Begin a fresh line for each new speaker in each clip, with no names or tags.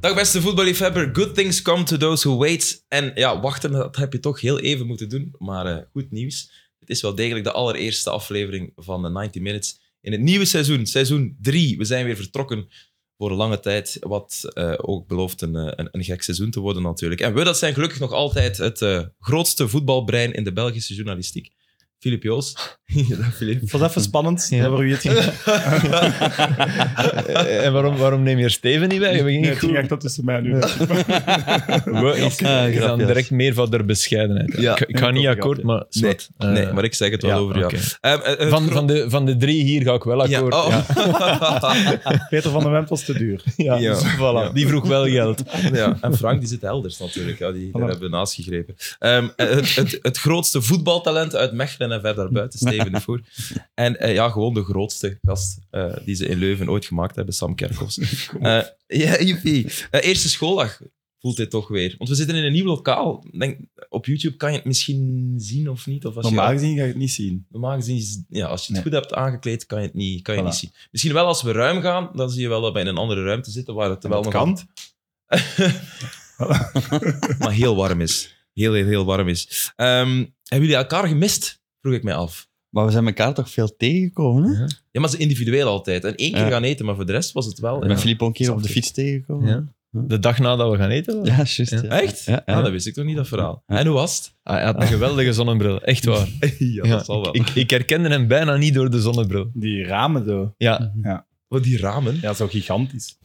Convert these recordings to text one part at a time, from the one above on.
Dag beste voetballiefhebber, good things come to those who wait. En ja, wachten, dat heb je toch heel even moeten doen. Maar eh, goed nieuws, het is wel degelijk de allereerste aflevering van de 90 Minutes in het nieuwe seizoen, seizoen 3. We zijn weer vertrokken voor een lange tijd, wat eh, ook belooft een, eh, een, een gek seizoen te worden natuurlijk. En we, dat zijn gelukkig nog altijd het eh, grootste voetbalbrein in de Belgische journalistiek. Filip Joos. Dag Filip.
Het was even spannend, ja. waar u het ging.
Eh, en waarom, waarom neem je Steven niet weg? We gingen
Nee, het
goed.
ging echt tot tussen mij nu.
We is-
Ah, je
Grapjas.
dan direct meer van der bescheidenheid.
Ja.
ik, ik ga niet akkoord, maar...
Nee,
zwart. Eh,
nee, maar ik zeg het wel
ja,
over jou.
oké.
Ehm, eh, eh,
van, van, de, van de drie hier ga ik wel
ja,
akkoord. Ja,
oh.
Peter van den Wemp was te duur.
Ja,
Ja.
dus voilà.
Ja.
Die vroeg wel geld.
Ja, en Frank die zit elders natuurlijk. Ja, die, daar
Voilà.
hebben we naast gegrepen. Ehm, het, het, het grootste voetbaltalent uit Mechelen en verder buiten, Steven de Voer. En eh, ja, gewoon de grootste gast eh, die ze in Leuven ooit gemaakt hebben, Sam Kerkhoffs. Eh, ja, joepie. Eh, eerste schooldag voelt dit toch weer. Want we zitten in een nieuw lokaal. Ik Denk, op YouTube kan je het misschien zien of niet. Of als
Normaal
je,
gezien ga je het niet zien.
normaal gezien, is- ja, als je het goed
Nee.
hebt aangekleed, kan je het niet, kan je
Voilà.
niet zien. Misschien wel als we ruim gaan, dan zie je wel dat we in een andere ruimte zitten waar het
En
wel
dat
nog
kan.
maar heel warm is. Heel, heel, heel warm is. Ehm, hebben jullie elkaar gemist? Vroeg ik mij af.
Maar we zijn elkaar toch veel tegengekomen, hè?
Ja, maar ze individueel altijd. En één keer
Ja.
gaan eten, maar voor de rest was het wel.
Ik ben
ja.
Filippo een keer op de
Snap
fiets tegengekomen.
Ja. De dag nadat we gaan eten. wel.
Ja, juist. Ja.
Echt?
Ja, ja.
Ah, dat wist ik nog niet, dat verhaal. En hoe was het?
Ah, Hij had een geweldige zonnebril, echt waar.
Ah. ja,
Ja,
dat zal wel.
Ik, ik herkende hem bijna niet door de zonnebril.
Die ramen zo.
Ja,
Want die ramen,
Ja, zo gigantisch.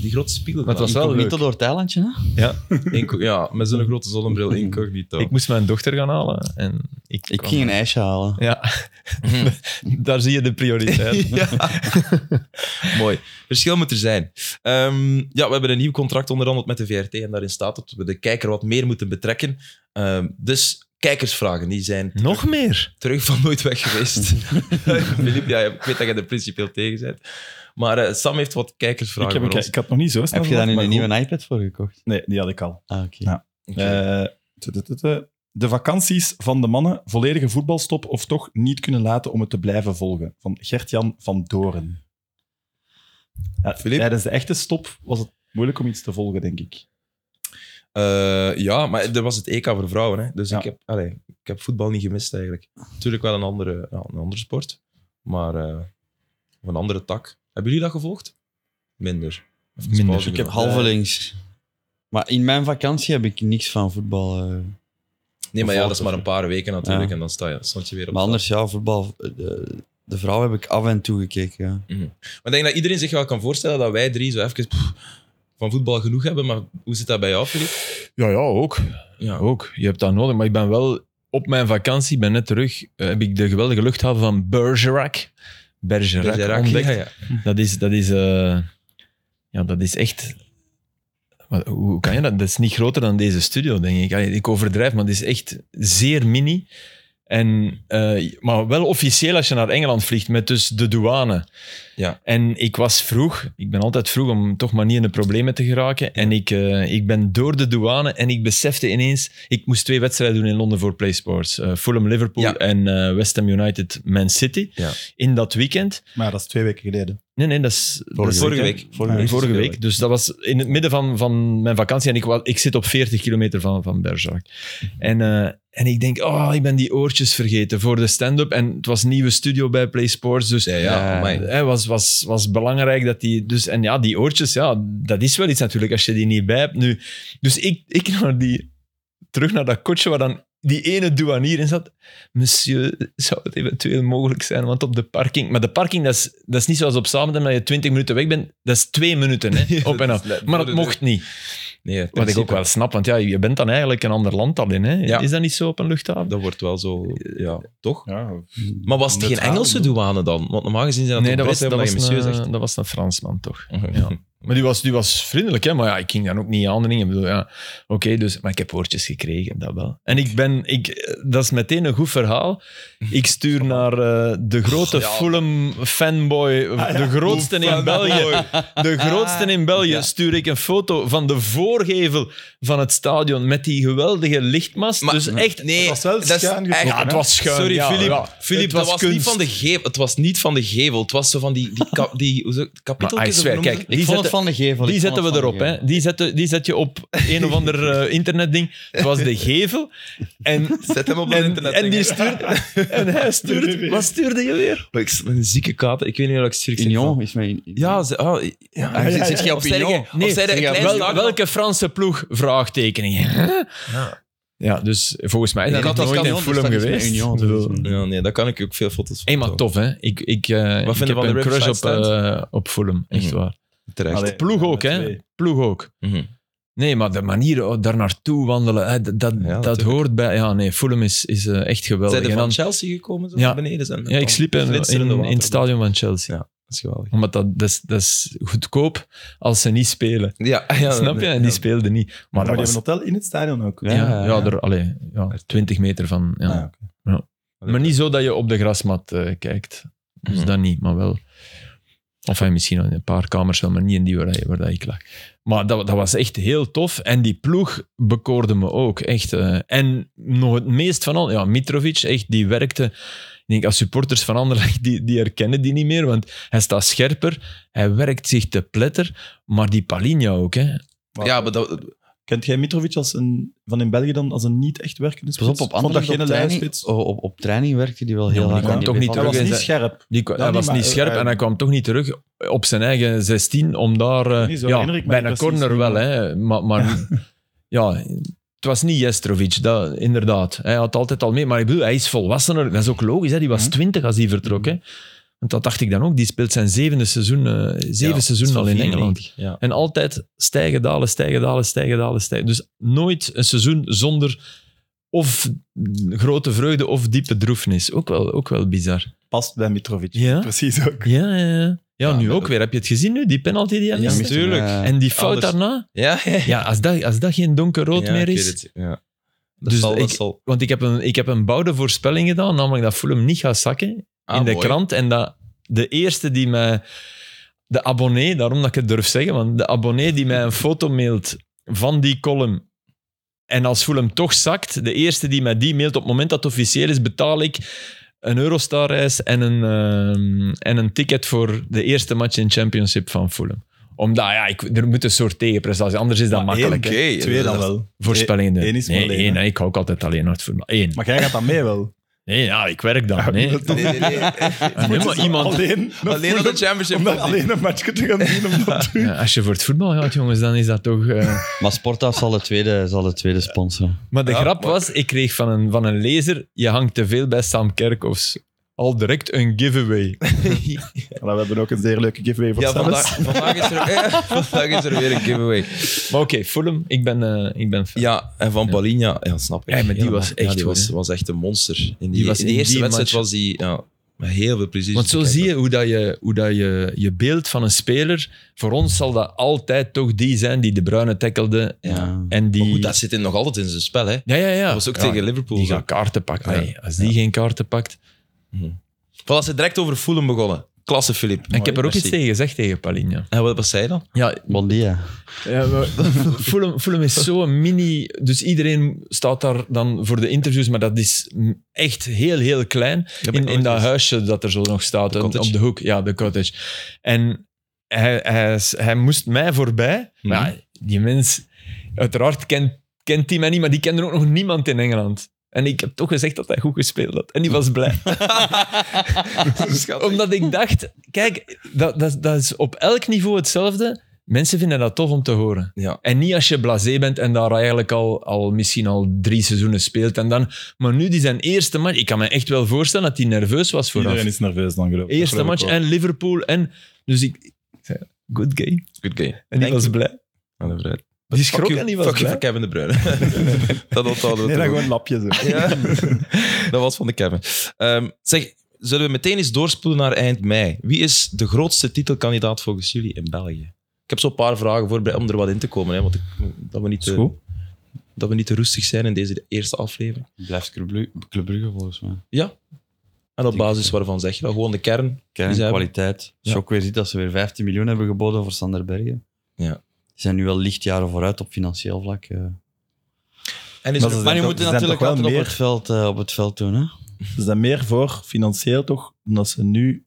die grote spiegel.
Maar het was wel
Niet
leuk.
tot door het eilandje, hè?
Inco- ja, met zo'n grote zonnebril incognito.
Ik moest mijn dochter gaan halen. En ik
Ik
kwam-
ging een ijsje halen.
Ja, daar zie je de prioriteit.
ja. Mooi. Verschil moet er zijn. Ehm, ja, we hebben een nieuw contract onderhandeld met de VRT en daarin staat dat we de kijker wat meer moeten betrekken. Ehm, dus kijkersvragen, die zijn
Nog meer?
terug van nooit weg geweest. Filip, ja, ik weet dat je er principieel tegen bent. Maar eh, Sam heeft wat
Ik,
kijkersvragen
heb een,
voor
kei- ik had nog niet zo snel.
Heb je daar
verwacht,
nu
maar
een
goed.
nieuwe iPad voor gekocht?
Nee, die had ik al.
Ah, oké.
Ja.
ons. Oké.
Eh, tu- tu- tu- tu. de vakanties van de mannen, volledige voetbalstop of toch niet kunnen laten om het te blijven volgen. Van Gert-Jan van Doren. Ja,
Filip?
tijdens de echte stop was het moeilijk om iets te volgen, denk ik.
Eh, ja, maar er was het EK voor vrouwen. Hè? Dus
Ja.
ik, heb, allee, ik heb voetbal niet gemist eigenlijk. Natuurlijk wel een andere, ja, een andere sport, maar eh, of een andere tak. Hebben jullie dat gevolgd? Minder. Even
Minder.
pauze
Ik heb
genomen.
eh,
halve links. Maar in mijn vakantie heb ik niks van voetbal. eh.
Nee, maar ja, dat is
gevolgd,
maar een paar weken natuurlijk.
Ja.
En dan sta je, stond je weer op
Maar
het
anders, ja, voetbal. eh, De, de vrouw heb ik af en toe gekeken. Ja.
Maar ik denk dat iedereen zich wel kan voorstellen dat wij drie zo even pff, van voetbal genoeg hebben. Maar hoe zit dat bij jou, Filip?
Ja, ja, ook.
Ja.
ook. Je hebt dat nodig. Maar ik ben wel op mijn vakantie, ben net terug, eh, heb ik de geweldige luchthaven van Bergerac. Bergerac, ontdekt.
ja, ja.
Dat is, dat is, eh, ja, dat is echt. Wat, hoe hoe kan je dat? Dat is niet groter dan deze studio, denk ik. Allee, ik overdrijf, maar het is echt zeer mini. En, eh, maar wel officieel als je naar Engeland vliegt, met dus de douane.
Ja.
En ik was vroeg, ik ben altijd vroeg om toch maar niet in de problemen te geraken. En ik, eh, ik ben door de douane en ik besefte ineens, ik moest twee wedstrijden doen in Londen voor PlaySports. Eh Fulham Liverpool
Ja.
en eh, West Ham United Man City.
Ja.
In dat weekend.
Maar dat is twee weken geleden.
Nee, nee, dat is dat is-
Vorige week.
Ja,
Vorige, week. Dus dat was in het midden van, van mijn vakantie. En ik, wa- ik zit op 40 kilometer van, van Bergerac. En, eh, en ik denk, oh, ik ben die oortjes vergeten voor de stand-up. En het was een nieuwe studio bij Play Sports. Dus
Ja, ja,
Ja.
amai.
het was, was, was belangrijk dat die... Dus, en ja, die oortjes, ja, dat is wel iets natuurlijk als je die niet bij hebt. Nu, dus ik, ik naar die, terug naar dat kotje waar dan die ene douanier in zat. Monsieur, zou het eventueel mogelijk zijn, want op de parking... Maar de parking, dat is, dat is niet zoals op Zaventem dat je 20 minuten weg bent. Dat is twee minuten, hè, op en af. Maar dat mocht niet.
Nee,
Wat ik ook wel snap, want ja, je bent dan eigenlijk een ander land dan in. Hè?
Ja.
Is dat niet zo op een luchthaven?
Dat wordt wel zo, ja, toch?
Ja,
Maar was het geen
Neutraal,
Engelse
bedoel.
douane dan? Want normaal gezien zijn dat
nee, dat was,
toch
dat,
Britten,
was
omdat je
een, eh,
monsieur
dat was een Fransman, toch?
zegt.
Ja. Maar die was, die was vriendelijk, hè? maar ja, ik ging dan ook niet aandringen. Ik bedoel, ja, oké, dus, maar ik heb woordjes gekregen, dat wel. En ik ben, ik, dat is meteen een goed verhaal. Ik stuur naar eh, de grote
Ja. Ah,
Fulham fanboy, de grootste in België. De grootste in België stuur ik een foto van de voorgevel van het stadion met die geweldige lichtmast.
Maar-
dus echt,
Nee,
Het was wel
dat is echt-
schuin getrokken,
ja, het was schuin.
Sorry,
ja,
Filip.
ja.
Filip,
Het
dat was niet
kunst.
van de gevel. Het was niet van de gevel. Het was zo van die, die, kap, die hoe zo-
Maar
kapitteltjes.
ik
of
zweer,
hoe noemen ze
kijk, die
ik vond het
zetten-
van de gevel.
Die
Ik vond
zetten
het
we
van de
erop. Hè. Die, zetten, die zet je op een of ander eh, internetding. Het was de gevel. En,
Zet hem op het
en,
internet.
en, die
denk ik.
stuurt, en hij stuurt... Wat stuurde je weer?
Oh, ik zit met een zieke kater. Ik weet niet wat ik schrik
gevel.
zeg van-
Union is mijn...
Ja, ze, oh, ja.
Ah, zit- Zit
Of
je op
zei jij-
Union?
of zei jij
Zeg,
klein
wel-
staak-
welke Franse ploeg? Vraagtekening.
Ja.
Ja, dus volgens mij is
Ik
dat
had
nog
als
nooit in
kampioen, dus
Fulham
dat is mijn
geweest.
Union,
Ik bedoel,
dus-
Ja, nee, daar kan ik ook veel foto's van.
Hey, maar tof, hè? Ik, ik, eh ik
vinden
heb
we van de
een crush op,
Riverside
eh, op Fulham, echt
Mhm.
waar.
Terecht.
Allee.
Ploeg ook,
met
hè?
twee.
Ploeg ook.
Mhm.
Nee, maar de manier oh, daar naartoe wandelen, hè, dat, dat, dat
natuurlijk.
hoort bij. Ja, nee, Fulham is, is eh, echt geweldig.
Zijn er
En
van
dan-
Chelsea gekomen? Zo
Ja.
beneden zijn.
ja, ik sliep in, in,
Flitserende
in
water.
het stadion van Chelsea.
Ja. Dat is geweldig.
Omdat dat, dat, is, dat is goedkoop als ze niet spelen.
Ja, ja,
Snap je? En die
ja.
speelden niet. Maar
Maar
dat
die
was...
hebben een hotel in het stadion ook.
Ja, ja, er, allee, ja, 20 meter van. Ja.
Ah, oké.
Maar niet zo dat je op de grasmat eh, kijkt. Dus
Mhm.
dat niet, maar wel. Of hij misschien in een paar kamers wel, maar niet in die waar, hij- waar dat ik lag. Maar dat, dat was echt heel tof. En die ploeg bekoorde me ook, echt. eh. en nog het meest van al, ja, Mitrovic, echt, die werkte... Ik denk, als supporters van Anderlecht, die, die herkennen die niet meer, want hij staat scherper, hij werkt zich te pletter, maar die Palinha ook, hè.
Maar-
Ja, maar dat,
Kent jij Mitrovic als een, van in België dan als een niet echt werkende
Pas
spits?
op, op andere
Vond dat geen
training,
lijnspits?
oh, op, op training werkte die wel heel
maar die
hard.
kwam
aan
toch niet
bal.
Hij was
terug,
niet
hè?
scherp.
Die, kwa-
Ja,
hij
niet,
was
maar-
niet scherp
eh,
en hij kwam toch niet terug op zijn eigen 16 om daar... eh,
Nee, zo
ja,
herinner ik me
bij een
precies
corner
niet.
wel, hè, maar, maar ja. het was niet Jestrovic, dat, inderdaad. Hij had altijd al mee, maar ik bedoel, hij is volwassener. Dat is ook logisch, hè, die was
Mhm.
20 als hij vertrok. Hè. Want dat dacht ik dan ook, die speelt zijn zevende seizoen, eh, zeven
ja,
seizoen
dat
al
is
in
van
Engeland.
94, Ja.
En altijd stijgen, dalen, stijgen, dalen, stijgen, dalen, stijgen. Dus nooit een seizoen zonder of grote vreugde of diepe droefnis. Ook wel, ook wel bizar.
Past bij Mitrovic.
Ja.
Precies ook.
Ja, ja, ja. Ja,
Ja,
nu
maar
ook
dat-
weer. Heb je het gezien nu, die penalty die hij
Ja,
miste?
miste. tuurlijk.
Eh,
En die fout
Anders-
daarna?
Ja, ja.
Ja, als dat, als dat geen donkerrood
Ja,
meer
ik
is...
weet het, Ja. Dat
Dus
zal, dat
ik-
zal-
Want ik heb, een, ik heb een bouwde voorspelling gedaan, namelijk dat Fulham niet gaat zakken
Ah,
in de
mooi.
krant. En dat de eerste die mij... De abonnee, daarom dat ik het durf zeggen, want de abonnee die mij een foto mailt van die column... En als Fulham toch zakt, de eerste die mij die mailt, op het moment dat het officieel is, betaal ik een Eurostar-reis en een, ehm, en een ticket voor de eerste match in Championship van Fulham. Omdat, ja, ik, er moet een soort tegenprestatie, anders is dat
Maar
makkelijk.
Oké.
hè.
Twee dan wel.
Voorspellingen.
Eén is maar
nee,
alleen,
één,
hè.
hè. ik hou ook altijd alleen naar het voetbal. Eén.
Maar jij gaat dan mee wel.
Nee, ja, ik werk dan. Nee.
dat-
Nee, nee, nee.
Ja, nee, maar iemand,
Alleen,
Alleen aan de championship.
om dan alleen een matchje te gaan zien. Om dat te doen.
Ja, als je voor het voetbal gaat, jongens, dan is dat toch... eh.
Maar Sportaf zal de tweede, zal de tweede sponsoren.
Maar de
Ja,
grap
maar-
was, ik kreeg van een, van een lezer, je hangt te veel bij Sam Kerkhoffs. Al direct een giveaway.
Maar we hebben ook een zeer leuke giveaway voor
Ja,
Sam.
vandaag, vandaag, is er, eh, vandaag is er weer een giveaway.
Maar oké, Fulham, ik ben, eh, ik ben fan.
Ja, en van Palinha, ja, snap ik.
Ja, maar die
Helemaal.
was echt
ja, die
goed,
was,
hè.
was echt een monster. In die,
Die was
in de
in
eerste
die
wedstrijd
match-
was die ja, met heel veel plezier.
Want zo zie je hoe, dat je, hoe dat je je beeld van een speler... Voor ons zal dat altijd toch die zijn die de bruine tackelde.
Ja.
En die...
Maar goed, dat zit in, nog altijd in zijn spel, hè?
ja, ja, ja.
Dat was ook
Ja,
tegen Liverpool.
Die
zo.
gaat kaarten pakken.
Ja.
Allee, als die geen kaarten pakt...
Voilà, ze direct over Fulham begonnen. Klasse, Filip.
En ik heb er ook
Merci.
iets tegen gezegd tegen Palinha.
En wat, wat zei je dan?
Ja,
Bon dia.
Fulham, Fulham is zo'n mini... Dus iedereen staat daar dan voor de interviews, maar dat is mm, echt heel, heel klein. In, in dat huisje dat er zo nog staat,
De
en-
cottage.
op de hoek. Ja, de cottage. En hij, hij, is- hij moest mij voorbij. Maar ja, die mens, uiteraard kent, kent die mij niet, maar die kende ook nog niemand in Engeland. En ik heb toch gezegd dat hij goed gespeeld had. En die was blij. Omdat ik dacht, kijk, dat, dat, dat is op elk niveau hetzelfde. Mensen vinden dat tof om te horen.
Ja.
En niet als je blasé bent en daar eigenlijk al, al misschien al drie seizoenen speelt. En dan, maar nu die zijn eerste match. Ik kan me echt wel voorstellen dat hij nerveus was vooraf.
Iedereen is nerveus dan, geloof ik. Dat
Eerste
geloof ik
match
ook.
en Liverpool. En, dus ik, ik zei, good game.
Good game.
En die
Thank
was
you.
blij.
Aan de vrijheid.
Die schrok en die was
Fuck you
blij.
voor Kevin De Bruyne. dat onthouden we
Nee, dan
toch ook.
gewoon lapjes. hè.
Ja, dat was van de Kevin. Ehm, zeg, zullen we meteen eens doorspoelen naar eind mei? Wie is de grootste titelkandidaat volgens jullie in België? Ik heb zo'n paar vragen voorbereid om er wat in te komen. Hè, want ik, dat, we niet
Is
te,
goed.
dat we niet te roestig zijn in deze eerste aflevering.
Blijft Club Brugge, Club Brugge volgens mij.
En op basis waarvan zeg je dat? Gewoon de kern.
Kern,
Die zijn-
kwaliteit.
Ja.
Shock weer ziet dat ze weer 15 miljoen hebben geboden voor Sander Bergen.
Ja.
Die zijn nu wel lichtjaren vooruit op financieel vlak. eh.
En is
Maar
er-
ze
Maar
zijn
je
toch-
moet
ze zijn
natuurlijk
toch wel
altijd op
meer-
het, veld, eh, op het veld doen. Hè?
Ze zijn meer voor financieel toch, omdat ze nu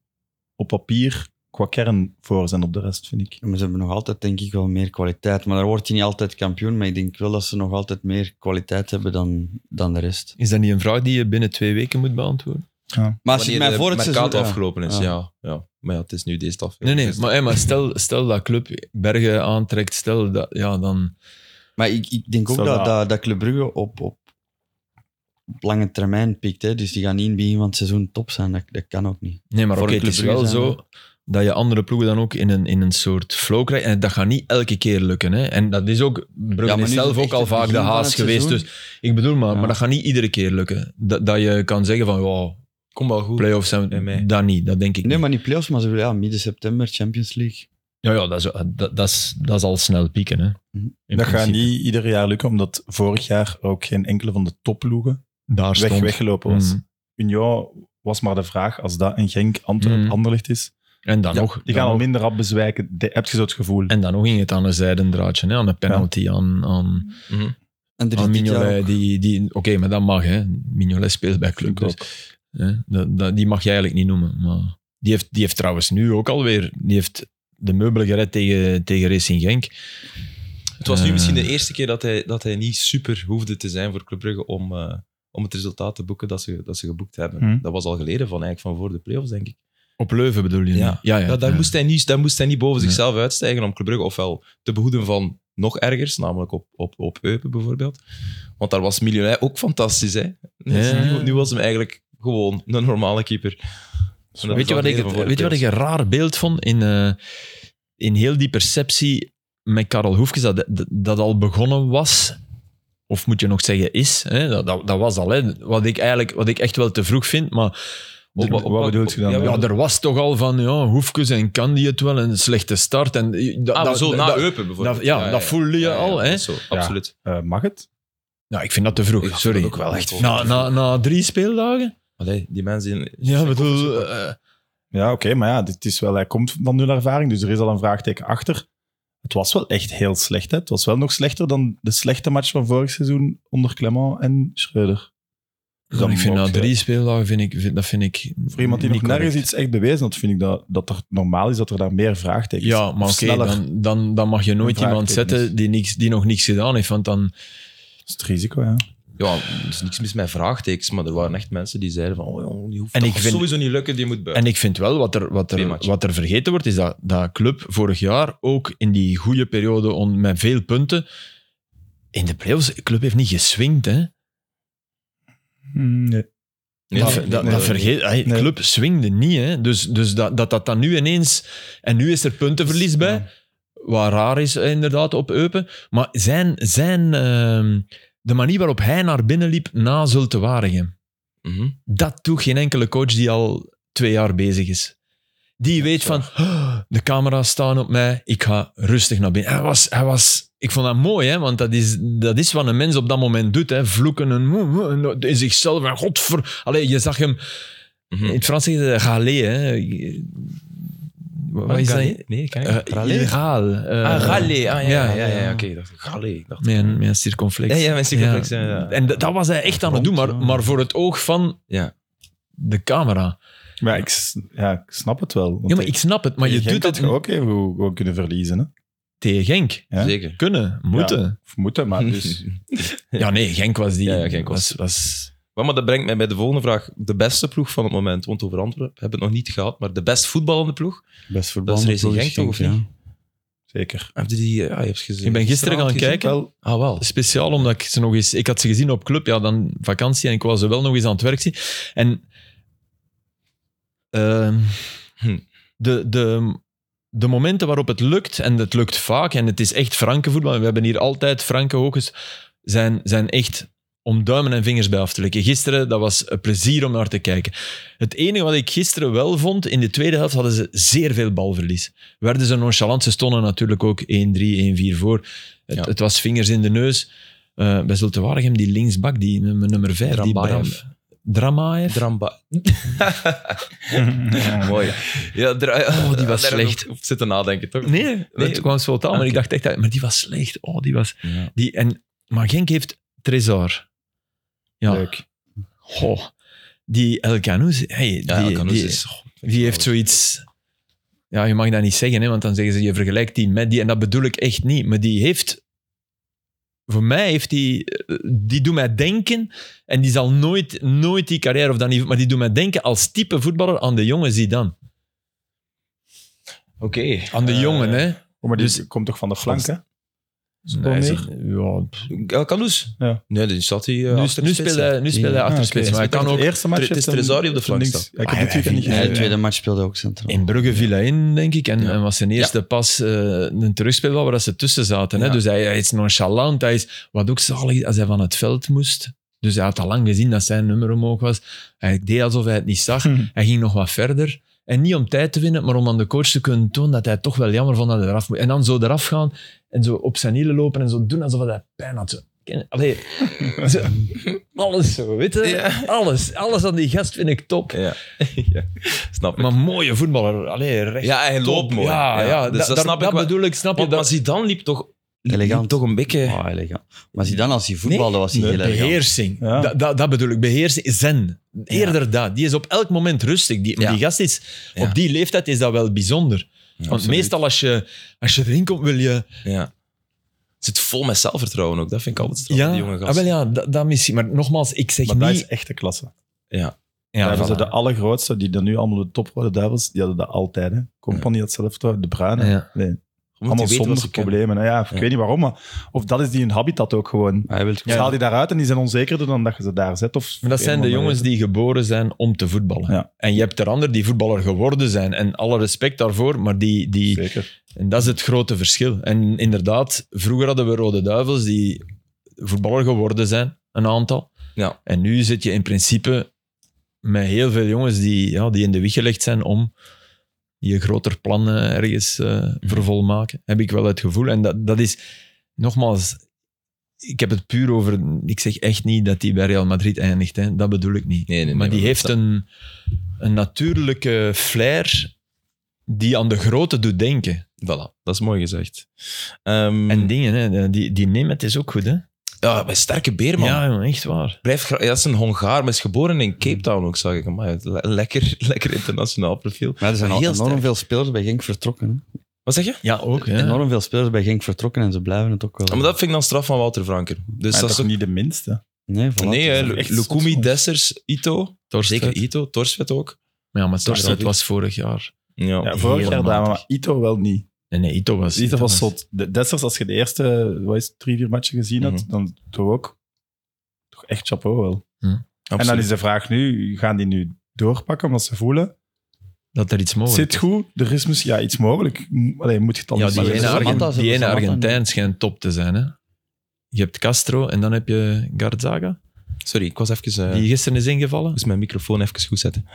op papier qua kern voor zijn op de rest, vind ik.
Maar ze hebben nog altijd, denk ik, wel meer kwaliteit. Maar daar wordt hij niet altijd kampioen. Maar ik denk wel dat ze nog altijd meer kwaliteit hebben dan, dan de rest.
Is dat niet een vraag die je binnen twee weken moet beantwoorden?
Maar als je
Wanneer
mij
de
voor het
Mercato
seizoen... Ah. ja.
afgelopen is,
Ja.
ja. Ja, Maar ja, het is nu deze
Nee,
aflevering. Dus-
nee. Maar, hey, maar stel, stel dat club Bergen aantrekt, stel dat... Ja, dan...
Maar ik, ik denk ook
Zal
dat,
dat-
dat, dat Club Brugge op, op, op lange termijn pikt. Hè. Dus die gaan niet in het begin van het seizoen top zijn. Dat, dat kan ook niet.
Nee, maar
Voor
oké,
een
het is
Club
wel
Brugge zijn,
zo dat je andere ploegen dan ook in een, in een soort flow krijgt. En dat gaat niet elke keer lukken. Hè. En dat is ook... Brugge
Ja, maar
is
nu is
zelf
het
ook
echt
al
het
vaak de
begin van
haas
het
geweest.
seizoen.
Dus ik bedoel, maar,
Ja.
maar dat gaat niet iedere keer lukken. Dat, dat je kan zeggen van, wow,
Kom wel goed.
play-offs zijn
Nee, nee.
dat niet. Dat denk ik
Nee,
niet.
maar niet playoffs, maar ze willen ja, midden september Champions League.
Ja, ja dat, is, dat, dat, is, dat is al snel pieken. Hè.
Mhm.
In
dat gaat
principe.
niet ieder jaar lukken, omdat vorig jaar ook geen enkele van de topploegen
Daar
weg,
stond.
weggelopen was.
Mm.
Union was maar de vraag, als dat een Genk, Antwerpen,
Mm.
Anderlicht is,
En dan
ja,
nog...
die
dan
gaan al
nog-
minder rap bezwijken. De, heb je zo het gevoel?
En dan nog ging het aan een zijden draadje, hè? aan een penalty, aan, aan,
Mhm.
En er is
aan
dit jaar
Mignolet.
ook-
Die, die, Oké, maar dat mag. Hè? Mignolet speelt bij Club.
Vind ik
Dus, hè? Dat, dat, die mag je eigenlijk niet noemen. Maar die, heeft, die heeft trouwens nu ook alweer... Die heeft de meubelen gered tegen, tegen Racing Genk.
Het was nu
Eh,
misschien de eerste keer dat hij, dat hij niet super hoefde te zijn voor Club Brugge om, eh, om het resultaat te boeken dat ze, dat ze geboekt hebben.
Hm.
Hmm.
Dat was al geleden van, eigenlijk van voor de play-offs, denk ik.
Op Leuven bedoel je?
Ja.
ja, ja,
Ja, daar,
ja.
Moest hij niet, daar moest hij niet boven
Ja.
zichzelf uitstijgen om Club Brugge ofwel te behoeden van nog ergers, namelijk op, op, op Eupen bijvoorbeeld. Want daar was Miljonair ook fantastisch. Hè? Dus
Ja.
nu, nu was hem eigenlijk gewoon een normale keeper. En dat
Weet je,
was
wat
al
ik,
een van voor de
weet je wat ik een raar beeld vond in, eh, in heel die perceptie met Karel Hoefkes, dat, dat, dat al begonnen was, of moet je nog zeggen is, hè? Dat, dat, dat was al, hè? Wat, ik eigenlijk, wat ik echt wel te vroeg vind, maar
Wat- Dus wat bedoelt je dan?
Ja,
ja,
maar-
er was toch al van, ja, Hoefkes en kan die het wel, een slechte start. En, eh, dat,
ah, maar
dat-
zo na
dat-
Eupen bijvoorbeeld.
dat- ja, dat voelde je al, hè?
dat is Zo, absoluut.
Eh, mag het?
Nou, ik vind dat te vroeg,
Ik vond
sorry.
dat ook wel echt
na, na, na drie speeldagen?
Allee, die mensen... die-
Ja, bedoel... eh,
Ja, oké, maar ja, dit is wel, hij komt van nul ervaring, dus er is al een vraagteken achter. Het was wel echt heel slecht. Hè? Het was wel nog slechter dan de slechte match van vorig seizoen onder Clement en Schreuder. Dus
ik vind
mag
na
je-
drie speeldagen, vind ik, vind, dat vind ik
Voor iemand die nog
niet correct.
nergens iets echt bewezen had, vind ik dat, dat er normaal is dat er daar meer vraagtekens
Ja, maar
Of
oké,
sneller.
dan, dan, dan mag je nooit
Een
iemand
vraagteken
zetten
is.
die, niks, die nog niks gedaan heeft, want dan...
Dat is het risico, ja.
Ja, er is niks mis met vraagtekens, maar er waren echt mensen die zeiden van, oh, jong, die hoeft
En
dat
ik
gaat
vind-
sowieso niet lukken, die moet buiten.
En ik vind wel, wat er, wat
Twee
er,
matchen.
wat er vergeten wordt, is dat, dat club vorig jaar ook in die goede periode on, met veel punten... In de playoffs, club heeft niet geswingd, hè.
Nee.
Nee,
dat,
nee,
dat,
nee, nee.
dat vergeet... hey,
Nee.
Club swingde niet, hè. Dus, dus dat, dat dat dan nu ineens... En nu is er puntenverlies bij. Wat raar is eh, inderdaad op Eupen. Maar zijn, zijn, ehm, de manier waarop hij naar binnen liep na Zulte Waregem,
Mhm.
dat doet geen enkele coach die al twee jaar bezig is. Die weet van, "Oh, de camera's staan op mij, ik ga rustig naar binnen. Hij was, hij was, ik vond dat mooi, hè, want dat is, dat is wat een mens op dat moment doet. Hè, vloeken en, en in zichzelf en godver... Allee, je zag hem... In
Mhm.
het Frans zeggen ze galé, hè. Wat, wat is dat?
Galé? Nee, ik kan niet.
Eh, illegaal. eh,
Ah, Galé. Ah, ja, ja, ja.
ja, ja.
Oké, ik dacht Galé. Ik dacht,
Met een, met een circumflex.
Ja, ja, met een circumflex, ja, ja.
En dat, dat was hij echt aan het doen,
Rond,
maar,
ja.
maar voor het oog van
Ja.
de camera.
Maar ja, ik, s- ja, ik snap het wel. want
Ja, maar ik snap het, maar je
tegen Genk
doet het
had je ook even hoe, hoe kunnen verliezen. Hè?
tegen Genk.
Ja.
Zeker.
Kunnen, moeten.
Of moeten, maar dus...
Ja, nee, Genk was die.
Ja, ja, Genk
was, was,
Maar, maar dat brengt mij bij de volgende vraag. De beste ploeg van het moment, want over Antwerpen hebben we het nog niet gehad, maar de best voetballende ploeg.
Best
Dat is
verband.
Racing Genk toch, of niet?
Zeker.
Heb je die... Ja, je hebt ze gezien.
Ik ben gisteren gaan
Gisteravond
kijken.
Wel,
Dus, eh, gezien? Ah, wel.
Speciaal omdat ik ze nog eens... Ik had ze gezien op club, ja, dan vakantie, en ik wou ze wel nog eens aan het werk zien. En... ehm,
Hm.
de, de, de momenten waarop het lukt, en het lukt vaak, en het is echt franke voetbal, en we hebben hier altijd franke hoges, zijn, zijn echt om duimen en vingers bij af te likken. Gisteren, dat was een plezier om naar te kijken. Het enige wat ik gisteren wel vond, in de tweede helft hadden ze zeer veel balverlies. Werden ze nonchalant, ze stonden natuurlijk ook 1-3, 1-4 voor. Het,
Ja.
het was vingers in de neus. Eh bij Zulte Waregem, die linksbak, die nummer, nummer 5, die
Drambaev.
Bram- Dramaev?
Dramba. Mooi. Ja, dra-
Oh, die was
Daar
slecht.
heb ik op Zitten nadenken, toch?
Nee, het
Nee. Ah,
kwam spontaan, maar ik
Oké.
dacht echt... dat- Maar die was slecht. Oh, die was...
Ja.
Die, en, maar Genk heeft Trezor. Ja.
Leuk.
Goh. Die El Canoes, hey,
Ja,
die,
Elkanous
die,
is-
die heeft zoiets... Ja, je mag dat niet zeggen, hè, want dan zeggen ze je vergelijkt die met die. En dat bedoel ik echt niet. Maar die heeft. Voor mij heeft die. eh, Die doet mij denken. En die zal nooit, nooit die carrière of dat niet. Maar die doet mij denken als type voetballer aan de jongen Zidane.
Oké.
Aan de
Eh,
jongen, hè?
Oh, maar die
Dus-
komt toch van de flank, hè?
Nee,
wel
hij
meer?
zegt- ja, pff.
El Kandous?
Ja.
Nee, dan staat hij eh,
nu,
achter de
nu
spits,
speelt
hè.
hij, nu speelt hij
Ja,
achter de
oké.
spits. Maar hij kan
Het
ook.
eerste match
het is
heeft hem-
Trezori op de
heeft
flank
hem links-
staan.
Ja, Ik heb dit
Ah, ja,
weekend niet
Nee, de
gezien.
tweede match speelde ook centraal.
In Brugge viel hij in, denk ik. En,
Ja.
en was zijn eerste pas eh, een terugspelbal waar dat ze tussen zaten.
Ja.
Hè? Dus hij, hij is nonchalant. Hij is, wat ook zalig, is, als hij van het veld moest. Dus hij had al lang gezien dat zijn nummer omhoog was. Hij deed alsof hij het niet zag.
Hm.
Hij ging nog wat verder. En niet om tijd te winnen, maar om aan de coach te kunnen tonen dat hij toch wel jammer vond dat hij eraf moet. En dan zo eraf gaan en zo op zijn hielen lopen en zo doen alsof hij pijn had. Zo, ken- Allee, zo, alles zo, weet je?
Ja.
Alles, alles aan die gast vind ik top.
Ja. ja, snap ik.
Maar mooie voetballer. Allee, recht
ja, hij
top.
loopt mooi.
Ja, ja,
dus dat, snap ik
Dat
wel.
bedoel ik, snap je?
Want- Maar
Dat
Zidane liep toch, liep
Elegant.
toch een beetje...
Oh, elegant. Maar zie dan, als hij voetbalde, was hij
Nee,
heel erg.
beheersing.
Ja.
Dat, dat, dat bedoel ik, beheersing. Zen. Eerder dat. Die is op elk moment rustig. Die,
Ja.
die gast is,
Ja.
op die leeftijd is dat wel bijzonder. Want
absoluut.
meestal als je, als je erin komt, wil je...
Ja. Zit vol met zelfvertrouwen ook. Dat vind ik altijd straf,
Ja,
die jonge
ah,
gast.
wel ja dat, dat misschien. Maar nogmaals, ik zeg
Maar dat
niet...
is echte klasse.
ja,
Daar
voilà.
hebben ze de allergrootste, die dan nu allemaal de top worden, duivels, die hadden dat altijd. Hè. Compagnie had zelf toch, de Bruine.
Ja.
Je moet die
Allemaal
weten wat
zonder
ze kunnen.
problemen. hè. Ja, ik
Ja.
weet niet waarom, maar of dat is die hun habitat ook gewoon.
Hij wil
Haal die daaruit en die zijn onzekerder dan dat je ze daar zet. Of
Maar dat zijn de jongens die geboren zijn om te voetballen.
Ja.
En je hebt er anderen die voetballer geworden zijn. En alle respect daarvoor, maar die, die, Dus
Zeker.
En dat is het grote verschil. En inderdaad, vroeger hadden we Rode Duivels die voetballer geworden zijn, een aantal.
Ja.
En nu zit je in principe met heel veel jongens die, ja, die in de wieg gelegd zijn om je groter plan eh, ergens
Mhm.
eh vervolmaken. Heb ik wel het gevoel. En dat, dat is, nogmaals, ik heb het puur over... Ik zeg echt niet dat die bij Real Madrid eindigt. Hè. Dat bedoel ik niet.
Nee, nee, nee,
maar die
maar
heeft
dat-
een, een natuurlijke flair die aan de grote doet denken.
Voilà, dat is mooi gezegd. Ehm,
En dingen, hè, eh, die, die Nemeth is ook goed, hè?
ja, een sterke beer, man.
Ja, Mm. jongen, echt waar.
Blijft gra- ja, dat is een Hongaar, maar is geboren in Cape Town ook, zag ik. Amai, le- lekker, lekker internationaal profiel.
Maar er zijn
Maar
al
heel
enorm
sterk.
veel spelers bij Genk vertrokken. hè.
Wat zeg je?
Ja, ook, hè?
Enorm veel spelers bij Genk vertrokken en ze blijven het ook wel.
Ja, maar dat vind ik dan straf van Wouter Franker. Dus
Maar
dat is
toch
ook...
niet de minste.
Nee, voilà.
Nee, hè,
is
Lu-
echt zot,
Lukumi,
man.
Dessers, Ito.
Torstvet.
Zeker Ito, Torsvet ook.
Ja, maar
Torstvet
Torstvet was vorig jaar.
Ja.
Ja, vorig jaar
heel
daar,
matig.
maar Ito wel niet.
Nee, nee, Ito was...
Ito was zot. De- Dessers, als je de eerste wat is, het, drie, vier matchen gezien had,
Mhm.
dan toch ook toch echt chapeau wel. En dan
absoluut.
is de vraag nu, gaan die nu doorpakken omdat ze voelen,
Dat er iets
het
mogelijk
zit goed, er is misschien ja, iets mogelijk. M- Allee, moet je het dan
Ja,
niet
die
zeggen.
ene,
Samatta
Argen-
zit er,
die ene
Samatta
Argentijn schijnt top te zijn, hè? Je hebt Castro en dan heb je Garzaga,
Sorry, ik was even... eh,
die gisteren is ingevallen.
Dus mijn microfoon even goed zetten.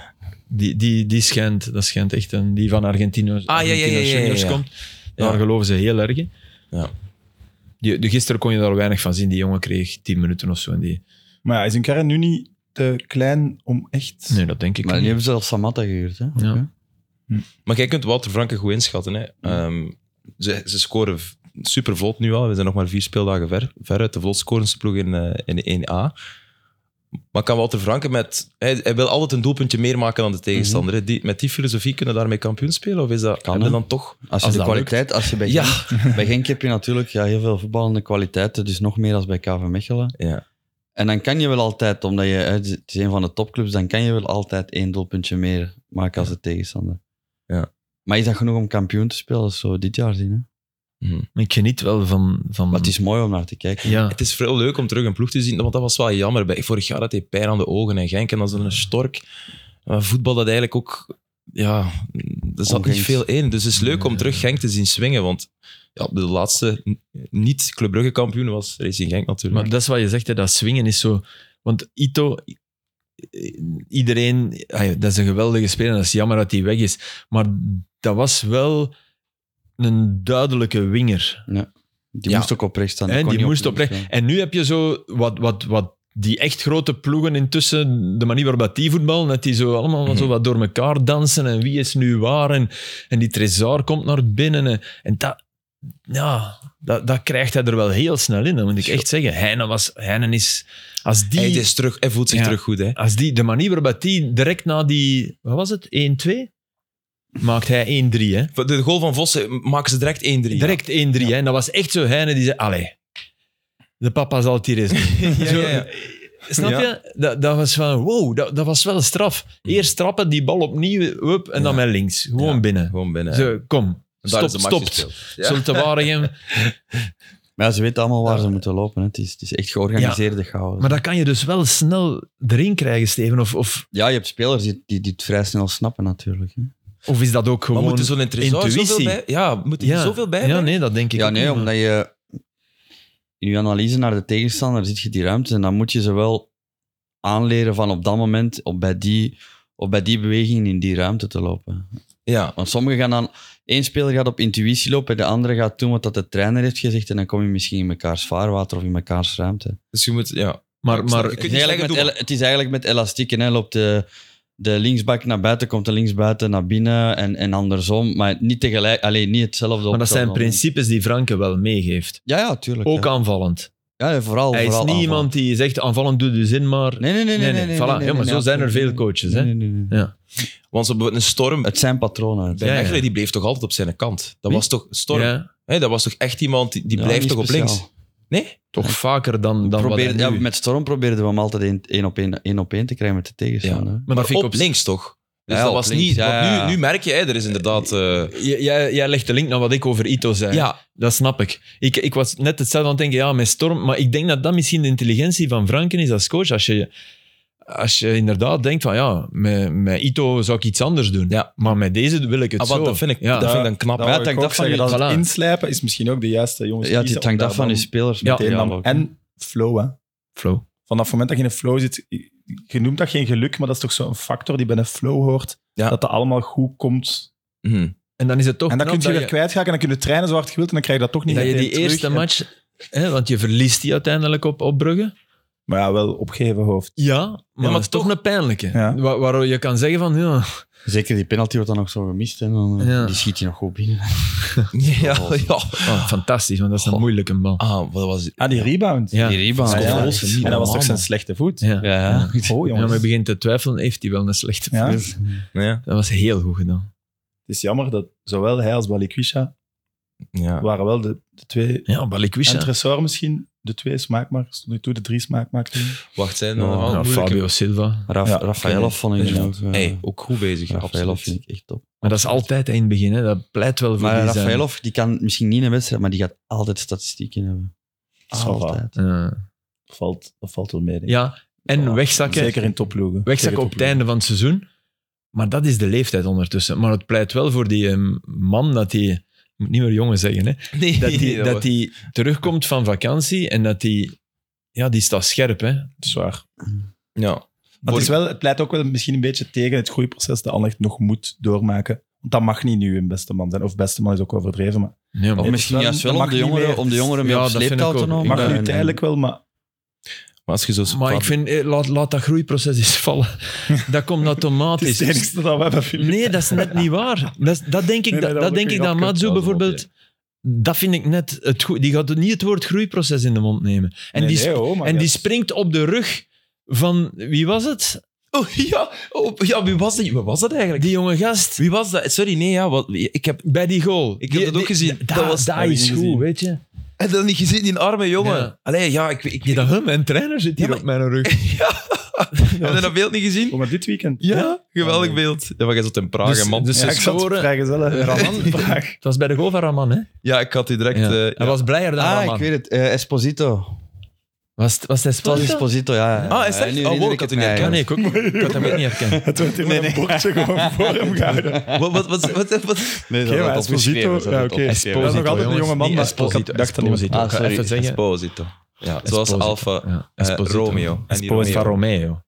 Die, die, die schijnt, dat schijnt echt een... Die van Argentino,
ja, Ah, ja, ja,
Argentinos
ja, ja,
Juniors
ja.
komt. Daar
Ja.
geloven ze heel erg in.
Ja.
Die, die- gisteren kon je daar weinig van zien. Die jongen kreeg 10 minuten of zo. En die,
Maar ja, is hun kern nu niet te klein om echt...
nee, dat denk ik
Maar die
niet.
hebben zelfs Samatta gehuurd. Hè?
Ja.
Oké.
Maar jij kunt Wouter Franke goed inschatten. Hè. Ehm, ze, ze scoren super vlot nu al. We zijn nog maar vier speeldagen ver. Veruit de vlot scorendste ploeg in, eh, in 1A. Maar kan Wouter Franke met... Hij, hij wil altijd een doelpuntje meer maken dan de tegenstander. hè. Die, met die filosofie kunnen daarmee kampioen spelen? Of is dat,
Kan,
hebben
hè.
dan toch...
Als je
Als
de
dat
kwaliteit, als je bij,
Ja.
Genk, bij Genk heb je natuurlijk ja, heel veel voetballende kwaliteiten, dus nog meer dan bij KV Mechelen.
Ja.
En dan kan je wel altijd, omdat je hè, het is een van de topclubs, dan kan je wel altijd één doelpuntje meer maken als de tegenstander.
Ja.
Maar is dat genoeg om kampioen te spelen? Dat zullen we dit jaar zien. Hè?
Maar Ik geniet wel van... van
Maar het is mooi om naar te kijken.
ja.
Het is veel leuk om terug een ploeg te zien, want dat was wel jammer. Bij, vorig jaar had hij pijn aan de ogen en Genk en dan zo'n stork. Maar voetbal dat eigenlijk ook... Ja, er zat niet
Ongenks.
veel in. Dus het is leuk om terug Genk te zien swingen, want ja, de laatste n- niet Club Brugge kampioen was Racing Genk natuurlijk.
Maar dat is wat je zegt, hè, dat swingen is zo... Want Ito, i- i- iedereen... ah ja, Dat is een geweldige speler, en dat is jammer dat hij weg is. Maar dat was wel een duidelijke winger.
Die
Ja.
moest ook oprecht staan.
Hè?
kon
Die
niet
moest
opnieuw
oprecht...
staan.
En nu heb je zo wat, wat, wat die echt grote ploegen intussen, de manier waarop dat die voetballen, dat die zo allemaal
Mhm.
zo wat door elkaar dansen en wie is nu waar en, en die Trezor komt naar binnen. En, en dat... Ja, dat, dat krijgt hij er wel heel snel in, dat moet ik echt zeggen. Heinen, was, Heinen is... Als die,
Hij, is terug, hij voelt zich
Ja.
terug goed, hè.
als die, de manier waarop dat die direct na die, wat was het, 1-2? maakt hij 1-3. Hè?
De goal van Vossen maken ze direct 1-3.
Direct 1-3. Hè? En dat was echt zo Heine die zei, allee, de papa zal het hier eens doen.
Ja,
Zo,
ja, ja.
Snap
Ja. Mm.
je? Dat, dat was van, wow, dat, dat was wel straf. Eerst trappen, die bal opnieuw, hup, en dan
Ja.
met links. Gewoon
Ja.
binnen.
Gewoon binnen.
Zo, kom.
En daar
Stop,
is de match
stop.
gespeeld. Ja.
Zult te Waregem.
Maar ja, ze weten allemaal waar ze moeten lopen. Hè. Het, is, het is echt georganiseerde chaos.
Maar dat kan je dus wel snel erin krijgen, Steven. Of, of,
Ja, je hebt spelers die, die, die het vrij snel snappen natuurlijk. Hè.
of is dat ook
Maar
gewoon...
moet er zo'n tresor zoveel
intuïtie.
bij? Ja, moet er zoveel bij?
Ja,
hebben?
nee, dat denk ik
Ja,
ook
nee,
niet,
omdat je in je analyse naar de tegenstander ziet je die ruimte en dan moet je ze wel aanleren van op dat moment op bij die, op bij die beweging in die ruimte te lopen.
Ja.
Want sommigen gaan dan, één speler gaat op intuïtie lopen en de andere gaat doen wat dat de trainer heeft gezegd en dan kom je misschien in mekaars vaarwater of in mekaars ruimte.
Dus je moet, ja.
Maar, maar
Je kunt
Het is,
niet
eigenlijk
zeggen,
met,
doe
el- het is eigenlijk met elastieken. Hè. Loopt de, de linksbak naar buiten, komt de linksbuiten naar binnen en, en andersom. Maar niet tegelijk, alleen niet hetzelfde. op
Maar dat zijn
hetzelfde moment.
principes die Franke wel meegeeft.
Ja, ja, tuurlijk.
Ook
hè.
aanvallend.
ja, vooral,
Hij is
vooral
niet
aanvallen.
iemand die zegt aanvallend doe je zin, maar...
Nee, nee, nee. nee, nee, nee,
voilà.
nee, nee,
ja, maar
nee,
zo zijn er
absoluut
veel
niet.
coaches.
Nee,
Hè?
nee, nee, nee.
Want zo bijvoorbeeld een storm.
Het zijn patronen. Het
Bij
Ja, ja.
Mechelen, die bleef toch altijd op zijn kant. Dat
Wie?
was toch storm.
Ja.
Hè, dat was toch echt iemand die, die
Ja,
blijft
niet
toch op
speciaal.
links. Nee?
Toch vaker dan, dan
Probeer-
wat hij
ja,
nu-
met Storm probeerden we hem altijd één- één op één, één op één te krijgen met de tegenstander. hè.
Maar,
dat vind
op,
ik op-
links toch? Dus
Ja,
dat
op
was
links,
niet.
ja,
want
ja.
nu, nu merk je, hè, er is inderdaad. eh,
J- Jij, jij legt de link naar wat ik over Ito zei.
ja, ah,
Dat snap ik. ik. Ik was net hetzelfde aan het denken, ja, met Storm. Maar ik denk dat dat misschien de intelligentie van Franken is als coach. Als je, als je inderdaad denkt van, ja, met, met Ito zou ik iets anders doen.
Ja.
Maar met deze wil ik het
ah, wat,
zo.
dat vind ik,
Ja.
dat vind ik dan knap.
Dat
hè.
wou
het hangt
ik ook
af van
zeggen,
je-
dat
voilà.
het inslijpen is misschien ook de juiste jongens.
Ja,
kiezen,
het hangt
omdat
af van
dan
je spelers.
Ja,
meteen
meteen
dan
dan-
ook.
En flow, hè.
Flow.
Vanaf het moment dat je in een flow zit, je noemt dat geen geluk, maar dat is toch zo'n factor die bij een flow hoort,
Ja.
dat dat allemaal goed komt.
Mhm.
En dan is het toch
en dan
knap
kun je weer
dat je,
kwijtraken en dan kun je trainen zo hard je wilt en dan krijg je dat toch niet
dat je
meteen
die
terug.
eerste
En-
match... Hè, want je verliest die uiteindelijk op, op Brugge.
Maar ja, wel opgeheven hoofd.
Ja, maar,
maar
dat is toch
toch-
een pijnlijke.
Ja.
Wa- waardoor je kan zeggen van, ja,
Zeker die penalty wordt dan nog zo gemist. En dan, eh,
Ja.
Die schiet je nog goed binnen.
Ja, ja.
oh, fantastisch, want dat is een
Goh.
moeilijke bal.
Ah, wat was
Ah, die rebound.
Ja.
Die rebound.
Ah, ja.
Ja,
En dat was toch zijn slechte voet.
Ja.
Ja, ja.
Oh,
Ja, maar je
jongens.
begint te twijfelen, heeft hij wel een slechte
Ja.
vleur?
ja.
Dat was heel goed gedaan.
Het is jammer dat zowel hij als Balikwisha
ja.
waren wel de, de twee...
Ja,
En
Balikwisha.
Tresor misschien, de twee smaakmakers, tot nu toe de drie smaakmakers.
Wacht, zijn er
Ja,
nog
ja,
allemaal
Ja,
moeilijke-
Fabio Silva.
Raf,
Ja.
Rafaelov vond ik
Ja.
ook. eh,
Hey, ook goed bezig. hè,
Rafaelov
absoluut.
vind ik echt top.
Maar dat is altijd in het begin. Hè. Dat pleit wel voor
Maar
die zijn-
Rafaelov, die kan misschien niet in een wedstrijd, maar die gaat altijd statistieken hebben.
Ça va.
Altijd.
Eh,
Dat valt, dat valt wel mee. denk ik.
ja, en
Ja,
wegzakken.
Zeker in topploegen.
wegzakken
Zeker
op het einde van het seizoen. Maar dat is de leeftijd ondertussen. Maar het pleit wel voor die eh, man dat hij... Ik moet niet meer jongen zeggen, hè.
Nee,
Dat
nee,
hij
dat
dat die terugkomt van vakantie en dat hij... Ja, die staat scherp, hè.
Dat is waar.
was- Ja.
Maar het, is wel, het leidt ook wel misschien een beetje tegen het groeiproces dat Anderlecht nog moet doormaken. Want dat mag niet nu een beste man zijn. Of beste man is ook overdreven, maar
Ja,
Of
maar-
Nee,
misschien
dat
juist wel
dus mag
om de
niet
jongeren,
meer.
om de jongeren mee
Ja,
op
dat vind ik
sleeptouw te
ook.
nemen.
mag
En-
nu tijdelijk wel, maar
Maar als je zo...
Maar ik vind... eh, Laat, laat dat groeiproces eens vallen. Dat komt
het is
automatisch.
het enigste dat we hebben. Filip.
Nee, dat is net niet waar. Dat, is- dat denk
Nee,
ik,
nee,
dat,
dat
dat,
moet
denk
je
ik
nog
dat
kunnen
Matsu
zelfs
bijvoorbeeld... Dat vind ik net het goed. Die gaat niet het woord groeiproces in de mond nemen. En,
Nee,
die,
nee,
sp-
oh, maar
en
ja.
die springt op de rug van... Wie was het?
Oh, ja. Oh, ja, wie was dat, wie was dat eigenlijk?
Die jonge gast.
Wie was dat? Sorry, nee, ja. Wat, ik heb
Bij die goal.
Ik heb
Die-
dat ook
die-
gezien.
da-
Dat was-
daar
heb ik
is
niet
goed,
gezien.
weet je.
heb dat niet gezien, die arme jongen.
Ja.
Allee, ja, ik... ik,
Ja, dat hem, mijn trainer zit hier
Ja, maar-
op mijn rug.
Heb je dat beeld niet gezien?
Oh, maar dit weekend.
geweldig beeld. Ja, maar jij zat in Praag,
Dus-
hè, man.
dus-
Ja, ik zat
Scoren.
vrijgezel. hè.
Raman.
Vraag.
Het was bij de goal van Raman, hè?
ja, ik had die direct...
Ja.
eh,
Hij was blijer dan
Ah,
Raman.
ik weet het. eh, Esposito.
Was, het- was hij
Het was
Splinter?
Esposito, ja. ja.
Ah, is
Ja,
echt? Oh,
nu
wow,
herinner
ik had die
het mij,
niet
Ja,
ja.
nee, ik ook niet. Ik had hem ook niet herkend.
Het werd hier met een bordje gewoon voor hem gehouden. Oké,
Wat, wat, wat, wat, wat?
Nee,
maar Esposito. Ja, oké.
Esposito,
Dat is nog altijd een
jongens.
jonge man,
Niet
maar
Esposito,
ik dacht dat niet
Esposito.
Ah, sorry.
Even zeggen.
Esposito. Ja, zoals
Esposito.
Alfa
Ja.
eh,
Esposito.
Romeo. En niet
Esposito.
Alfa Romeo.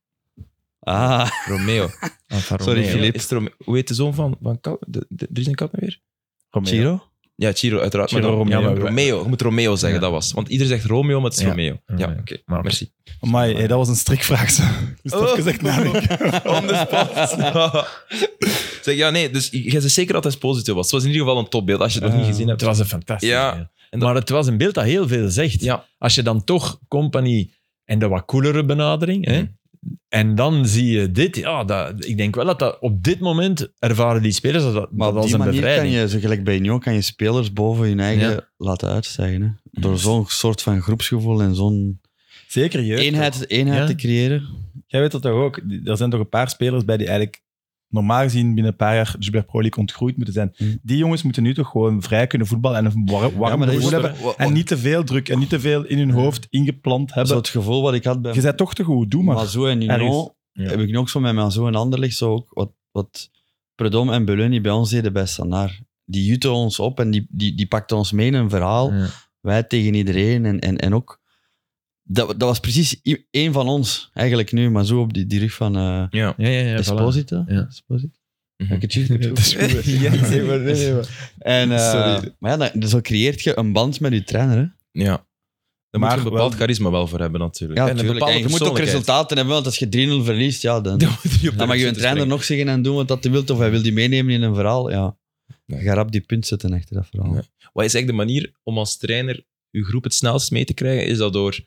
Ah,
Romeo.
Alfa
Sorry,
Romeo.
Filip.
Is het Romeo. Hoe heet de zoon van, van Kat? De, de, er is een kat nou weer?
Chiro?
Ja, Ciro, uiteraard. maar
Ciro
dan-
Romeo.
Ja, maar Romeo. Je moet Romeo zeggen,
Ja.
dat was het. Want iedereen zegt Romeo, maar het is
Ja.
Romeo. Ja,
Romeo.
oké.
Maar-
Merci.
Amai, hey, dat was een strikvraag. zo. Ik moest
Oh.
even echt nadenken.
On the spot. zeg, ja, nee, dus jij zei zeker dat Esposito was. Het was in ieder geval een topbeeld, als je het nog niet gezien
Het
hebt.
was een fantastisch
Ja.
beeld.
En dat-
Maar het was een beeld dat heel veel zegt.
Ja.
Als je dan toch Company en de wat koelere benadering, hè,
Mhm.
En dan zie je dit. Ja, dat, ik denk wel dat, dat op dit moment ervaren die spelers dat, dat
Maar op
als
die
een
manier kan
bevrijding.
je, zo gelijk bij Union, kan je spelers boven hun eigen laten uitstijgen. Hè? Door zo'n soort van groepsgevoel en zo'n
Zeker jeugd.
eenheid, eenheid
Ja.
te creëren.
Jij weet dat toch ook? Er zijn toch een paar spelers bij die eigenlijk normaal gezien binnen een paar jaar Gilbert Pro League ontgroeid moeten zijn.
Hm.
Die jongens moeten nu toch gewoon vrij kunnen voetballen en een war- warm,
Ja, maar dat is
gevoel hebben.
wa- wa-
En niet te veel druk en niet te veel in hun hoofd ingeplant hebben.
zo het gevoel wat ik had bij
Je bent toch te goed, doe maar.
Mazou en
Ergens.
Union.
Ja.
Heb ik nu ook zo met Mazou en Anderlecht zo ook wat, wat Predom en Beluni bij ons deden bij Standaard. Die jutten ons op en die, die, die pakten ons mee in een verhaal.
Ja.
Wij tegen iedereen en, en, en ook... Dat, dat was precies i- één van ons, eigenlijk nu, maar zo op die, die rug van eh
Ja.
Ja, ja, ja. voilà.
Esposito.
Ja.
Esposito?
Mhm.
Heb ik het juist goed
Dat is goed.
Ja, nee, maar- nee, En, eh,
Sorry.
Maar ja, dan, zo creëert je een band met je trainer. Hè?
Ja. Daar moet
Maar
je een bepaald
wel-
charisma wel voor hebben, natuurlijk.
Ja,
en een
tuurlijk.
bepaalde
En je moet ook
persoonlijkheid.
resultaten hebben, want als je 3-0 verliest, ja, dan,
Dan moet je op de
dan mag je
rug zitten
een trainer
springen.
nog zeggen en doen wat dat hij wil, of hij wil die meenemen in een verhaal. Ja.
Nee.
Je gaat rap die punt zetten achter dat verhaal.
Nee. Wat is eigenlijk de manier om als trainer je groep het snelst mee te krijgen? Is dat door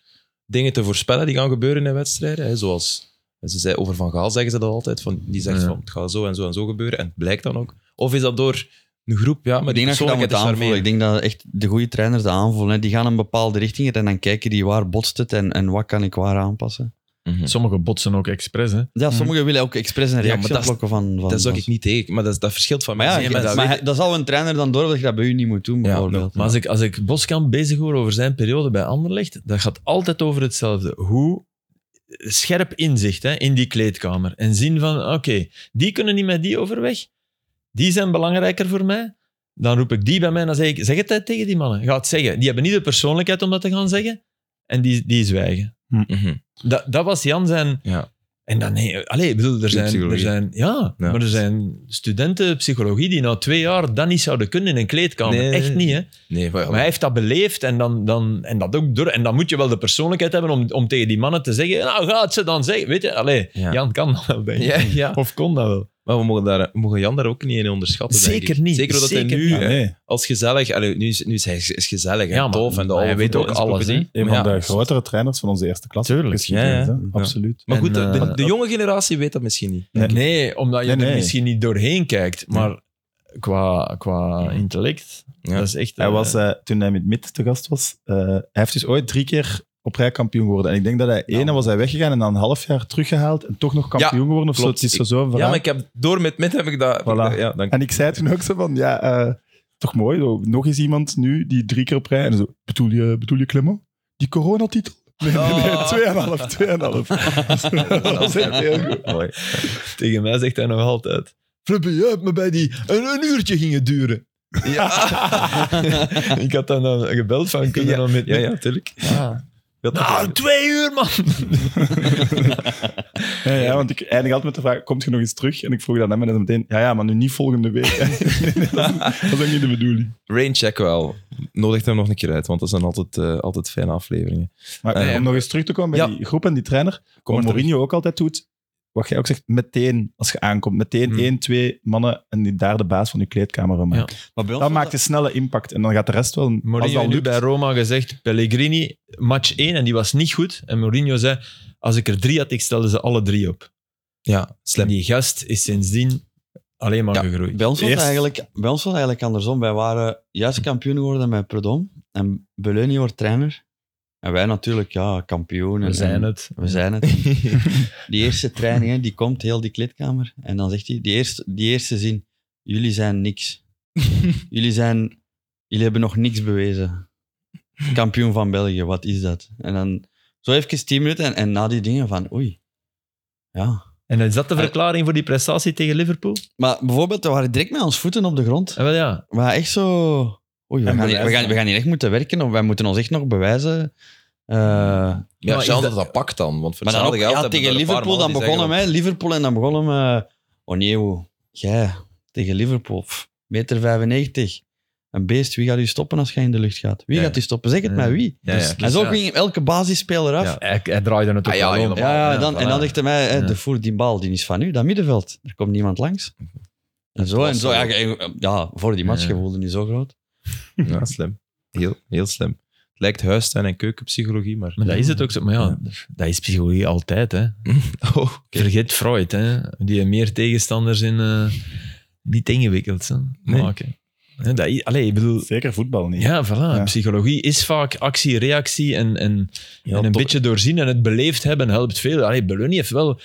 dingen te voorspellen die gaan gebeuren in wedstrijden? Hè? Zoals ze zei, over Van Gaal zeggen ze dat altijd. Van, die zegt
Ja.
van het gaat zo en zo en zo gebeuren. En het blijkt dan ook. Of is dat door een groep? Ja, maar
Ik
die
denk dat je dat
persoonlijkheid
moet
is
aanvoelen.
daarmee.
Ik denk dat echt de goede trainers dat aanvoelen. Hè. Die gaan een bepaalde richting in en dan kijken die waar botst het en, en wat kan ik waar aanpassen.
Mhm.
Sommigen botsen ook expres. Hè.
Ja, sommigen willen ook expres een
maar
reactie
dat is-
oplokken van, van...
Dat
van-
zag ik niet tegen. Maar dat, is- dat verschilt van
Maar ja,
mensen.
maar,
dat
maar
weet
hij-
ik.
dat zal een trainer dan door dat je dat bij u niet moet doen, bijvoorbeeld.
Maar als ik, als ik Boskamp bezig hoor over zijn periode bij Anderlecht, dat gaat altijd over hetzelfde. Hoe scherp inzicht hè, in die kleedkamer. En zien van, oké, die kunnen niet met die overweg. Die zijn belangrijker voor mij. Dan roep ik die bij mij en dan zeg ik, zeg het hè, tegen die mannen. Ga het zeggen. Die hebben niet de persoonlijkheid om dat te gaan zeggen. En die, die zwijgen.
Mhm.
Dat, dat was Jan zijn...
Ja.
En dan, nee, allee, ik bedoel, er zijn, er
psychologie.
zijn, ja,
Ja.
maar er zijn studenten psychologie die na twee jaar dat niet zouden kunnen in een kleedkamer.
Nee.
Echt niet, hè.
Nee, maar,
Maar hij heeft dat beleefd en dan, dan, en dat ook door. En dan moet je wel de persoonlijkheid hebben om, om tegen die mannen te zeggen: Nou, gaat ze dan zeggen. Weet je, allee,
Ja.
Jan kan dat wel, denk ik.
Ja, ja.
Of kon dat wel.
maar we, mogen daar, we mogen Jan daar ook niet in onderschatten. denk
Zeker
ik.
niet,
Zeker dat hij
zeker
nu
niet.
Ja,
hè,
nee.
als gezellig. allee, nu, is, nu is hij is gezellig en
Ja, maar-
tof en de
maar hij
oude
weet ook
voetbalencyclopedie.
alles, hè.
Een
Maar
van
ja,
de grotere trainers van onze eerste klasse.
Tuurlijk.
geschiedenis,
Ja, ja.
hè. Absoluut.
Maar
En,
goed, de, de,
eh,
de jonge generatie weet dat misschien niet.
Nee,
Nee.
omdat je
Nee,
er
nee.
misschien niet doorheen kijkt. Maar qua, qua
Ja.
intellect,
Ja.
dat is echt.
Hij
eh,
was, eh, toen hij met Mid te gast was, eh, hij heeft dus ooit drie keer op rij kampioen geworden. En ik denk dat hij één was hij weggegaan en na een half jaar teruggehaald en toch nog kampioen geworden of zo.
klopt.
Het is zo zo'n verhaal.
Ja, maar ik heb door met met heb ik dat. heb ik
Voilà.
dat- ja, dank.
En ik zei toen ook zo van, ja, eh, toch mooi. Zo, nog eens iemand nu die drie keer op rij. En zo, bedoel je, bedoel je Clement? Die coronatitel? Nee, nee, nee,
Ah.
tweeënhalf, tweeënhalf. dat was echt heel goed.
Allee.
tegen mij zegt hij nog altijd: Flippy, je hebt me bij die. Een, een uurtje gingen duren. Ja. ik had dan, dan gebeld van: Kun je dan met.
Ja, ja, tuurlijk. Ja, dat-
Nou, twee uur, man!
Ja, ja, want ik eindig altijd met de vraag, komt je nog eens terug? En ik vroeg dan hem en dan meteen, ja, ja, maar nu niet volgende week. Nee, nee, dat, is, dat is ook niet de bedoeling.
Raincheck wel. Nodig hem nog een keer uit, want dat zijn altijd, eh, altijd fijne afleveringen.
Maar eh,
Nee,
om nog eens terug te komen bij
Ah, Ja.
die groep en die trainer,
Kom
wat
maar terug.
Mourinho ook altijd doet, wat jij ook zegt, meteen als je aankomt, meteen
Hmm.
één, twee mannen en die daar de baas van je kleedkamer van maken.
Ja.
Maar bij ons
Dan
was
maakt een snelle impact en dan gaat de rest wel. als
Mourinho
dat
heeft nu
lukt,
bij Roma gezegd, Pellegrini, match 1, en die was niet goed. En Mourinho zei, als ik er drie had, ik stelde ze alle drie op.
Ja,
En
slim.
die gast is sindsdien alleen maar
Ja,
gegroeid.
Bij ons, was
Eerst-
eigenlijk, bij ons was eigenlijk andersom. Wij waren
Hm.
juist kampioen geworden met Predom. En Beluni wordt trainer. En wij natuurlijk, ja, kampioen.
We
en-
zijn
en-
het.
We zijn het. die eerste training, hè, die komt, heel die kleedkamer. En dan zegt hij, die eerste, die eerste zin, jullie zijn niks. jullie, zijn, jullie hebben nog niks bewezen. Kampioen van België, wat is dat? En dan zo even tien minuten en, en na die dingen van, oei. Ja.
En is dat de verklaring voor die prestatie tegen Liverpool?
Maar bijvoorbeeld, we waren direct met ons voeten op de grond.
En wel ja.
Maar echt zo. Oei, we,
En
gaan hier, we,
bewijzen.
gaan, we gaan hier echt moeten werken. Of wij moeten ons echt nog bewijzen. Eh,
Ja,
Maar
maar
is
dat,
dat-
dat pakt dan. Want voor
maar dan ook,
hetzelfde geld
ja,
hebben
tegen
er een paar
Liverpool, dan
mannen die
begon hem,
zeggen
hè, Liverpool en dan begon hem. eh, oh nee, hoe? jij tegen Liverpool, pff, meter 95. Een beest, wie gaat u stoppen als jij in de lucht gaat? Wie
Ja.
gaat u stoppen? Zeg het
Ja.
maar wie. Dus
Ja, ja. dus
En zo
Ja.
ging elke basisspeler af.
Ja.
Hij, hij draaide het ook
Ah, ja,
wel om.
helemaal.
Ja, ja, dan, en dan
voilà.
dacht hij mij, hè,
Ja.
de voer die bal, die is van u, dat middenveld. Er komt niemand langs. En zo, en zo. Ja, je- ja, voor die match
Ja.
gevoelde niet zo groot.
Ja, slim. Heel, heel slim. Het lijkt huistuin- en keukenpsychologie, maar...
Maar dat is het ook zo. Maar ja, dus dat is psychologie altijd. Hè.
Oh,
Vergeet Freud, hè. die meer tegenstanders in eh, niet ingewikkeld hè, maken. Hè, dat i- Allee, ik bedoel,
Zeker voetbal niet.
ja, voilà.
Ja.
Psychologie is vaak actie, reactie en, en,
Ja,
en een
toch.
beetje doorzien en het beleefd hebben helpt veel. Allee, Beluni heeft wel...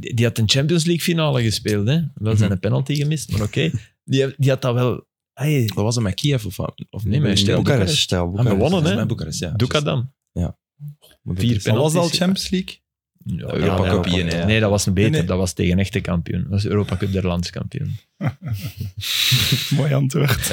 Die die had een Champions League finale gespeeld. Hè. Wel zijn een penalty gemist, maar oké. Die, heeft- die had dat wel... Hey,
dat was hem met Kiev of, of
Nee, maar
Stel-
in
Boekarest. ja,
we
Boekarest.
wonnen,
Dat is
hè.
met Boekarest, ja.
Doe dan.
Juist.
Vier
Maar was dat al
penalties.
Champions League?
Ja,
Europa
ja,
Cup
ja.
hier, hè.
Nee, dat was een beter.
Nee, nee.
Dat was tegen echte kampioen. Dat was Europa Cup der landskampioen.
Mooi antwoord.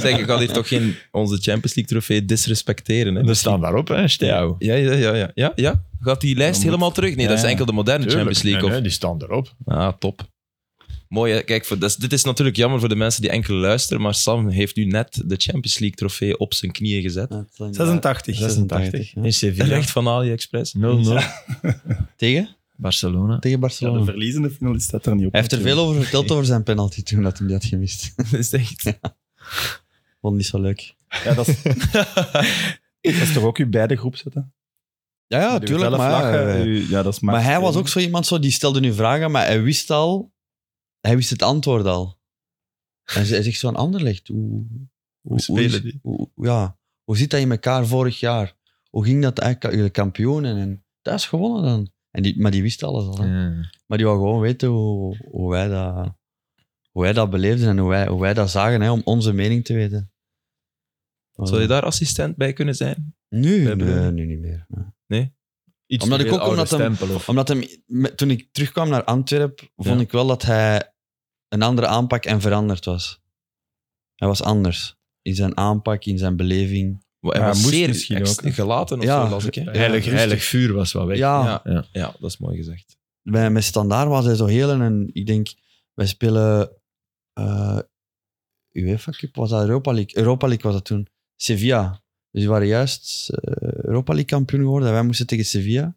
Zeg, ik had hier toch geen onze Champions League trofee disrespecteren. Hè?
En er staan daarop, hè, Steau.
Ja, ja, ja, ja, ja, ja. Gaat die lijst
Dan
helemaal terug? Nee, dat is
Ja,
enkel de moderne Champions League.
die staan erop.
Of... Ah, top. Mooi, hè? kijk, voor, dat is- dit is natuurlijk jammer voor de mensen die enkel luisteren, maar Sam heeft nu net de Champions League trofee op zijn knieën gezet.
Ja, het zijn-
86.
86. ja.
In
Ja.
Sevilla. 0-0.
Recht van AliExpress.
Tegen?
Barcelona.
Tegen
Ja, de
Barcelona.
verliezende finalist staat er niet op.
Hij heeft er veel over verteld over zijn penalty toen dat hij die had gemist.
Dat is echt...
Vond niet zo leuk.
Ja, dat, is, dat is toch ook uw beide groep zetten?
Ja, ja,
Uw
tuurlijk.
felle
Maar,
vlaggen,
eh,
uw- ja, dat is
maar hij was
machtstraining.
ook zo iemand zo, die stelde nu vragen, maar hij wist al... Hij wist het antwoord al. En ze- hij zegt zo aan Anderlecht. Hoe, hoe,
spelen
is-
die?
hoe- ja, hoe zit dat in elkaar vorig jaar? Hoe ging dat eigenlijk? Jullie kampioenen en thuis gewonnen dan. En die, maar die wist alles al. hè. Maar die wou gewoon weten hoe, hoe, wij, dat, hoe wij dat beleefden en hoe wij, hoe wij dat zagen, hè, om onze mening te weten.
Zou je daar assistent bij kunnen zijn?
Nu?
bij
Nee,
Brugge?
nu niet meer. nee.
Iets
Omdat
te
ik
veel
ook omdat
oude
hem-
stempel, of-
Omdat hem, met- toen ik terugkwam naar Antwerpen, vond ik wel dat hij een andere aanpak en veranderd was. Hij was anders. In zijn aanpak, in zijn beleving.
Hij
Ja,
was
moest
zeer
misschien
ex-
ook, hè.
gelaten of
Ja.
zo, las ik. Hè?
heilig, heilig vuur was wel weg.
Ja,
Ja.
Ja.
Ja, dat is mooi gezegd.
bij, met Standaard was hij zo heel in een... Ik denk, wij spelen... eh, UEFA Cup, was dat Europa League? Europa League was dat toen. Sevilla. Dus die waren juist eh, Europa League kampioen geworden. En wij moesten tegen Sevilla.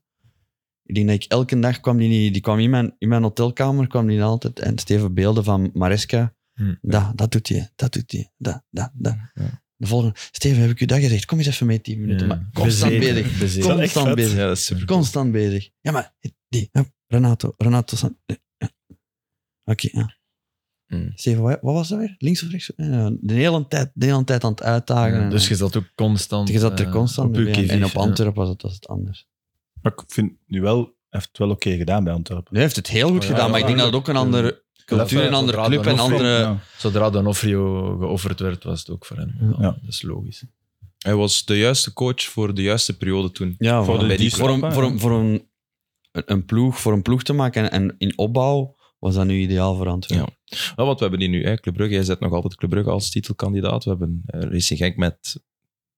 Ik denk dat ik elke dag kwam die, niet- die kwam in mijn, in mijn hotelkamer, kwam die altijd. En Steven beelden van Maresca.
Hm.
Dat, dat doet hij, dat doet hij, dat, dat, dat.
Ja.
De volgende, Steven, heb ik u dat gezegd? Kom eens even mee, 10 minuten.
Ja.
Maar constant
Bezeten,
bezig.
bezeten.
Dat is echt
Constant
vet.
bezig.
Ja, dat is super.
Constant bezig. Ja, maar die, hup, Renato, Renato. San- eh, eh. Oké, ja.
Hmm.
Mm.
Steven, wat, wat was dat weer? Links of rechts? Ja, de, hele tijd, de hele tijd aan het uitdagen.
Ja,
en-
Dus je zat ook constant...
je zat er
eh,
constant
uw
mee. En- En
kievit,
op
ja.
Antwerpen was het, was het anders.
Maar ik vind nu wel, hij heeft het wel oké gedaan bij Antwerpen.
Nu heeft het heel goed
Oh
Ja,
gedaan,
ja,
maar ik denk
ja.
dat het ook een andere cultuur,
even
een andere
raden,
club en
nog
andere...
Ja.
Zodra Donofrio geofferd werd, was het ook voor hem. Ja,
Ja.
Dat is logisch.
Hij was de juiste coach voor de juiste periode toen.
Ja,
Voor
voor,
de-
voor,
die
een-
stappen,
voor,
ja.
een, voor een, een ploeg, voor een ploeg te maken en, en in opbouw was dat nu ideaal voor Antwerpen.
Nou, want we hebben die nu, hè, Club Brugge. Jij zet nog altijd Club Brugge als titelkandidaat. We hebben eh, Racing Genk met,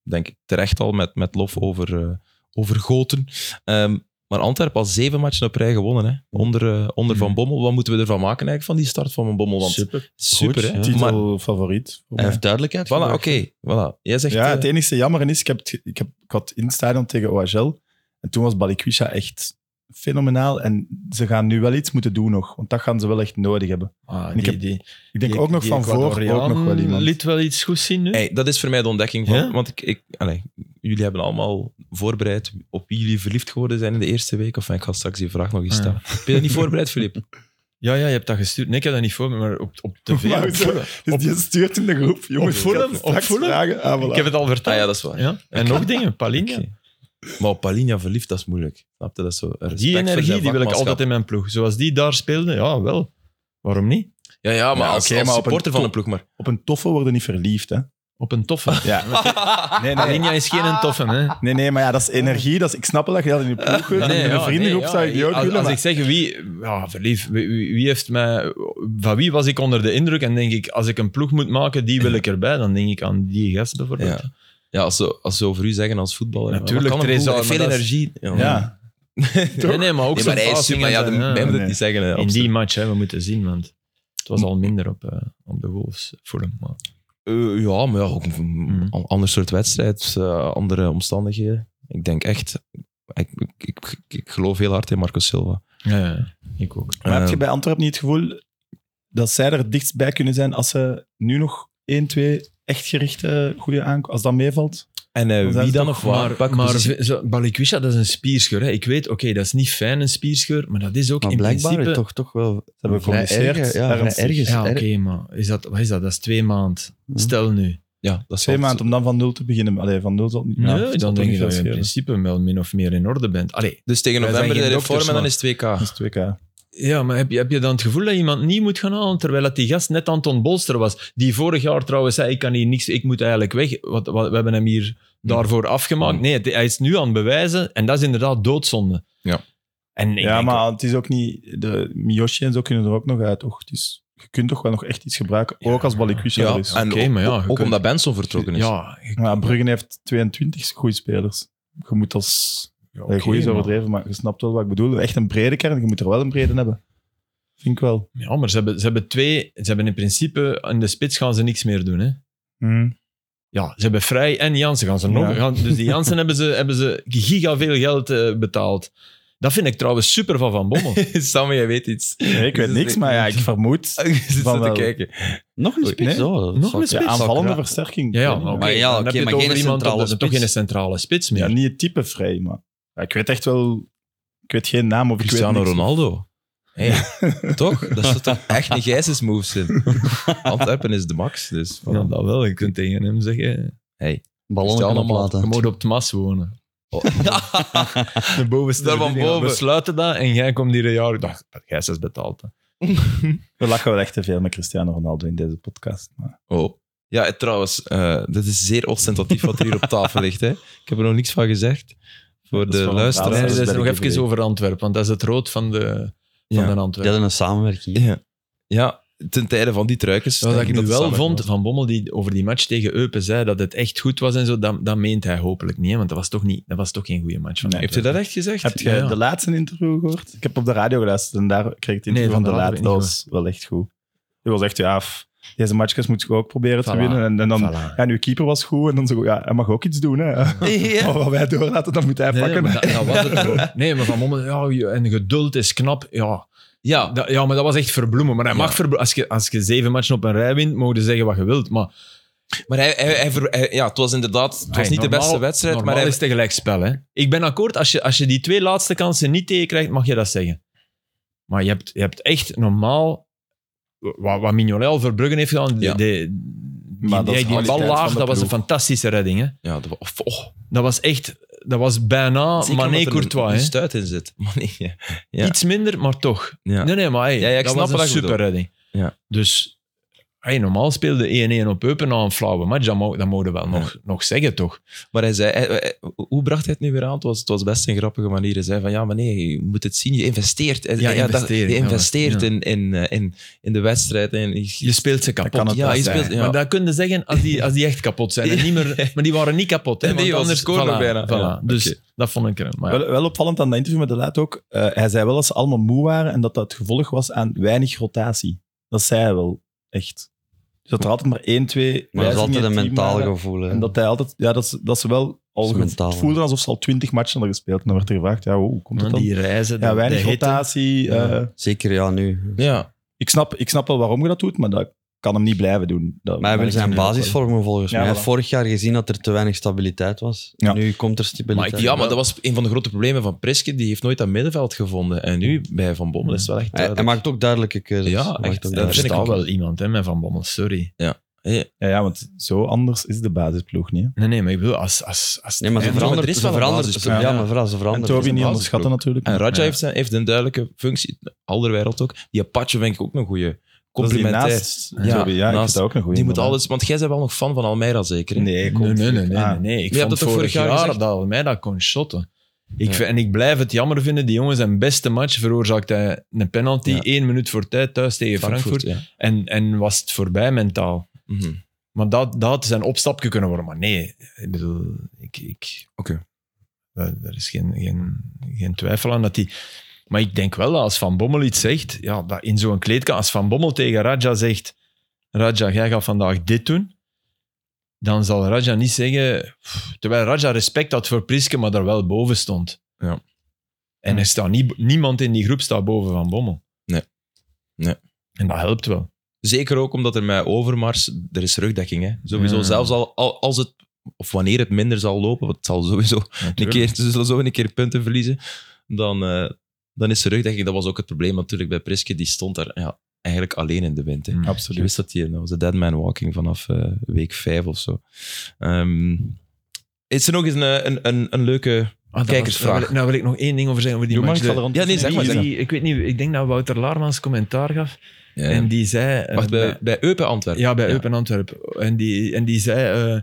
denk ik terecht al, met, met lof over, eh overgoten. Ehm, maar Antwerpen al zeven matchen op rij gewonnen, hè? Onder, eh, onder Van Bommel. Wat moeten we ervan maken eigenlijk van die start van Van Bommel? Want
Super.
super,
Goed,
hè?
ja.
Maar,
Titelfavoriet. voor
Hij
mij.
heeft duidelijkheid
voilà, oké.
gebracht.
voilà. Jij zegt...
Ja,
eh,
het enige jammer is, ik, heb het ge- ik, heb, ik had in het stadion tegen OHL en toen was Balikwisha echt fenomenaal en ze gaan nu wel iets moeten doen nog, want dat gaan ze wel echt nodig hebben.
Ah,
Ik
die,
heb-
die,
Ik denk
die-
ook nog
die
van voor, ook
Ecuadoriaan
nog wel iemand.
liet wel iets goed zien nu.
Hey, dat is voor mij de ontdekking van.
Ja?
Want ik, ik, allee, jullie hebben allemaal voorbereid op wie jullie verliefd geworden zijn in de eerste week. Of ik ga straks die vraag nog eens
Ah, ja.
stellen. Heb je dat niet voorbereid, Filip?
Ja, ja, je hebt dat gestuurd. Nee, ik heb dat niet voor me, maar op, op tv.
Maar
op
zo-
Fulham.
Dus die stuurt in de groep. Jongens,
Op Fulham?
ik had
Op
straks
Fulham?
vragen. Ah, voilà.
Ik heb het al
Ah
verteld.
ja, dat is waar.
Ja. En nog dingen, Palinja.
Oké. Maar op Palinja verliefd, dat is moeilijk. Snap je? Dat is zo een respect
Die
voor
energie
zijn
die wil ik
vakmanschap.
altijd in mijn ploeg. Zoals die daar speelde, ja, wel. Waarom niet?
Ja, ja maar
Ja,
als,
oké,
als
maar op een
supporter van
top-
een ploeg maar.
Op een toffe worden niet verliefd, hè.
Op een toffe.
Ja. Nee, nee,
Palinja is geen een toffe, hè.
nee, nee, maar ja, dat is energie. Dat is, ik snap wel dat je dat in je ploeg wilt. en in een
ja,
vriendengroep
Ah.
zou
nee, ja,
ik die ook
als,
willen.
Als
maar-
ik zeg, wie, ja, verlief, wie, wie- wie heeft mij, van wie was ik onder de indruk? En denk ik, als ik een ploeg moet maken, die wil ik erbij. Dan denk ik aan die gast bijvoorbeeld.
Ja. Ja, als ze, als ze over u zeggen als voetballer. maar
Natuurlijk,
wat kan een
Teresa,
ploeg?
maar
Veel
dat is-
energie. Ja,
ja.
Nee, nee, maar ook
Nee,
zo'n
maar hij is
passing
super. Ja,
en
de,
zo,
wij moeten
nee.
het niet zeggen. hè,
In
op-
die match, hè, we moeten zien, want het was al minder op, eh, op de Wolves. Fulham, maar...
Eh, ja, maar ja, ook een
Mm.
een ander soort wedstrijd, eh, andere omstandigheden. Ik denk echt, ik, ik, ik, ik geloof heel hard in Marco Silva.
Ja, ja, ja, ik ook.
Maar heb je
Eh,
bij Antwerpen niet het gevoel dat zij er het dichtst bij kunnen zijn als ze nu nog één, twee echt gerichte goede aankomen, als dat meevalt?
En eh,
Dan zijn
wie
ze
dan
toch-
of waar?
Maar,
Welke
maar
positie?
zo- Balikwisha, dat is een spierscheur. Hè. Ik weet, oké, dat is niet fijn, een spierscheur, maar dat is ook
Maar
in
blijkbaar
principe...
toch, toch wel
hebben we
vrij
gecommuniceerd,
erge- Ja, vrij
ernstig.
ergens.
Ja, oké,
er-
maar is dat, wat is dat? Dat is twee maand.
Ja.
Stel nu.
ja, dat is
Twee
altijd
maanden om dan van nul te beginnen. Allee, van nul zal het niet. ja,
nee,
het zal
dan
toch
denk je
niet
dat je
veel
in
schelen.
principe wel min of meer in orde bent. Allee,
zo. Dus tegen
Wij
november
zijn
de
geen
reform en dan is
dokters,
het 2K.
Dat is 2K.
ja, maar heb je, heb je dan het gevoel dat je iemand niet moet gaan halen, terwijl dat die gast net Anton Bolster was, die vorig jaar trouwens zei, ik kan hier niks, ik moet eigenlijk weg. Wat, wat, we hebben hem hier daarvoor afgemaakt. Nee, het- hij is nu aan het bewijzen en dat is inderdaad doodzonde.
Ja.
En ik
Ja,
denk-
maar het is ook niet... De Miyoshi en zo kunnen er ook nog uit, toch? Dus je kunt toch wel nog echt iets gebruiken, ook als Balikwisha
Ja,
er is.
en
Oké,
ook,
maar ja, je
ook
kunt-
omdat Benson vertrokken is.
Ja, ik-
Ja, Bruggen heeft 22 goede spelers. Je moet als...
ja,
Okay,
oké,
goed is
maar-
overdreven, maar je snapt wel wat ik bedoel. Echt een brede kern, je moet er wel een brede hebben. Vind ik wel.
Ja, maar ze hebben, ze hebben twee... Ze hebben in principe... In de spits gaan ze niks meer doen, hè. Hmm. Ja, ze hebben Vrij en Jansen. Gaan ze nog,
Ja.
gaan- dus die Jansen hebben ze, hebben ze giga veel geld eh, betaald. Dat vind ik trouwens super van Van Bommel.
Sammy, jij weet iets.
Nee, ik weet niks, maar ja, ik vermoed...
Je zit
Van
zo te
wel.
kijken.
Nog een spits?
Nee.
oh, dat
Nog een
zou ik-
Ja,
spits.
aanvallende
Ja.
versterking.
Ja, ja,
Ik weet
maar,
niet.
Maar ja,
dan
oké,
heb je
maar
het over
geen
iemand op
centrale
de- toch
spits.
geen centrale spits
Ja,
meer.
niet het type vrij, maar... Ja, ik weet echt wel... Ik weet geen naam of ik weet
Cristiano
niks.
Ronaldo. Hey, toch? Dat is toch echt een Gijsens moves in. Antwerpen is de max, dus. voilà.
Ja, dat wel. Je kunt tegen hem zeggen...
Ballonnen
Cristiano
Je
kunnen platen.
moet op het mas wonen.
Oh.
De bovenste
Daar van
verdieping.
boven.
We sluiten dat en jij komt hier een jaar... Ik dacht, jij is betaald. hè.
We lachen wel echt te veel met Cristiano Ronaldo in deze podcast. Maar
Oh. Ja, en trouwens, eh dit is zeer ostentatief wat er hier op tafel ligt. Hè. Ik heb er nog niks van gezegd. Voor
Dat is
de
wel een
Nee,
verhaal,
luisteraars.
hè.
dat
ben
is nog
ik
even
vergeten.
over Antwerpen, want dat is het rood van de, van
Ja.
de
Die
Antwerpen.
hadden een samenwerking.
Ja. ja, ten tijde van die truikens.
Wat ik
denk
nu
dat het
wel
samenhangt.
vond, Van Bommel die over die match tegen Eupen zei dat het echt goed was en zo, dat, dat meent hij hopelijk niet, hè, want dat was toch, niet, dat was toch geen goede match. Van
Nee.
Heeft hij dat echt gezegd?
Heb je
Ja, ja.
de laatste interview gehoord? Ik heb op de radio geluisterd en daar kreeg ik het interview
Nee,
van de
van de
laatste.
radio
Dat
heb ik
was wel echt goed. Die was echt, ja, f- deze matchjes moet je ook proberen te winnen. En, en dan, ja, nu keeper was goed en dan zo, ja, hij mag ook iets doen. Hè. Maar wat wij doorlaten, dan moet hij
Nee,
pakken.
maar dat, dat was het toch ook. nee, maar Van Bommel, ja, je- en geduld is knap, ja.
Ja,
Dat- ja, maar dat was echt verbloemen. Maar hij mag verbloemen. Als je, als je zeven matchen op een rij wint, mogen ze zeggen wat je wilt. Maar
maar hij, hij, hij ver- hij- ja, het was inderdaad het was
Hey,
niet de
normaal-
beste wedstrijd. Maar
normaal
hij,
is het gelijkspel. Hè? Ik ben akkoord, als je, als je die twee laatste kansen niet tegenkrijgt, mag je dat zeggen. Maar je hebt, je hebt echt normaal... Wat, wat Mignolet al voor Bruggen heeft gedaan, die-
Ja.
die,
Maar
die,
dat is
die, die bal
kwaliteit
laag,
van de
dat was een
ploeg.
fantastische redding. Hè?
ja, dat, wa- of- oh,
Dat was echt... Dat was bijna
zeker omdat
Ah, Mané
er
Courtois.
Een,
hè.
een stuit in zit. Mané, ja. Ja.
Iets minder, maar toch.
Ja.
Nee, nee, maar hey,
Ja, ja, ik
dat
snap
was een
wat je bedoelt.
superredding.
Ja.
Dus hey, normaal speelde 1-1 op Eupen na een flauwe match. Dat, mo- dat mogen we wel
Ja.
nog, nog zeggen, toch?
Maar hij zei, hij- hij- hoe bracht hij het nu weer aan? Het was, het was best een grappige manier. Hij zei van, ja, maar nee, je moet het zien. Je investeert. Hij-
Ja,
dat-
investeren,
je
ja.
investeert
Ja.
in, in, eh, in, in de wedstrijd. En
Je speelt ze kapot.
kan het
ja,
wel
je
zijn.
speelt, ja.
Maar dat kun je zeggen als die, als die echt kapot zijn. En niet meer, maar die waren niet kapot. Hè,
Nee,
want
want ze
anders
scoren nog
voilà,
bijna.
voilà.
Ja,
Dus
oké.
dat vond ik er. Maar ja.
Wel, wel opvallend aan dat interview met de laat ook. eh, hij zei wel dat ze allemaal moe waren en dat dat het gevolg was aan weinig rotatie. Dat zei hij wel, echt. Dus dat er altijd maar één, twee...
Maar eh, dat is
wijzigingen
altijd een
in het team
mentaal
waren.
gevoel. hè.
En dat hij altijd, ja, dat ze, dat ze wel al
Dat is
ge-
mentaal,
het voelde alsof ze al twintig matchen hadden gespeeld. En dan werd er gevraagd, ja, hoe komt dat
Want
dan?
die reizen,
ja,
de-
weinig
de hitte.
rotatie.
Ja.
eh,
Zeker, ja, nu.
ja.
ik, snap, ik snap wel waarom je dat doet, maar dat kan hem niet blijven doen. Dat,
Maar hij
dat
heeft zijn
ik nu ook wel.
basisvormen volgens
Ja,
mij. Hij
voilà.
heeft vorig jaar gezien dat er te weinig stabiliteit was.
Ja.
Nu komt er stabiliteit.
ja, maar dat was een van de grote problemen van Priske. Die heeft nooit dat middenveld gevonden. En nu bij Van Bommel is het wel echt...
hij, hij
duidelijk.
maakt ook duidelijke keuzes.
Ja,
Hij maakt
echt, dat
ook
Daar
duidelijke-
vind ik
staat
ook.
wel iemand hè, met Van Bommel, sorry.
Ja, ja, want zo anders is de basisploeg niet. hè.
Nee, nee, maar ik bedoel, als... als, als
Nee, maar ze
Ja, maar er
verandert.
is
Ze
wel een
verandert.
basis,
ze-
ja.
Ja, maar vooral, ze
En
verandert.
Toby niet
basisproef.
onderschatten natuurlijk.
En Raja
Ja.
heeft, zijn, heeft een duidelijke functie. Alderwereld ook. Die Apache vind ik ook een goede.
Dat is die
Complimentair. Die,
naast
Ja,
Toby, ja, ik
naast-
vind dat ook een goeie.
moet
inderdaad.
alles... Want jij bent wel nog fan van Almeida, zeker? hè?
Nee,
Nee,
komt-
nee, nee, nee,
Ah.
nee, nee. Ik
Je hebt
vond
dat
dat
toch
vorig
vorig
jaar,
jaar gezegd?
dat Almeida kon shotten. Ik
Ja.
vind- en ik blijf het jammer vinden, die jongen zijn beste match veroorzaakte hij een penalty,
Ja.
één minuut voor tijd thuis tegen Frankfurt.
Frankfurt, ja.
En, en was het voorbij mentaal.
Mhm.
Maar dat, dat had zijn opstapje kunnen worden. Maar nee, ik bedoel, ik... ik
Oké.
daar, daar is geen, geen, geen twijfel aan dat hij... Maar ik denk wel dat als Van Bommel iets zegt, ja, dat in zo'n kleedkamer, als Van Bommel tegen Raja zegt, Raja, jij gaat vandaag dit doen, dan zal Raja niet zeggen... "Pff," Terwijl Raja respect had voor Priske, maar daar wel boven stond.
Ja.
En er staat nie, niemand in die groep staat boven Van Bommel.
Nee. Nee.
En dat helpt wel.
Zeker ook omdat er met Overmars, er is rugdekking. Hè? Sowieso,
Ja.
zelfs al, al- als het of wanneer het minder zal lopen, want het zal sowieso een keer, ze zullen zo een keer punten verliezen, dan, eh, dan is terug, denk ik. Dat was ook het probleem natuurlijk bij Priske. Die stond daar ja, eigenlijk alleen in de wind.
Mm,
Hè. Je
Absoluut.
wist dat hij, dat was de dead man walking vanaf eh, week vijf of zo. Ehm, is er nog eens een, een, een, een leuke...
Ah, dat
Kijkersvraag.
was- nou, wil ik- nou wil ik nog één ding over zeggen over die
Doe maar,
match.
ik zal er
De-
Ja, nee, zeg maar.
die-
Zeg maar.
die- ik weet niet, ik denk dat Wouter Laarmans commentaar gaf.
Ja.
En die zei... eh,
Wacht, bij,
bij-
bij Eupen Antwerpen.
ja, bij
Ja.
Eupen Antwerpen. En die, en die zei... eh,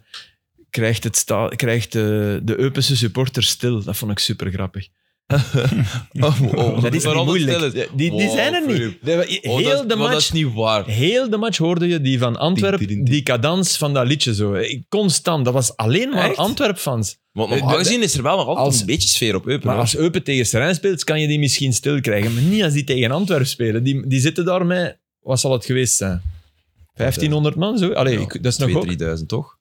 krijgt het sta, krijgt eh, de Eupense supporter stil. Dat vond ik super grappig.
Oh, oh,
dat is niet
waarom
moeilijk.
stil is.
Die, die
Wow,
zijn er niet.
Filip.
De-
Oh,
heel
dat, is-
de
maar Dat is
match...
niet waar.
Heel de match hoorde je die van
Ding, ding,
Antwerpen,
ding.
die cadans van dat liedje zo. Constant, dat was alleen maar
Echt?
Antwerp-fans.
Want normaal
Eh,
gezien is er wel nog altijd
als-
een beetje sfeer op Eupen.
Maar
hoor.
als Eupen tegen Serijn speelt, kan je die misschien stil krijgen. Maar niet als die tegen Antwerpen spelen. Die, die zitten daar met, wat zal het geweest zijn? 1500 man? Zo? Allee,
Ja,
ik- dat is nog ook
2000 toch?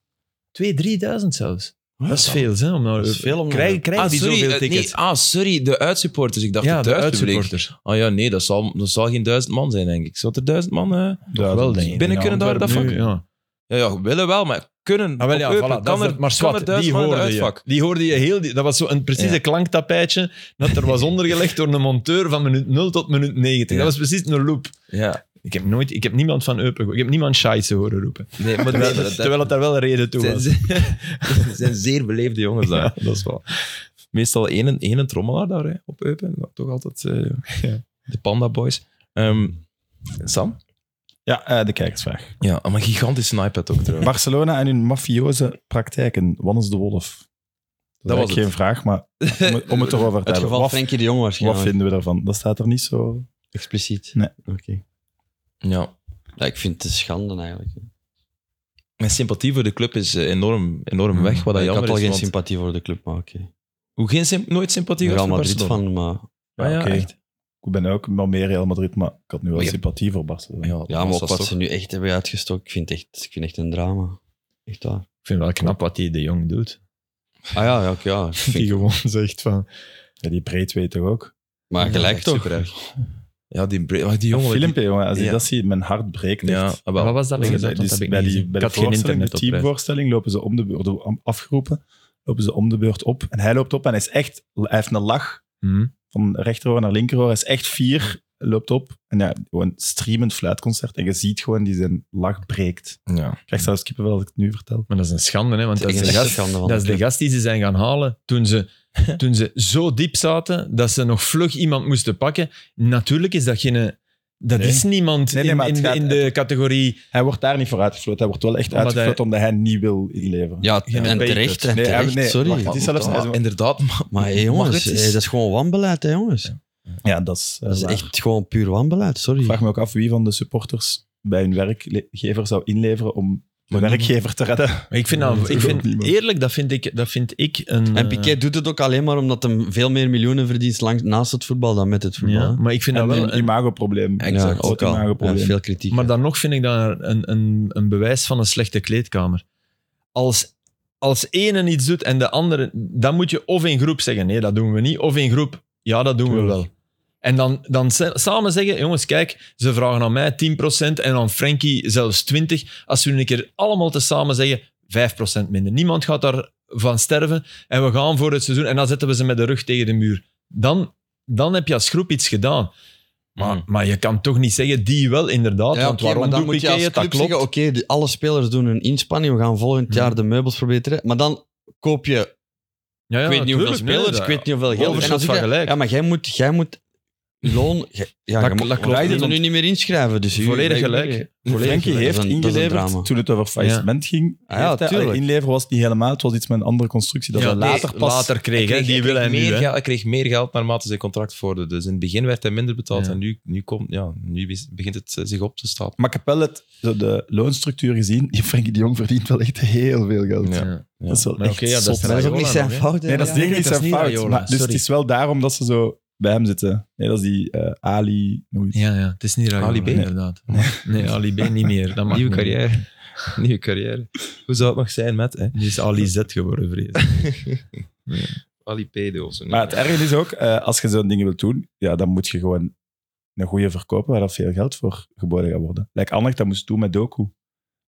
2.000, 3.000 zelfs. dat is veel, hè? Om naar
Dat is
Eupen-
veel om naar
Krijg,
Eupen.
krijg
ah,
die
sorry,
zoveel
eh,
tickets?
nee, ah, sorry, de uitsupporters. Ik dacht
ja,
het
de
thuispubliek.
uitsupporters.
Ah ja, nee, dat zal, dat zal geen duizend man zijn, denk ik. Zou er duizend man... eh?
wel, denk ik.
Binnen kunnen daar dat vak?
Nu, ja.
Ja, ja, willen wel, maar kunnen...
Ah, wel,
op
ja,
Eupen
voilà, dat
kan
is
er,
het. maar
kan er
zwart,
duizend man
die
in het
hoorde je.
uitvak.
Die hoorde je heel... die- dat was zo'n precieze
Ja.
klanktapijtje dat er was ondergelegd door een monteur van minuut 0 tot minuut 90.
Ja.
Dat was precies een loop.
Ja,
Ik heb, nooit, ik heb niemand van Eupen... gehoord. Ik heb niemand Scheisse horen roepen.
nee, maar
Terwijl,
nee, dat, dat
terwijl het daar wel een reden toe
zijn,
was.
ze- zijn zeer beleefde jongens daar.
Ja, dat is wel.
Meestal één, één een trommelaar daar hè, op Eupen. Dat Toch altijd eh, de Panda Boys. Ehm, Sam?
Ja, eh, de kijkersvraag.
Ja, maar een gigantische iPad ook trouwens.
Barcelona en hun mafioze praktijken. Wat is de wolf?
Dat
Dat,
was
was geen vraag, maar om, het- om het erover te
Het
hebben.
geval
Wat,
Frenkie de Jong
wat
waarschijnlijk.
vinden we daarvan? Dat staat er niet zo...
Expliciet.
Nee.
Oké.
Ja.
Ja, ik vind het een schande eigenlijk.
Mijn sympathie voor de club is eh, enorm, enorm
Hmm.
weg. Wat dat
ik
jammer
had al
is,
geen
want-
sympathie voor de club, maar oké.
Hoe geen symp- nooit sympathie
Ik ben
gehad
Real
voor
Madrid
Barcelona?
van, maar...
Ah, ja,
oké.
echt.
Ik ben ook wel meer Real Madrid, maar ik had nu wel
Maar je-
sympathie voor Barcelona.
Ja,
Ja, maar
was
op
dat
wat
toch-
ze nu echt hebben uitgestoken, ik vind het echt, ik vind echt een drama. Echt waar.
Ik vind het wel knap wat die de Jong doet.
Ah ja, ja, oké, ja.
Die gewoon zegt van...
Ja, die breed weet toch ook?
Maar
Ja,
gelijk
echt
toch?
supererg. Ja, die, bre- ah, die jongen...
Jongen,
die-
filmpje, jongen. Als ik
Ja.
dat zie, mijn hart breekt echt.
Ja, ah, wel.
Wat was dat?
Dus
weer?
bij
Dat
die,
heb ik
bij
niet
die,
gezien.
bij
Ik
de
had geen
voorstelling,
internet
de
op. hè.
teamvoorstelling, lopen ze om de beurt, worden afgeroepen, lopen ze om de beurt op. En hij loopt op en hij, is echt, hij heeft een lach
Hm.
van rechteroor naar linkeroor. Hij is echt vier, loopt op. En ja, gewoon streamend fluitconcert. En je ziet gewoon die zijn lach breekt.
Ja.
Ik krijg zelfs kippenvel als ik het nu vertel.
Maar dat is een schande, hè? want dat
Dat
is,
is
de
echt een
gast,
schande van
dat is
de
de
club.
gast die ze zijn gaan halen toen ze, toen ze zo diep zaten dat ze nog vlug iemand moesten pakken. Natuurlijk is dat geen... Dat
Nee.
is niemand
Nee, nee,
in-
maar
in,
het
de-
gaat-
in de categorie...
Hij wordt daar niet voor uitgefloten. Hij wordt wel echt
Omdat
uitgefloten omdat hij niet wil inleveren.
Ja,
Geen
en
beter.
terecht, en
Nee,
terecht,
nee,
sorry.
wacht, het
maar,
is zelfs-
Ah, inderdaad, maar...
hey,
Mag
jongens,
het eens?
hey, dat is gewoon wanbeleid, hè, jongens.
Ja, dat is, eh,
Dat is
waar.
echt gewoon puur wanbeleid, sorry.
Ik vraag me ook af wie van de supporters bij hun werkgever zou inleveren om de
Maar
werkgever te redden.
Maar ik vind,
Nee,
dat,
dat
ik
is ook
vind
niemand.
eerlijk, dat vind ik, dat vind ik een...
En
eh,
Piquet doet het ook alleen maar omdat hij veel meer miljoenen verdient langs, naast het voetbal dan met het voetbal.
ja,
hè.
maar ik vind
En
dat wel
een
een,
imagoprobleem.
Ja,
Een groot
ook al. Ja,
imagoprobleem.
veel kritiek.
Maar
hè.
dan nog vind ik dat een, een, een bewijs van een slechte kleedkamer. Als, als ene iets doet en de andere... Dan moet je of in groep zeggen, nee, dat doen we niet. Of in groep, ja, dat doen we wel. En dan, dan sa- samen zeggen, jongens, kijk, ze vragen aan mij 10% en aan Frankie zelfs 20%. Als we een keer allemaal tezamen zeggen, 5% minder. Niemand gaat daarvan sterven en we gaan voor het seizoen. En dan zetten we ze met de rug tegen de muur. Dan, dan heb je als groep iets gedaan. Maar, maar je kan toch niet zeggen, die wel inderdaad.
Ja,
want
oké,
waarom
maar dan
doet
moet je
Piqué
als
het? Dat
club
klopt.
zeggen, oké, die- alle spelers doen hun inspanning, we gaan volgend
Ja.
jaar de meubels proberen te redden. Maar dan koop je,
ja, ja,
ik weet niet hoeveel
tuurlijk, nee,
spelers,
dat-
ik weet niet hoeveel geld.
overschot
En dan zeg
van
je,
gelijk.
Ja, maar jij moet, jij moet loon... jij- Ja,
Dat-
je moet-
dat klopt.
wij
niet,
kunnen
want-
nu niet meer inschrijven. Dus u-
Volledig
wij-
gelijk.
wij-
Volledig
Frenkie
gelijk.
heeft
Dat is een- dat is een drama.
ingeleverd toen het over faillissement ging.
Ah ja,
heeft hij-
tuurlijk.
inleveren was het niet helemaal, het was iets met een andere constructie. Dat
Ja,
hij
nee,
later pas...
later kreeg, hè,
kreeg-
die wil
kreeg
hij nu.
meer
hè.
geld- hij kreeg meer geld naarmate zijn contract vorderde. Dus in het begin werd hij minder betaald
Ja.
en nu, nu, komt, ja, nu is- begint het eh, zich op te stapelen.
Maar Capel het, zo de loonstructuur gezien, die Frenkie de Jong verdient wel echt heel veel geld.
Ja.
Dat is wel
Maar
echt
oké, ja, dat
zot.
is
Dat is ook
Raiola
niet zijn
nog, hè.
fout. hè.
Nee, dat is
Ja.
zeker niet
dat is
zijn
niet
fout.
Raiola,
maar- dus
sorry.
het is wel daarom dat ze zo bij hem zitten. Nee, dat is die eh, Ali... nog iets.
Ja, ja, het is niet Raiola,
Ali B.
inderdaad. Nee, Ali B niet meer. Dat mag
Nieuwe
niet.
carrière. Nieuwe carrière. Hoe zou het nog zijn met hè?
Die is Ali Z geworden, vrees ik.
Ali Pedo of zo?
Maar het erge is ook, eh, als je zo'n dingen wilt doen, ja, dan moet je gewoon een goede verkopen waar dat veel geld voor geboden gaat worden. Lijkt Anderlecht dat moest doen met Doku.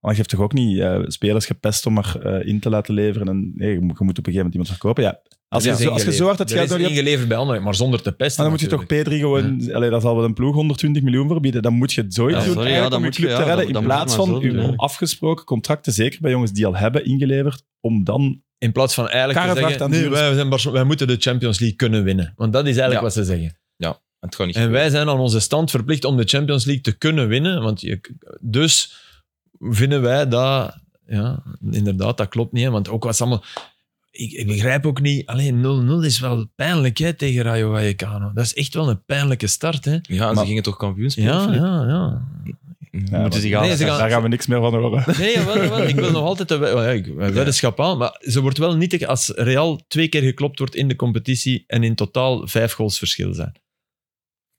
Want je hebt toch ook niet eh, spelers gepest om er eh, in te laten leveren. En, nee, je moet je moet op een gegeven moment iemand verkopen. Ja, als, je,
is
zo, als je zo hard het
Er
geld
is
nodig hebt,
ingeleverd bij anderen, maar zonder te pesten.
maar dan moet je toch
natuurlijk.
Pedri gewoon... Allee, daar zal wel een ploeg 120 miljoen voor bieden. Dan moet je het zoiets
Ja,
doen
sorry, ja,
eigenlijk om je
dan moet je-
club
ja,
te redden.
dan-
In
dan moet je
plaats van
het maar zo
uw
doen, eigenlijk.
afgesproken contracten, zeker bij jongens die al hebben ingeleverd, om dan...
In plaats van eigenlijk
Karel
te
vraagt
zeggen,
aan de
nee,
jongens-
wij, zijn Barcelona- wij moeten de Champions League kunnen winnen. Want dat is eigenlijk
Ja.
wat ze zeggen.
Het gaat niet
En
gebeuren.
wij zijn aan onze stand verplicht om de Champions League te kunnen winnen. Want je, dus vinden wij dat... Ja, inderdaad, dat klopt niet. Hè, want ook wat ze allemaal... Ik, ik begrijp ook niet... Alleen 0-0 is wel pijnlijk hè, tegen Rayo Vallecano. Dat is echt wel een pijnlijke start. Hè.
Ja, en
Maar-
ze gingen toch kampioenschap. Mm.
Ja, ja, ja.
Ja,
Moeten
maar-
ze gaan-
Nee, ze gaan-
Daar gaan we niks meer van horen.
Nee, jawel, jawel. ik wil nog altijd een we- ja, ik- een weddenschap aan. Maar ze wordt wel nietig als Real twee keer geklopt wordt in de competitie en in totaal vijf goals verschil zijn.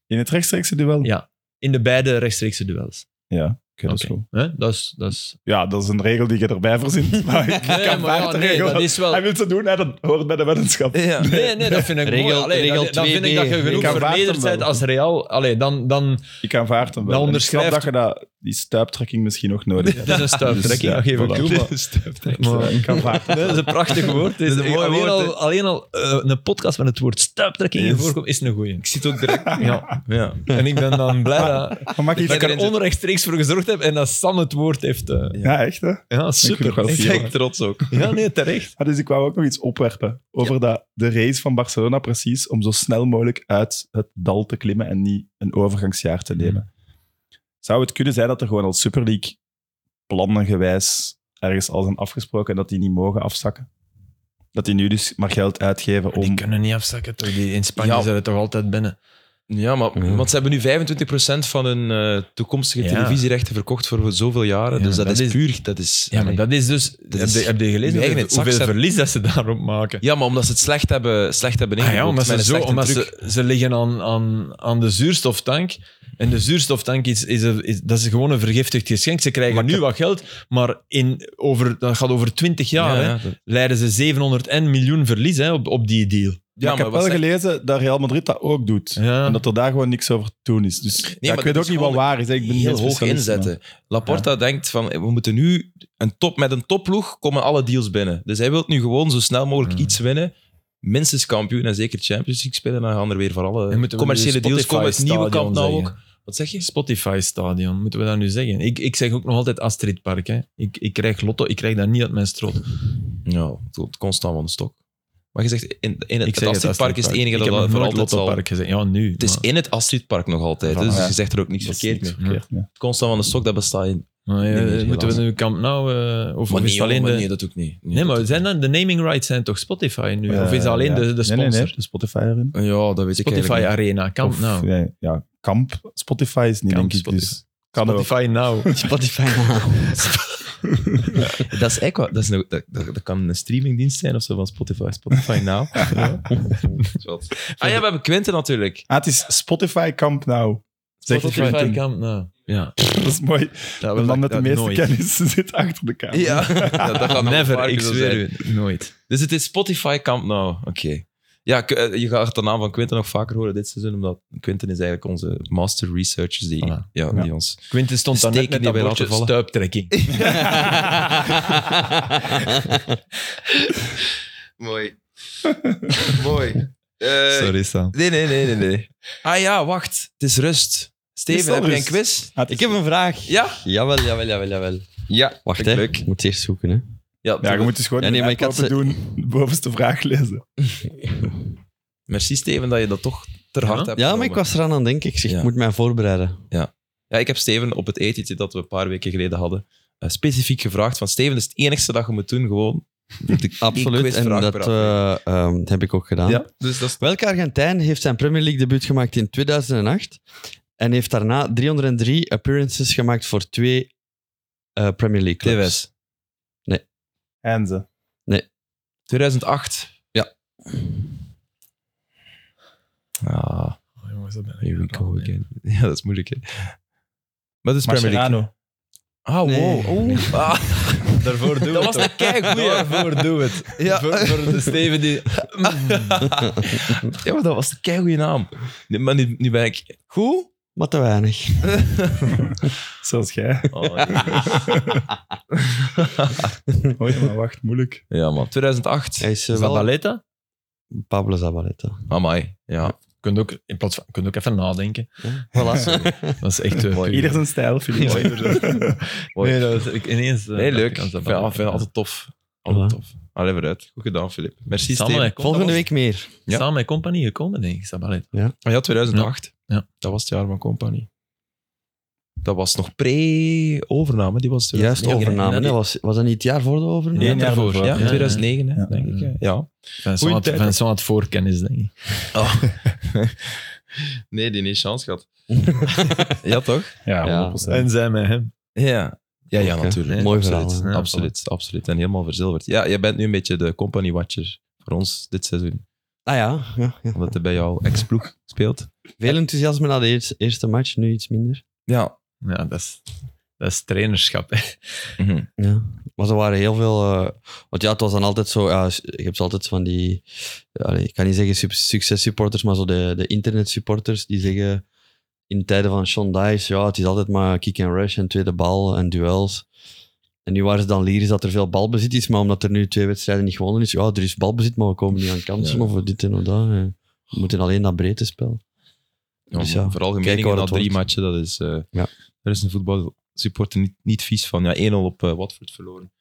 In het rechtstreekse duel?
Ja. In de beide rechtstreekse duels.
Ja, oké, dat is
Oké.
goed.
Hè? Dat is... Dat is...
Ja, dat is een regel die je erbij verzint. Maar ik
Nee,
kan
maar ja,
vaak de
nee,
regel.
dat is wel...
Hij wil ze doen, hè, dat hoort bij de weddenschap.
Ja.
Nee, nee, dat vind ik
Regel-
mooi. Allee,
regel
dat- dan vind ik
2B.
dat je genoeg
Ik aanvaard
vernederd
hem wel.
bent als Real. Allee, dan, dan,
Ik aanvaard hem wel.
Dan
En ik snap dat
onderschrijft-
je dat, die stuiptrekking misschien nog nodig hebt.
dat is een stuiptrekking,
Dus, ja,
dat geef ik
voilà.
toe. maar- maar-
Ik aanvaard
Nee, dat is een prachtig woord. Het is-
Dat is een mooi
alleen,
woord, hè.
al, alleen al eh, een podcast met het woord stuiptrekking in
Yes.
voorkomt, is een goeie.
Ik zit ook direct.
Ja.
Ja.
En ik ben dan blij dat,
Maar mag ik
dat
iets...
ik er onrechtstreeks voor gezorgd heb en dat Sam het woord heeft. eh.
Ja, echt hè?
ja,
nog wel
super.
fier.
Kijk, trots ook.
Ja, nee, terecht.
Ah, dus ik wou ook nog iets opwerpen over dat, de race van Barcelona precies om zo snel mogelijk uit het dal te klimmen en niet een overgangsjaar te nemen. Zou het kunnen zijn dat er gewoon al Super League plannen gewijs ergens al zijn afgesproken en dat die niet mogen afzakken? Dat die nu dus maar geld uitgeven om...
kunnen niet afzakken, toch? Die in Spanje
Ja.
zijn er toch altijd binnen.
Ja, maar,
Ja.
want ze hebben nu 25% van hun eh, toekomstige
Ja.
televisierechten verkocht voor zoveel jaren.
Ja,
dus dat,
dat
is
is-
puur. Dat is,
Ja, maar dat is dus... heb,
is-
je, heb je
Die
gelezen
eigen
hoeveel,
het zak
hoeveel
zetten.
verlies dat ze daarop maken?
Ja, maar omdat ze het slecht hebben, slecht hebben
Ah ja,
ingeboekt
omdat
met
ze,
een
zo,
slechte
omdat
truc.
ze, ze liggen aan, aan, aan de zuurstoftank. En de zuurstoftank is, is, een- is- dat is gewoon een vergiftigd geschenk. Ze krijgen nu wat geld, maar in, over, dat gaat over 20 jaar. hè,
ja, dat-
leiden ze 700 en miljoen verlies hè, op, op die deal.
ja,
maar
maar
ik heb
wat
wel
slecht-
gelezen dat Real Madrid dat ook doet.
Ja.
En dat er daar gewoon niks over te doen is. Dus ja,
maar
ik
dat
weet ook
is
niet wat
gewoon
waar is. hè. Ik ben
heel
geen
hoog
specialist,
inzetten. Laporta denkt van, we moeten nu een top, met een topploeg komen alle deals binnen. Dus hij wil nu gewoon zo snel mogelijk iets winnen. Minstens kampioen en zeker Champions League spelen. Dan gaan er weer van
En
alle
moeten we
commerciële
nu
deals
Spotify
komen. Het nieuwe
stadion
kamp nou
zeggen?
ook. Wat zeg je?
Spotify-stadion, moeten we dat nu zeggen? Ik, ik zeg ook nog altijd Astrid Park. Hè. Ik, ik krijg lotto, ik krijg dat niet uit mijn strot.
Ja, het loopt constant van de stok. Maar je zegt, in, in het,
ik
het
zeg
Astridpark is het enige
ik
dat
heb
dat
nog
voor
nooit
altijd zal...
Lottopark gezegd. Ja, nu.
Het is in het Astridpark nog altijd, hè, dus
Ja.
je zegt er ook niks
Dat is
verkeerd
niks
mee.
verkeerd, ja.
Constant van de stok, dat bestaat in.
Maar,
Nee,
eh,
nee,
moeten we
helaas.
nu Camp Nou... eh, of,
Maar
of is
nee,
het
joh,
alleen
maar
de...
nee, dat ook niet. Nee,
nee,
dat
maar
ook
zijn dan, de naming rights zijn toch Spotify nu?
Ja,
of is dat alleen
ja.
de, de
Nee,
sponsor?
Nee, nee, de Spotify erin.
niet. Ja, dat weet ik
Spotify
eigenlijk
Arena, Camp
Of,
Nou.
ja, ja, kamp Spotify is niet,
Kamp
denk ik. Dus
Spotify.
kan ook.
Spotify Nou. Now.
Spotify.
niet. Dat is eigenlijk wel- dat, is nou- dat, dat, dat kan een streamingdienst zijn of zo van Spotify. Spotify Now. ja. Zot. Ah ja, we hebben Quinten natuurlijk.
Ah, het is Spotify Camp Nou. Zeg het
Spotify
Quinten.
Camp Nou. Ja.
Dat is mooi.
Dat
De man met de meeste
nooit. Ah,
kennis zit achter de camera.
Ja, dat gaat nog een paar
Never,
keer
ik
zo
zweer
zijn.
u. Nooit.
Dus het is Spotify Camp Nou. Oké. Ja, k- eh, je gaat de naam van Quinten nog vaker horen dit seizoen, omdat Quinten is eigenlijk onze master researcher die,
Voilà.
ja,
Ja.
die ons...
Quinten stond daar
Steken
net met
die
dat
wij laten
bordje
vallen.
stuiptrekking.
Mooi. Mooi.
Sorry,
Ah,
Sam.
Nee, nee, nee, nee, nee. Ah ja, wacht. Het is rust.
Is
Steven,
dat
heb je een
rust?
quiz?
Ah, het is-
Ik heb een vraag.
Ja?
Jawel, jawel, jawel, jawel.
Ja.
Wacht, hè.
Leuk.
Ik moet eerst zoeken, hè.
Ja,
ja, je moet dus gewoon
Ja,
ja,
nee, maar ik had
open doen, de bovenste vraag lezen.
Merci Steven dat je dat toch ter
Ja?
harte hebt
Ja, maar
genomen.
ik was eraan aan het denken. Ik zeg,
Ja.
ik moet mij voorbereiden.
Ja, ik heb Steven op het etentje dat we een paar weken geleden hadden eh, specifiek gevraagd van Steven, dat is het enigste dat je moet doen, gewoon.
Absoluut. En
quizvraag
dat
per aflevering.
eh, ehm, heb ik ook gedaan.
Ja, dus dat is...
Welke Argentijn heeft zijn Premier League debuut gemaakt in 2008 en heeft daarna 303 appearances gemaakt voor twee eh, Premier League clubs?
TWS.
En ze.
2008.
Ja.
Ah,
Oh, jongens, dat ben ik
here we
gedaan,
go
hè.
again. Ja, dat is moeilijk, hè. Maar dat is Premier League.
Mascherano.
Ah, wow.
Nee.
Oeh. Ah,
Daarvoor doen we
dat
het
was een keigoeie.
Daarvoor doen we het.
Ja.
Voor, voor de Steven die...
ja, maar dat was een keigoeie naam. Nee, maar nu, nu ben ik... Goed?
Maar te weinig.
Zoals jij.
Oh, nee.
Oh ja, maar wacht, moeilijk.
Ja, man. 2008.
Hij is eh, wel
Zabaleta?
Pablo Zabaleta.
Amai. Ja.
Kun je ook, in plaats van, kun je ook even nadenken.
Voilà.
Dat is echt... eh, puur.
Ieder zijn stijl, Filip.
Mooi.
Nee, dat was ik ineens... eh,
Nee,
dacht
leuk.
ik aan
Ik vind,
Zabaleta.
ik vind het altijd tof. Altijd
Voilà.
tof. Allee, vooruit. Goed gedaan, Filip. Merci,
Samen,
Steven.
hè, komt
Volgende
dat
week meer.
wel. Samen met Compagnie gekomen, denk ik, Zabaleta.
Ja, 2008.
Ja.
Dat was het jaar van Company. Dat was nog pre-overname. Die was
Juist
2009, hè?
overname.
Ja,
hè. Was, was dat niet het jaar voor de overname?
Nee, jaar
daarvoor.
daarvoor.
Ja,
Ja,
2009, hè,
ja.
denk ik. hè. Ja.
Vincent
Goeie
had,
tijd,
Vincent had voorkennis, denk ik.
nee, die heeft chance gehad. ja, toch?
Ja.
Ja, 100%.
En zij met hem.
Ja. Ja, ja,
Oké.
natuurlijk.
Mooi
absoluut.
verhaal,
hè. Ja,
absoluut, absoluut. En helemaal verzilverd. Ja, jij bent nu een beetje de company watcher voor ons dit seizoen.
Ah ja. ja, ja.
Omdat hij bij jouw ex-ploeg speelt.
Veel enthousiasme na de eerste, eerste match, nu iets minder.
Ja.
Ja, dat is, dat is trainerschap. Hè.
Mhm.
Ja. Maar ze waren heel veel... eh, want ja, het was dan altijd zo... Ja, je hebt altijd van die... ja, allee, ik kan niet zeggen suc- successupporters, maar zo de, de internetsupporters die zeggen... In tijden van Sean Dice, ja, het is altijd maar kick and rush en tweede bal en duels. En nu waren ze dan lyrisch dat er veel balbezit is, maar omdat er nu twee wedstrijden niet gewonnen is, ja, er is balbezit, maar we komen niet aan kansen
Ja.
of dit en of dat. hè. We moeten alleen naar breedte spel.
Ja,
Dus
maar
ja,
vooral
kijken
gemeningen
waar
na
het
drie
wordt.
matchen, dat is, eh
Ja.
daar is een voetbalsupporter niet, niet vies van. Ja, 1-0 op eh, Watford verloren.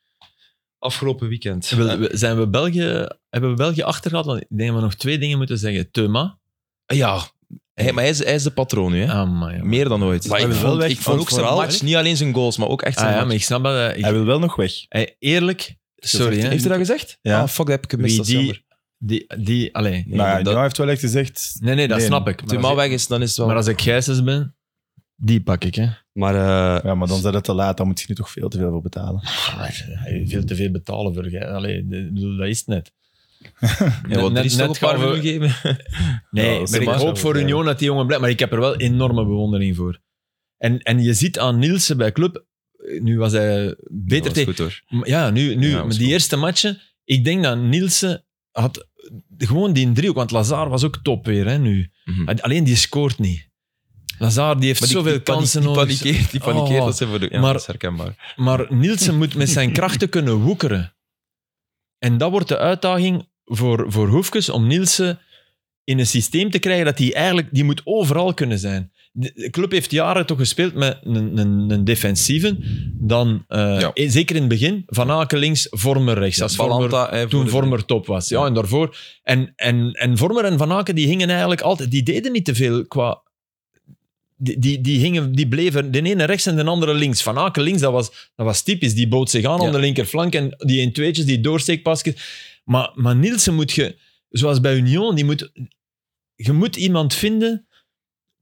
Afgelopen weekend.
Wil- we- Zijn we België, hebben we België achtergehaald? Want ik denk dat we nog twee dingen moeten zeggen. Thema.
Eh, ja, hij, maar hij is, hij is de patroon nu. Hè?
Ah, maar ja.
Meer dan ooit.
Maar ik
Hij
vond-
wel
ik
weg-
vond
ook zijn
vooral-
match, niet alleen zijn goals, maar ook echt
Ah,
zijn
ja, maar
match.
ik snap dat. eh, ik-
Hij wil wel nog weg.
eh, eerlijk, sorry. Hè,
Heeft hij dat gezegd?
Ja.
Ah, fuck, dat heb ik gemist.
wie
Dat is jammer.
die, die, die, allee.
Nee,
nou ja,
dat-
Duan heeft wel echt gezegd...
Nee, nee, dat
Nee,
snap ik.
Als Tuma
Maar als,
weg is, dan is het wel...
maar als ik Gijsens ben, die pak ik. Hè.
Maar eh,
Ja, maar dan zijn het te laat. Dan moet je nu toch veel te veel voor betalen.
Ah,
veel Ah, te veel betalen voor Gijsens. Allee, de- ik bedoel, dat is het net.
ja, wat, er is toch een paar
gaan we-
minuten gegeven.
Nee,
Ja, dat is
maar ik
de baas
hoop voor
wel, ja.
Union dat die jongen blijft. Maar ik heb er wel enorme bewondering voor. En, en je ziet aan Nielsen bij Club... Nu was hij beter
Ja,
tegen...
goed hoor.
Maar Ja, nu, nu
Ja,
maar
was
die
goed.
eerste matchen. Ik denk dat Nielsen had gewoon die driehoek. Want Lazar was ook top weer hè, nu.
Mhm. Maar
Alleen die scoort niet. Lazar die heeft
die-
zoveel
die
kansen
panie-
nodig.
Die panikeert, die panikeert
Oh.
dat ze voor de... Ja,
Maar-
dat is herkenbaar.
Maar Nielsen moet met zijn krachten kunnen woekeren. En dat wordt de uitdaging voor, voor Hoefkes om Nielsen in een systeem te krijgen dat hij eigenlijk die moet overal kunnen zijn. De de club heeft jaren toch gespeeld met een, een, een defensieve. Dan, eh,
Ja.
eh, Zeker in het begin, Van Aken links, Vormer rechts. Als Vormer-
Balanta, hij
toen
voor de-
Vormer top was. Ja, en daarvoor. En, en, en Vormer en Van Aken die hingen eigenlijk altijd. Die deden niet te veel qua. Die, die, die, hingen, die bleven de ene rechts en de andere links. Van Aken links, dat was, dat was typisch. Die bood zich aan
Ja.
aan de linkerflank. En die in tweetjes, die doorsteekpasjes. Maar, maar Nielsen moet je, zoals bij Union, die moet, je moet iemand vinden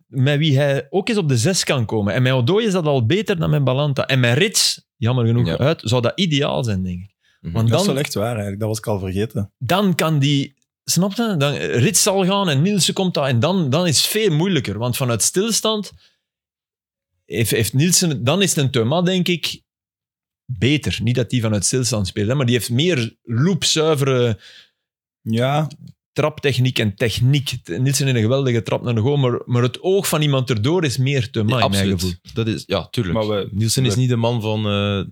met wie hij ook eens op de zes kan komen. En met Odoi is dat al beter dan met Balanta. En met Rits, jammer genoeg
Ja.
uit, zou dat ideaal zijn, denk ik.
Mhm.
Want
Dat is
dan,
wel echt waar eigenlijk. Dat was ik al vergeten.
dan kan die. Snap je? Dan, Rits zal gaan en Nielsen komt daar. En dan, dan is het veel moeilijker. Want vanuit stilstand heeft, heeft Nielsen... Dan is het een Thuma, denk ik, beter. Niet dat die vanuit stilstand speelt, hè, maar die heeft meer loopzuivere
Ja,
traptechniek en techniek. Nielsen heeft een geweldige trap naar de goal, maar, maar het oog van iemand erdoor is meer Thuma, in mijn gevoel.
Absoluut. Dat is, ja, tuurlijk.
Maar we-
Nielsen is niet de man van... eh,
Nee,
ja,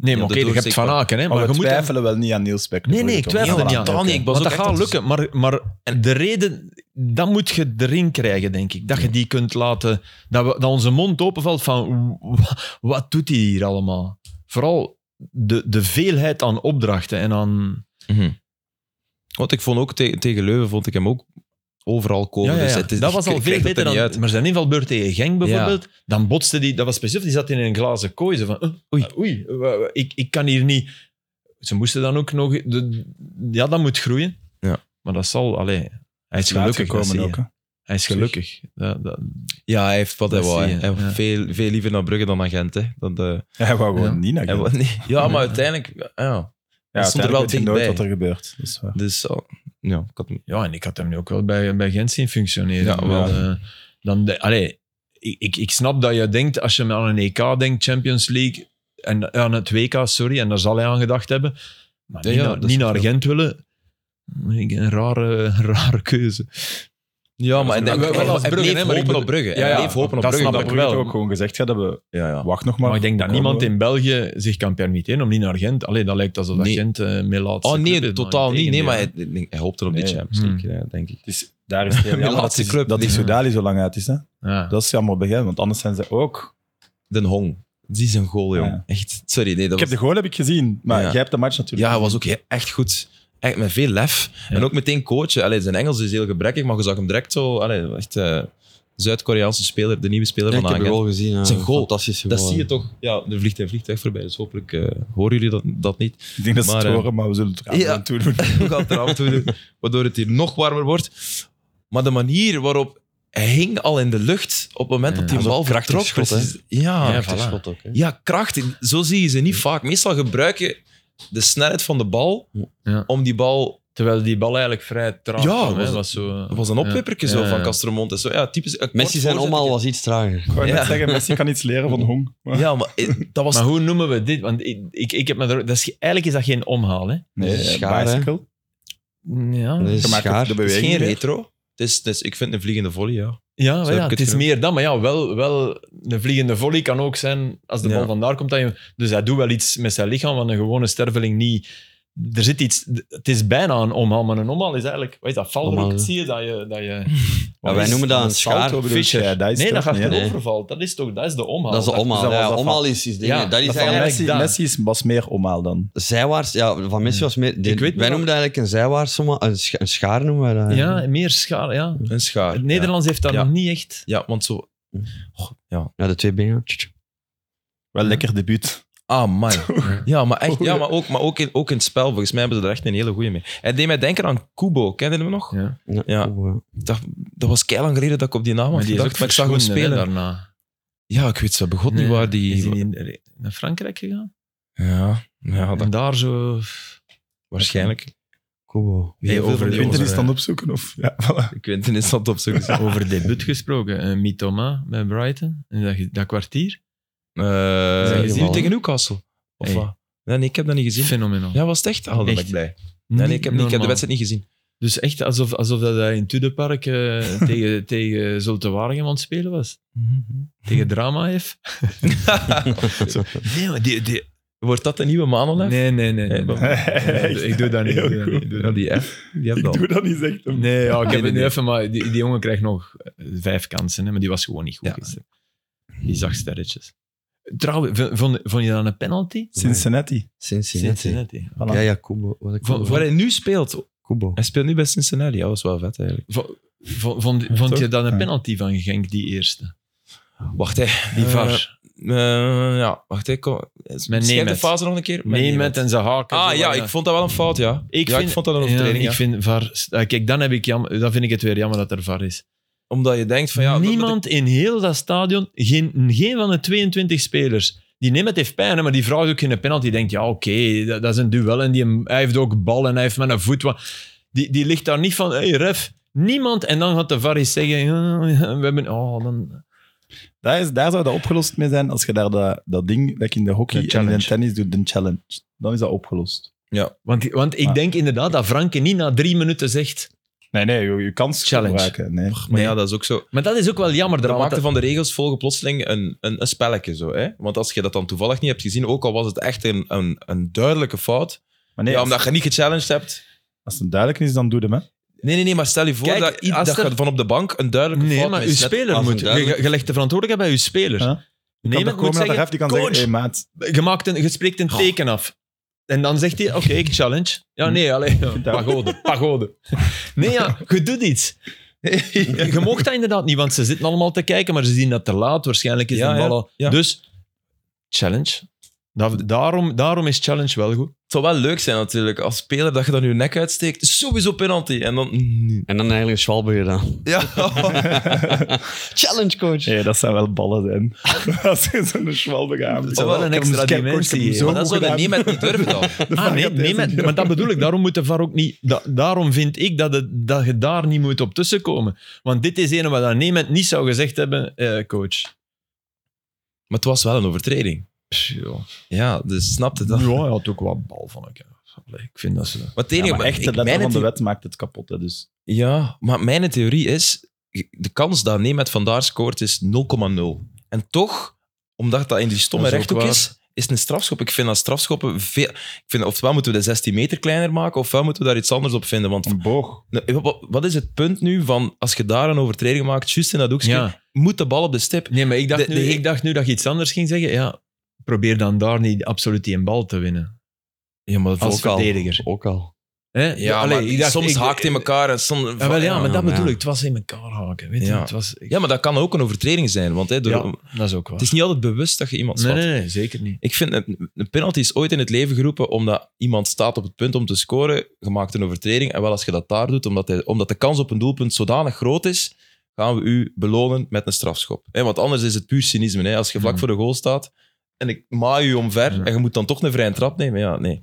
maar
de
oké, je hebt Van
doorsteekpa-
Aken, hè,
maar,
maar, je
we
moet...
twijfelen wel niet aan Niels Beck.
Nee, nee, ik twijfel er
Ja,
niet
voilà.
aan.
Totaal niet. Ik was
Want
ook
dat
echt
gaat
enthousiast.
lukken. Maar, maar de reden, dat moet je erin krijgen, denk ik. Dat je die kunt laten... Dat, we, dat onze mond openvalt van... "Wa- Wat doet hij hier allemaal? Vooral de, de veelheid aan opdrachten en aan...
Mhm. Want ik vond ook te- tegen Leuven vond ik hem ook overal komen.
Ja, ja,
Dus
ja.
het is,
dat
je
was al
krijgt
veel
het
beter
er
dan...
niet uit.
Maar zijn invalbeurt tegen Genk bijvoorbeeld, dan botste die... Dat was specifiek, die zat in een glazen kooi. Zo van, eh,
Oei.
oei, wa- wa- ik, ik kan hier niet... Ze moesten dan ook nog... de- ja, dat moet groeien.
Ja.
Maar dat zal... Allee, hij is gelukkig, dat
komen
zie je.
ook. hè.
Hij is gelukkig. Dat, dat,
Ja, hij heeft wat hij
Dat
wou.
zie
hè.
je,
Hij
ja.
heeft veel, veel liever naar Brugge dan naar Gent. Hè. Dat, eh,
Hij wou gewoon
Ja.
niet naar
hij
Gent.
wou- nee. Ja, maar uiteindelijk... Ja,
Ja,
dat stond er wel
uiteindelijk weet je
dichtbij.
nooit wat er gebeurt. Dat is waar.
dus... al- ja, ik had hem-
ja, en ik had hem nu ook wel bij, bij Gent zien functioneren.
Ja,
Maar,
wel.
eh, dan de- allee, ik, ik, ik snap dat je denkt, als je aan een EK denkt, Champions League, en ja, aan het WK, sorry, en daar zal hij aan gedacht hebben. Maar
Ja,
niet,
ja,
naar,
dat
niet
is
naar
wel-
Gent willen, Ik- een rare, rare keuze.
Ja, maar ik denk
wel-
wel,
wel als Brugge, hè,
bleef
maar
hopen
ik bedoel-
op Brugge.
Ja,
Ja,
ja.
bleef hopen op
Dat
Brugge.
snap
dat
ik
ik-
wel.
Brugge ook gewoon gezegd hebben we
Ja, ja.
wacht nog maar.
Maar ik denk dat
Komen
niemand
we.
in België zich kan permitteren om niet naar Gent. Allee, dat lijkt alsof dat
Nee.
Gent eh mee laat.
Oh nee, totaal niet. Nee, maar hij, hij- hij hoopte op die
Nee.
Champions
Hmm.
League, ja, denk ik.
Het is, daar is het heel jammer dat,
laatste
die-
club,
dat die
ja.
Soudali zo lang uit is. Hè?
Ja.
Dat is jammer bij hem, want anders zijn ze ook...
Den Hong. Die is een goal, jong.
Ja.
Echt. Sorry, nee, dat
Ik heb
was...
de goal heb ik gezien, maar
Ja.
jij hebt de match natuurlijk
Ja, hij was ook he- echt goed. Echt met veel lef.
Ja.
En ook meteen coachen. Allee, zijn Engels is heel gebrekkig, maar je zag hem direct zo... Allee, echt eh, Zuid-Koreaanse speler, de nieuwe speler
Ja, ik
van
heb de
Aangent.
goal gezien.
is een goal.
Fantastische
Dat
goal,
zie je
hè.
toch. Ja, er vliegt een vliegtuig voorbij, dus hopelijk eh, horen jullie dat, dat niet.
Ik denk dat ze
Maar,
het
eh,
horen, maar we zullen het eraan
ja.
ja. toe doen.
We gaan het er af toe doen, waardoor het hier nog warmer wordt. Maar de manier waarop hij hing al in de lucht op het moment dat die
Ja.
Dat is
bal
ook krachtig
vertrok.
schot, hè?
precies. ja,
Ja,
ja,
voilà.
Prachtig schot ook, hè.
kracht. Zo zie je ze niet vaak. Meestal gebruik je de snelheid van de bal
Ja.
om die bal...
Terwijl die bal eigenlijk vrij traag
Ja,
kwam, hè.
was-
was zo... eh,
Dat was een oppippertje zo
Ja, ja.
van Castromont. Zo, ja, typisch, een
Messi
kort
zijn
voorzetje.
omhaal was iets trager.
Ik wou net
Ja.
zeggen, Messi kan iets leren van Hong. Maar-
Ja, maar eh, dat was...
Maar hoe noemen we dit? Want ik, ik, ik heb me er, dat is, eigenlijk is dat geen omhaal, hè?
Nee,
Dat is
eh,
schaar, hè.
bicycle.
Ja,
Dat is
Je maakt ook
schaar.
de
het is
beweging
geen
weer.
retro. Het is, het is, ik vind het een vliegende volley, ja.
ja,
Zo
maar
heb
ja
ik
het
het
is
genoemd.
meer dan. Maar ja, wel, wel een vliegende volley kan ook zijn als de bal
Ja.
vandaar komt. Dat je, dus hij doet wel iets met zijn lichaam, wat een gewone sterveling niet... Er zit iets... Het is bijna een omhaal, maar een omhaal is eigenlijk... Wat is dat?
Omhaal,
Valroek,
hè.
zie je dat je... Dat je
Ja, wij noemen dat een schaar.
salto bedoel
Fischer.
jij? Dat is
nee,
toch
dat gaat
niet, hè?
Nee.
eroverval. Dat is toch... Oh, Dat is de omhaal.
Dat is de
dat
omhaal.
was
Ja,
dat
omhaal is, is dingen.
Ja,
dat is
dat
Van
eigenlijk
Messi,
dat.
Messi is- was meer omhaal dan.
Zijwaarts, ja, van Messi was meer... de-
Ik weet niet
wij
wat-
noemen dat eigenlijk een zijwaarts, omhaal- een, scha- een schaar noemen wij dat.
Ja, meer schaar, ja.
Een schaar.
Het
ja.
Nederlands heeft dat
Ja.
nog niet echt...
Ja, want zo... Oh, ja.
Ja, de twee benen. Tch, tch.
Wel lekker debuut.
Ah, man. Ja, maar, echt, ja, maar, ook, maar ook, in, ook in het spel, volgens mij hebben ze er echt een hele goeie mee. Het deed mij denken aan Kubo, kende je hem nog?
Ja.
Ja.
Oh, wow.
Dat, dat was keilang geleden dat ik op die naam had
Maar die is
gedacht,
ook
maar ik zag hem
verschonden, hè,
spelen.
daarna.
Ja, ik weet ze begot niet waar
Is
die...
hij in- naar Frankrijk gegaan?
Ja, ja dat,
En daar zo...
waarschijnlijk.
Kubo.
Heel veel van die
Winter
jongens,
is dan opzoeken of... Ja, voilà.
Quentin is dat op zoek. Eh
Over debuut gesproken. eh Mitoma bij Brighton. En dat, dat kwartier.
Zijn
is die nu
gevallen?
Eh, tegen Newcastle? Of
Hey.
wat? Nee, nee, ik heb dat niet gezien.
Fenomenaal.
Ja, was het echt? Ah, dan ben ik
Echt
blij. Nee, nee, ik, heb niet, ik heb de wedstrijd niet gezien.
Dus echt alsof, alsof dat hij in Tudepark eh tegen, tegen Zulte Waregem aan het spelen was.
Mhm.
Tegen Dramaev. nee, maar die... die
Wordt dat de nieuwe Manolev?
nee, nee, nee. nee, nee. Ik doe dat niet. Ik doe dat niet, ik doe
Ja,
dat niet.
die F. Die heb
Ik
dat.
doe dat niet, zegt hem.
Nee, ja,
Nee,
ik heb
nee,
het nu
nee.
even, maar die, die jongen krijgt nog eh, vijf kansen, hè, maar die was gewoon niet goed
Ja.
gisteren. Die zag sterretjes. Trouwens, v- vond, vond je dan een penalty?
Cincinnati.
Cincinnati. Ja, ja, Kubo. Wat ik
Van-
Waar hij nu speelt.
Kubo.
Hij speelt nu bij Cincinnati. Dat was wel vet eigenlijk.
Vo- vo- Vond, vond je dan een
Ja.
penalty van Genk, die eerste?
Wacht, hè.
Die
Eh,
VAR.
Eh, ja, wacht, ik kom.
Met
Schijf de
Nemeth.
fase nog een keer.
Neemt en zijn haken.
Ah
zo,
ja,
eh,
ik vond dat wel een fout, ja. ja, ik vond dat een
ja,
overtreding.
Ik
ja.
vind VAR... ah, Kijk, dan, heb ik jammer, dan vind ik het weer jammer dat er VAR is.
Omdat je denkt van ja... dat-
Niemand in heel dat stadion, geen, geen van de 22 spelers, die Nemeth heeft pijn, hè, maar die vraagt ook geen penalty. Die denkt, ja, oké, dat, dat is een duel. En die, hem- hij heeft ook bal en hij heeft met een voet. wat- Die, die ligt daar niet van, hé, hey, ref. Niemand. En dan gaat de VAR eens zeggen, ja, ja, we hebben... Oh, dan...
Daar, is, daar zou dat opgelost mee zijn als je daar dat, dat ding, dat in de hockey
De
en in de
challenge.
tennis doet, de challenge. Dan is dat opgelost.
Want, want ik
Maar-
denk inderdaad dat Franke niet na drie minuten zegt...
Nee, nee, je, je kans
Challenge.
gebruiken. Nee.
Maar
Nee.
ja, dat is ook zo.
Maar dat is ook wel jammer.
De
eraan, want
maakte van de regels volgen plotseling een, een, een spelletje. Zo, hè? Want als je dat dan toevallig niet hebt gezien, ook al was het echt een, een, een duidelijke fout,
Maar nee,
ja,
als,
omdat je niet gechallenged hebt...
als het duidelijk is, dan doe je hem. Hè.
Nee, nee, nee, maar stel je voor
Kijk,
dat, i-
als
dat
er-
je van op de bank een duidelijke
Nee,
fout
maar uw
mist. Net-
speler
als
moet...
een
Je,
duidelijk-
je legt de verantwoordelijkheid bij uw speler.
Ja. Je kan
Nee,
toch
maar je
komen naar
moet
de
zeggen,
ref die kan
coach,
zeggen, hey, maat,
je, maakt een, je spreekt
Oh.
een teken af. En dan zegt hij, oké, ik challenge. Ja, nee, alleen pagode, pagode. Nee, ja, je doet iets. Je mocht dat inderdaad niet, want ze zitten allemaal te kijken, maar ze zien dat te laat. Waarschijnlijk is
Ja,
de bal
ja,
al...
ja.
Dus, challenge. Da- Daarom, daarom is challenge wel goed.
Het zou wel leuk zijn natuurlijk, als speler, dat je dan je nek uitsteekt. Sowieso penalty. En dan... nee.
En dan eigenlijk een Schwalbe gedaan.
Ja.
oh.
Challenge coach.
hey, dat zijn wel ballen zijn. als je zo'n schwal begaan.
zou wel een extra dimensie,
Maar dan zou dat niemand niet durven dan.
Ah, nee, nee maar, maar dat bedoel ik. Daarom moet de VAR ook niet... da- daarom vind ik dat, het, dat je daar niet moet op tussenkomen. Want dit is een wat aan niemand niet zou gezegd hebben, eh, coach.
Maar het was wel een overtreding.
Pff, ja.
Ja, dus snapte dat.
Ja, hij had ook wat bal van elkaar. Allee, ik vind dat ze...
Maar het
Ja,
enige,
maar
wat
echt, de
ik, mijn
letter van de
theo-
wet maakt het kapot. Hè, dus.
Ja, maar mijn theorie is, de kans dat Nemet vandaar scoort is 0,0. En toch, omdat dat in die stomme
Dat is ook
rechthoek
waar.
is, is het een strafschop. Ik vind dat strafschoppen veel... Ik vind, ofwel moeten we de 16 meter kleiner maken, ofwel moeten we daar iets anders op vinden. Want
Een boog.
nou, wa- wa- wat is het punt nu van, als je daar een overtreding maakt, juist in dat hoekje,
Ja.
moet de bal op de stip.
Nee, maar ik dacht,
De-
nu,
de-
ik dacht nu dat je iets anders ging zeggen. Ja, probeer dan daar niet absoluut die een bal te winnen.
Ja, maar
Als
ook al.
verdediger.
Ook al.
Hè?
ja,
Allee,
maar
ik dacht,
soms
ik-
haakt in elkaar. En soms,
Ja, wel, ja, maar dat
ja.
bedoel ik. Het was in elkaar haken. Weet je?
Ja.
Het, was, ik-
Ja, maar dat kan ook een overtreding zijn. Want hè, door-
Ja, dat is ook waar.
het is niet altijd bewust dat je iemand
nee,
slaat.
nee, nee, zeker niet.
Ik vind een, een penalty is ooit in het leven geroepen omdat iemand staat op het punt om te scoren, je maakt een overtreding. En wel als je dat daar doet, omdat, hij- omdat de kans op een doelpunt zodanig groot is, gaan we u belonen met een strafschop. Hè, want anders is het puur cynisme. Hè? Als je vlak
Mm.
voor de goal staat en ik maai u omver
Ja.
en je moet dan toch een vrije trap nemen. Ja, nee.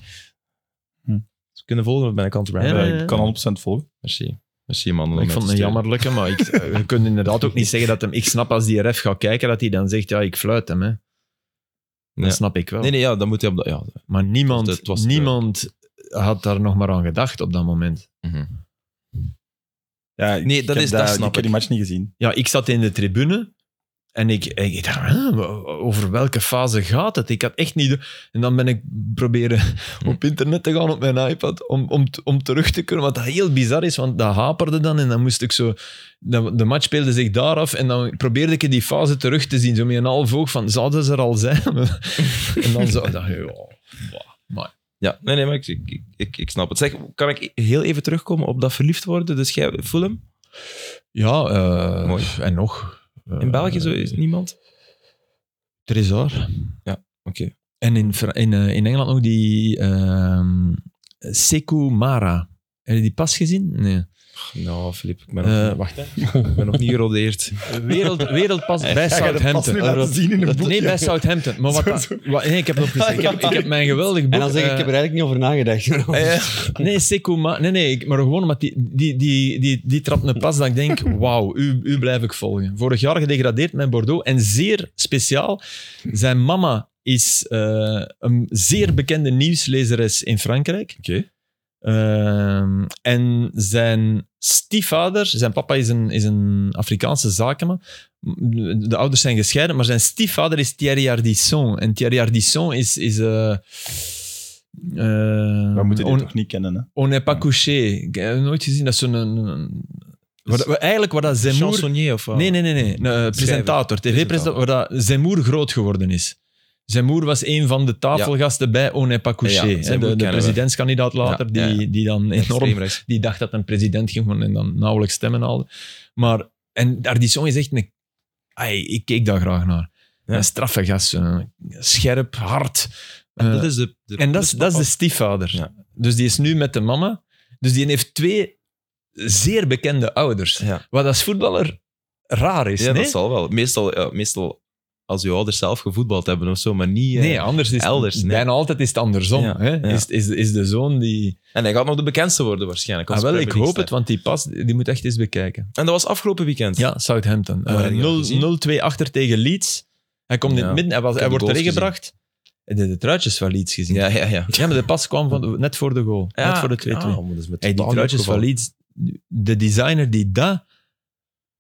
Hm.
Ze kunnen volgen met mijn kant
Ja,
Ryan.
ja,
Berg.
ja.
Ik kan 100% volgen.
Merci. Merci, man. om
ik
mij
vond
te
het een
steunen.
jammerlijke, maar ik, eh, je kunt inderdaad ook niet zeggen dat hem... Ik snap als die ref gaat kijken, dat hij dan zegt, ja, ik fluit hem. Hè. Dat
Ja.
snap ik wel.
Nee, nee, ja, dan moet hij op dat... Ja,
Maar niemand,
Het was- eh,
niemand had daar nog maar aan gedacht op dat moment.
Ja, ik-
Nee,
ik
dat
heb
is- dat snap
Ik heb die
ik.
match niet gezien.
Ja, ik zat in de tribune en ik, ik dacht, hè, wa- over welke fase gaat het? Ik had echt niet... door- En dan ben ik proberen
Hm.
op internet te gaan op mijn iPad om, om, t- om terug te kunnen. Wat dat heel bizar is, want dat haperde dan en dan moest ik zo... dan- De match speelde zich daar af en dan probeerde ik die fase terug te zien. Zo met een half oog van, zouden ze er al zijn? en dan zo, dacht ik, ja, wa- maar...
Ja, nee, nee, maar ik, ik, ik, ik snap het. Zeg, kan ik heel even terugkomen op dat verliefd worden? Dus jij, Fulham?
Ja, eh,
Mooi.
en nog.
In
Eh,
België zo is niemand?
Tresor.
Oké.
En in, Fra- in, eh, in Engeland nog die ehm Sekou Mara. Heb je die pas gezien? Nee.
Nou, Filip, ik ben,
Eh,
nog, wacht, ik ben nog niet gerodeerd.
Wereld, wereldpas bij
Ja, dat pas nu
Southampton.
laten zien in een boek.
Nee, bij
ja.
Southampton. Maar wat,
Zo,
dat-
zo.
wat- nee, ik heb nog gezien. Ik heb, ik heb mijn geweldig boek...
En dan zeg ik, ik
eh,
heb er eigenlijk niet over nagedacht.
eh, nee, Sekou Mara. Nee, nee, ik- maar gewoon omdat die, die, die, die, die trapt een pas dat ik denk, wauw, u, u blijf ik volgen. Vorig jaar gedegradeerd met Bordeaux. En zeer speciaal, zijn mama is eh, een zeer bekende nieuwslezeres in Frankrijk.
Oké.
Ehm, en zijn stiefvader, zijn papa is een, is een Afrikaanse zakenman. De ouders zijn gescheiden, maar zijn stiefvader is Thierry Ardisson. En Thierry Ardisson is. is eh, eh,
We moeten die
on,
toch niet kennen, hè?
on n'est pas couché. Euh, Ik heb nooit gezien dat zo'n. een- een- Wat, wat- eigenlijk wat dat Zemmour.
Chansonnier of wat?
Nee, nee, nee, nee. Een, eh, presentator, tv-presentator, waar dat Zemmour groot geworden is. Zemmour was een van de tafelgasten bij On n'est pas couché.
Ja,
hè,
Zemmour
de, de
kennen we.
presidentskandidaat later,
Ja, ja,
die, die dan enorm...
Extreemrechts.
Die dacht dat een president ging worden en dan nauwelijks stemmen haalde. Maar, en Ardisson is echt een... Ai, ik keek daar graag naar.
Ja.
Een straffe gast. een- Scherp, hard. eh,
dat is de, de-
en dat is, dat is de stiefvader.
Ja.
Dus die is nu met de mama. Dus die heeft twee zeer bekende ouders.
Ja.
Wat als voetballer raar is,
Ja,
nee?
dat zal wel. Meestal, ja, meestal als je ouders zelf gevoetbald hebben of zo, maar niet... eh,
Nee, anders is
Elders,
het
nee.
bijna altijd is het andersom.
Ja,
hè?
ja.
Is, is, is de zoon die...
En hij gaat nog de bekendste worden waarschijnlijk. als
Ah, wel, ik
Premier
hoop
League
het, want die pas, die moet echt eens bekijken.
ster. En dat was afgelopen weekend.
Ja, Southampton.
Oh,
Eh,
heb je dat
0
gezien?
0-2 achter tegen Leeds. Hij komt in
Ja.
het midden, hij, was,
Ik
hij
heb de
wordt erin
goals
gebracht. Hij deed de truitjes van Leeds gezien.
Ja, ja, ja.
Ja, maar de pas kwam van, net voor de goal. net voor de 2-2.
Ah, maar dat is met
Hey, die
totaal
truitjes van
opgevallen.
Leeds, de designer die dat...
Wat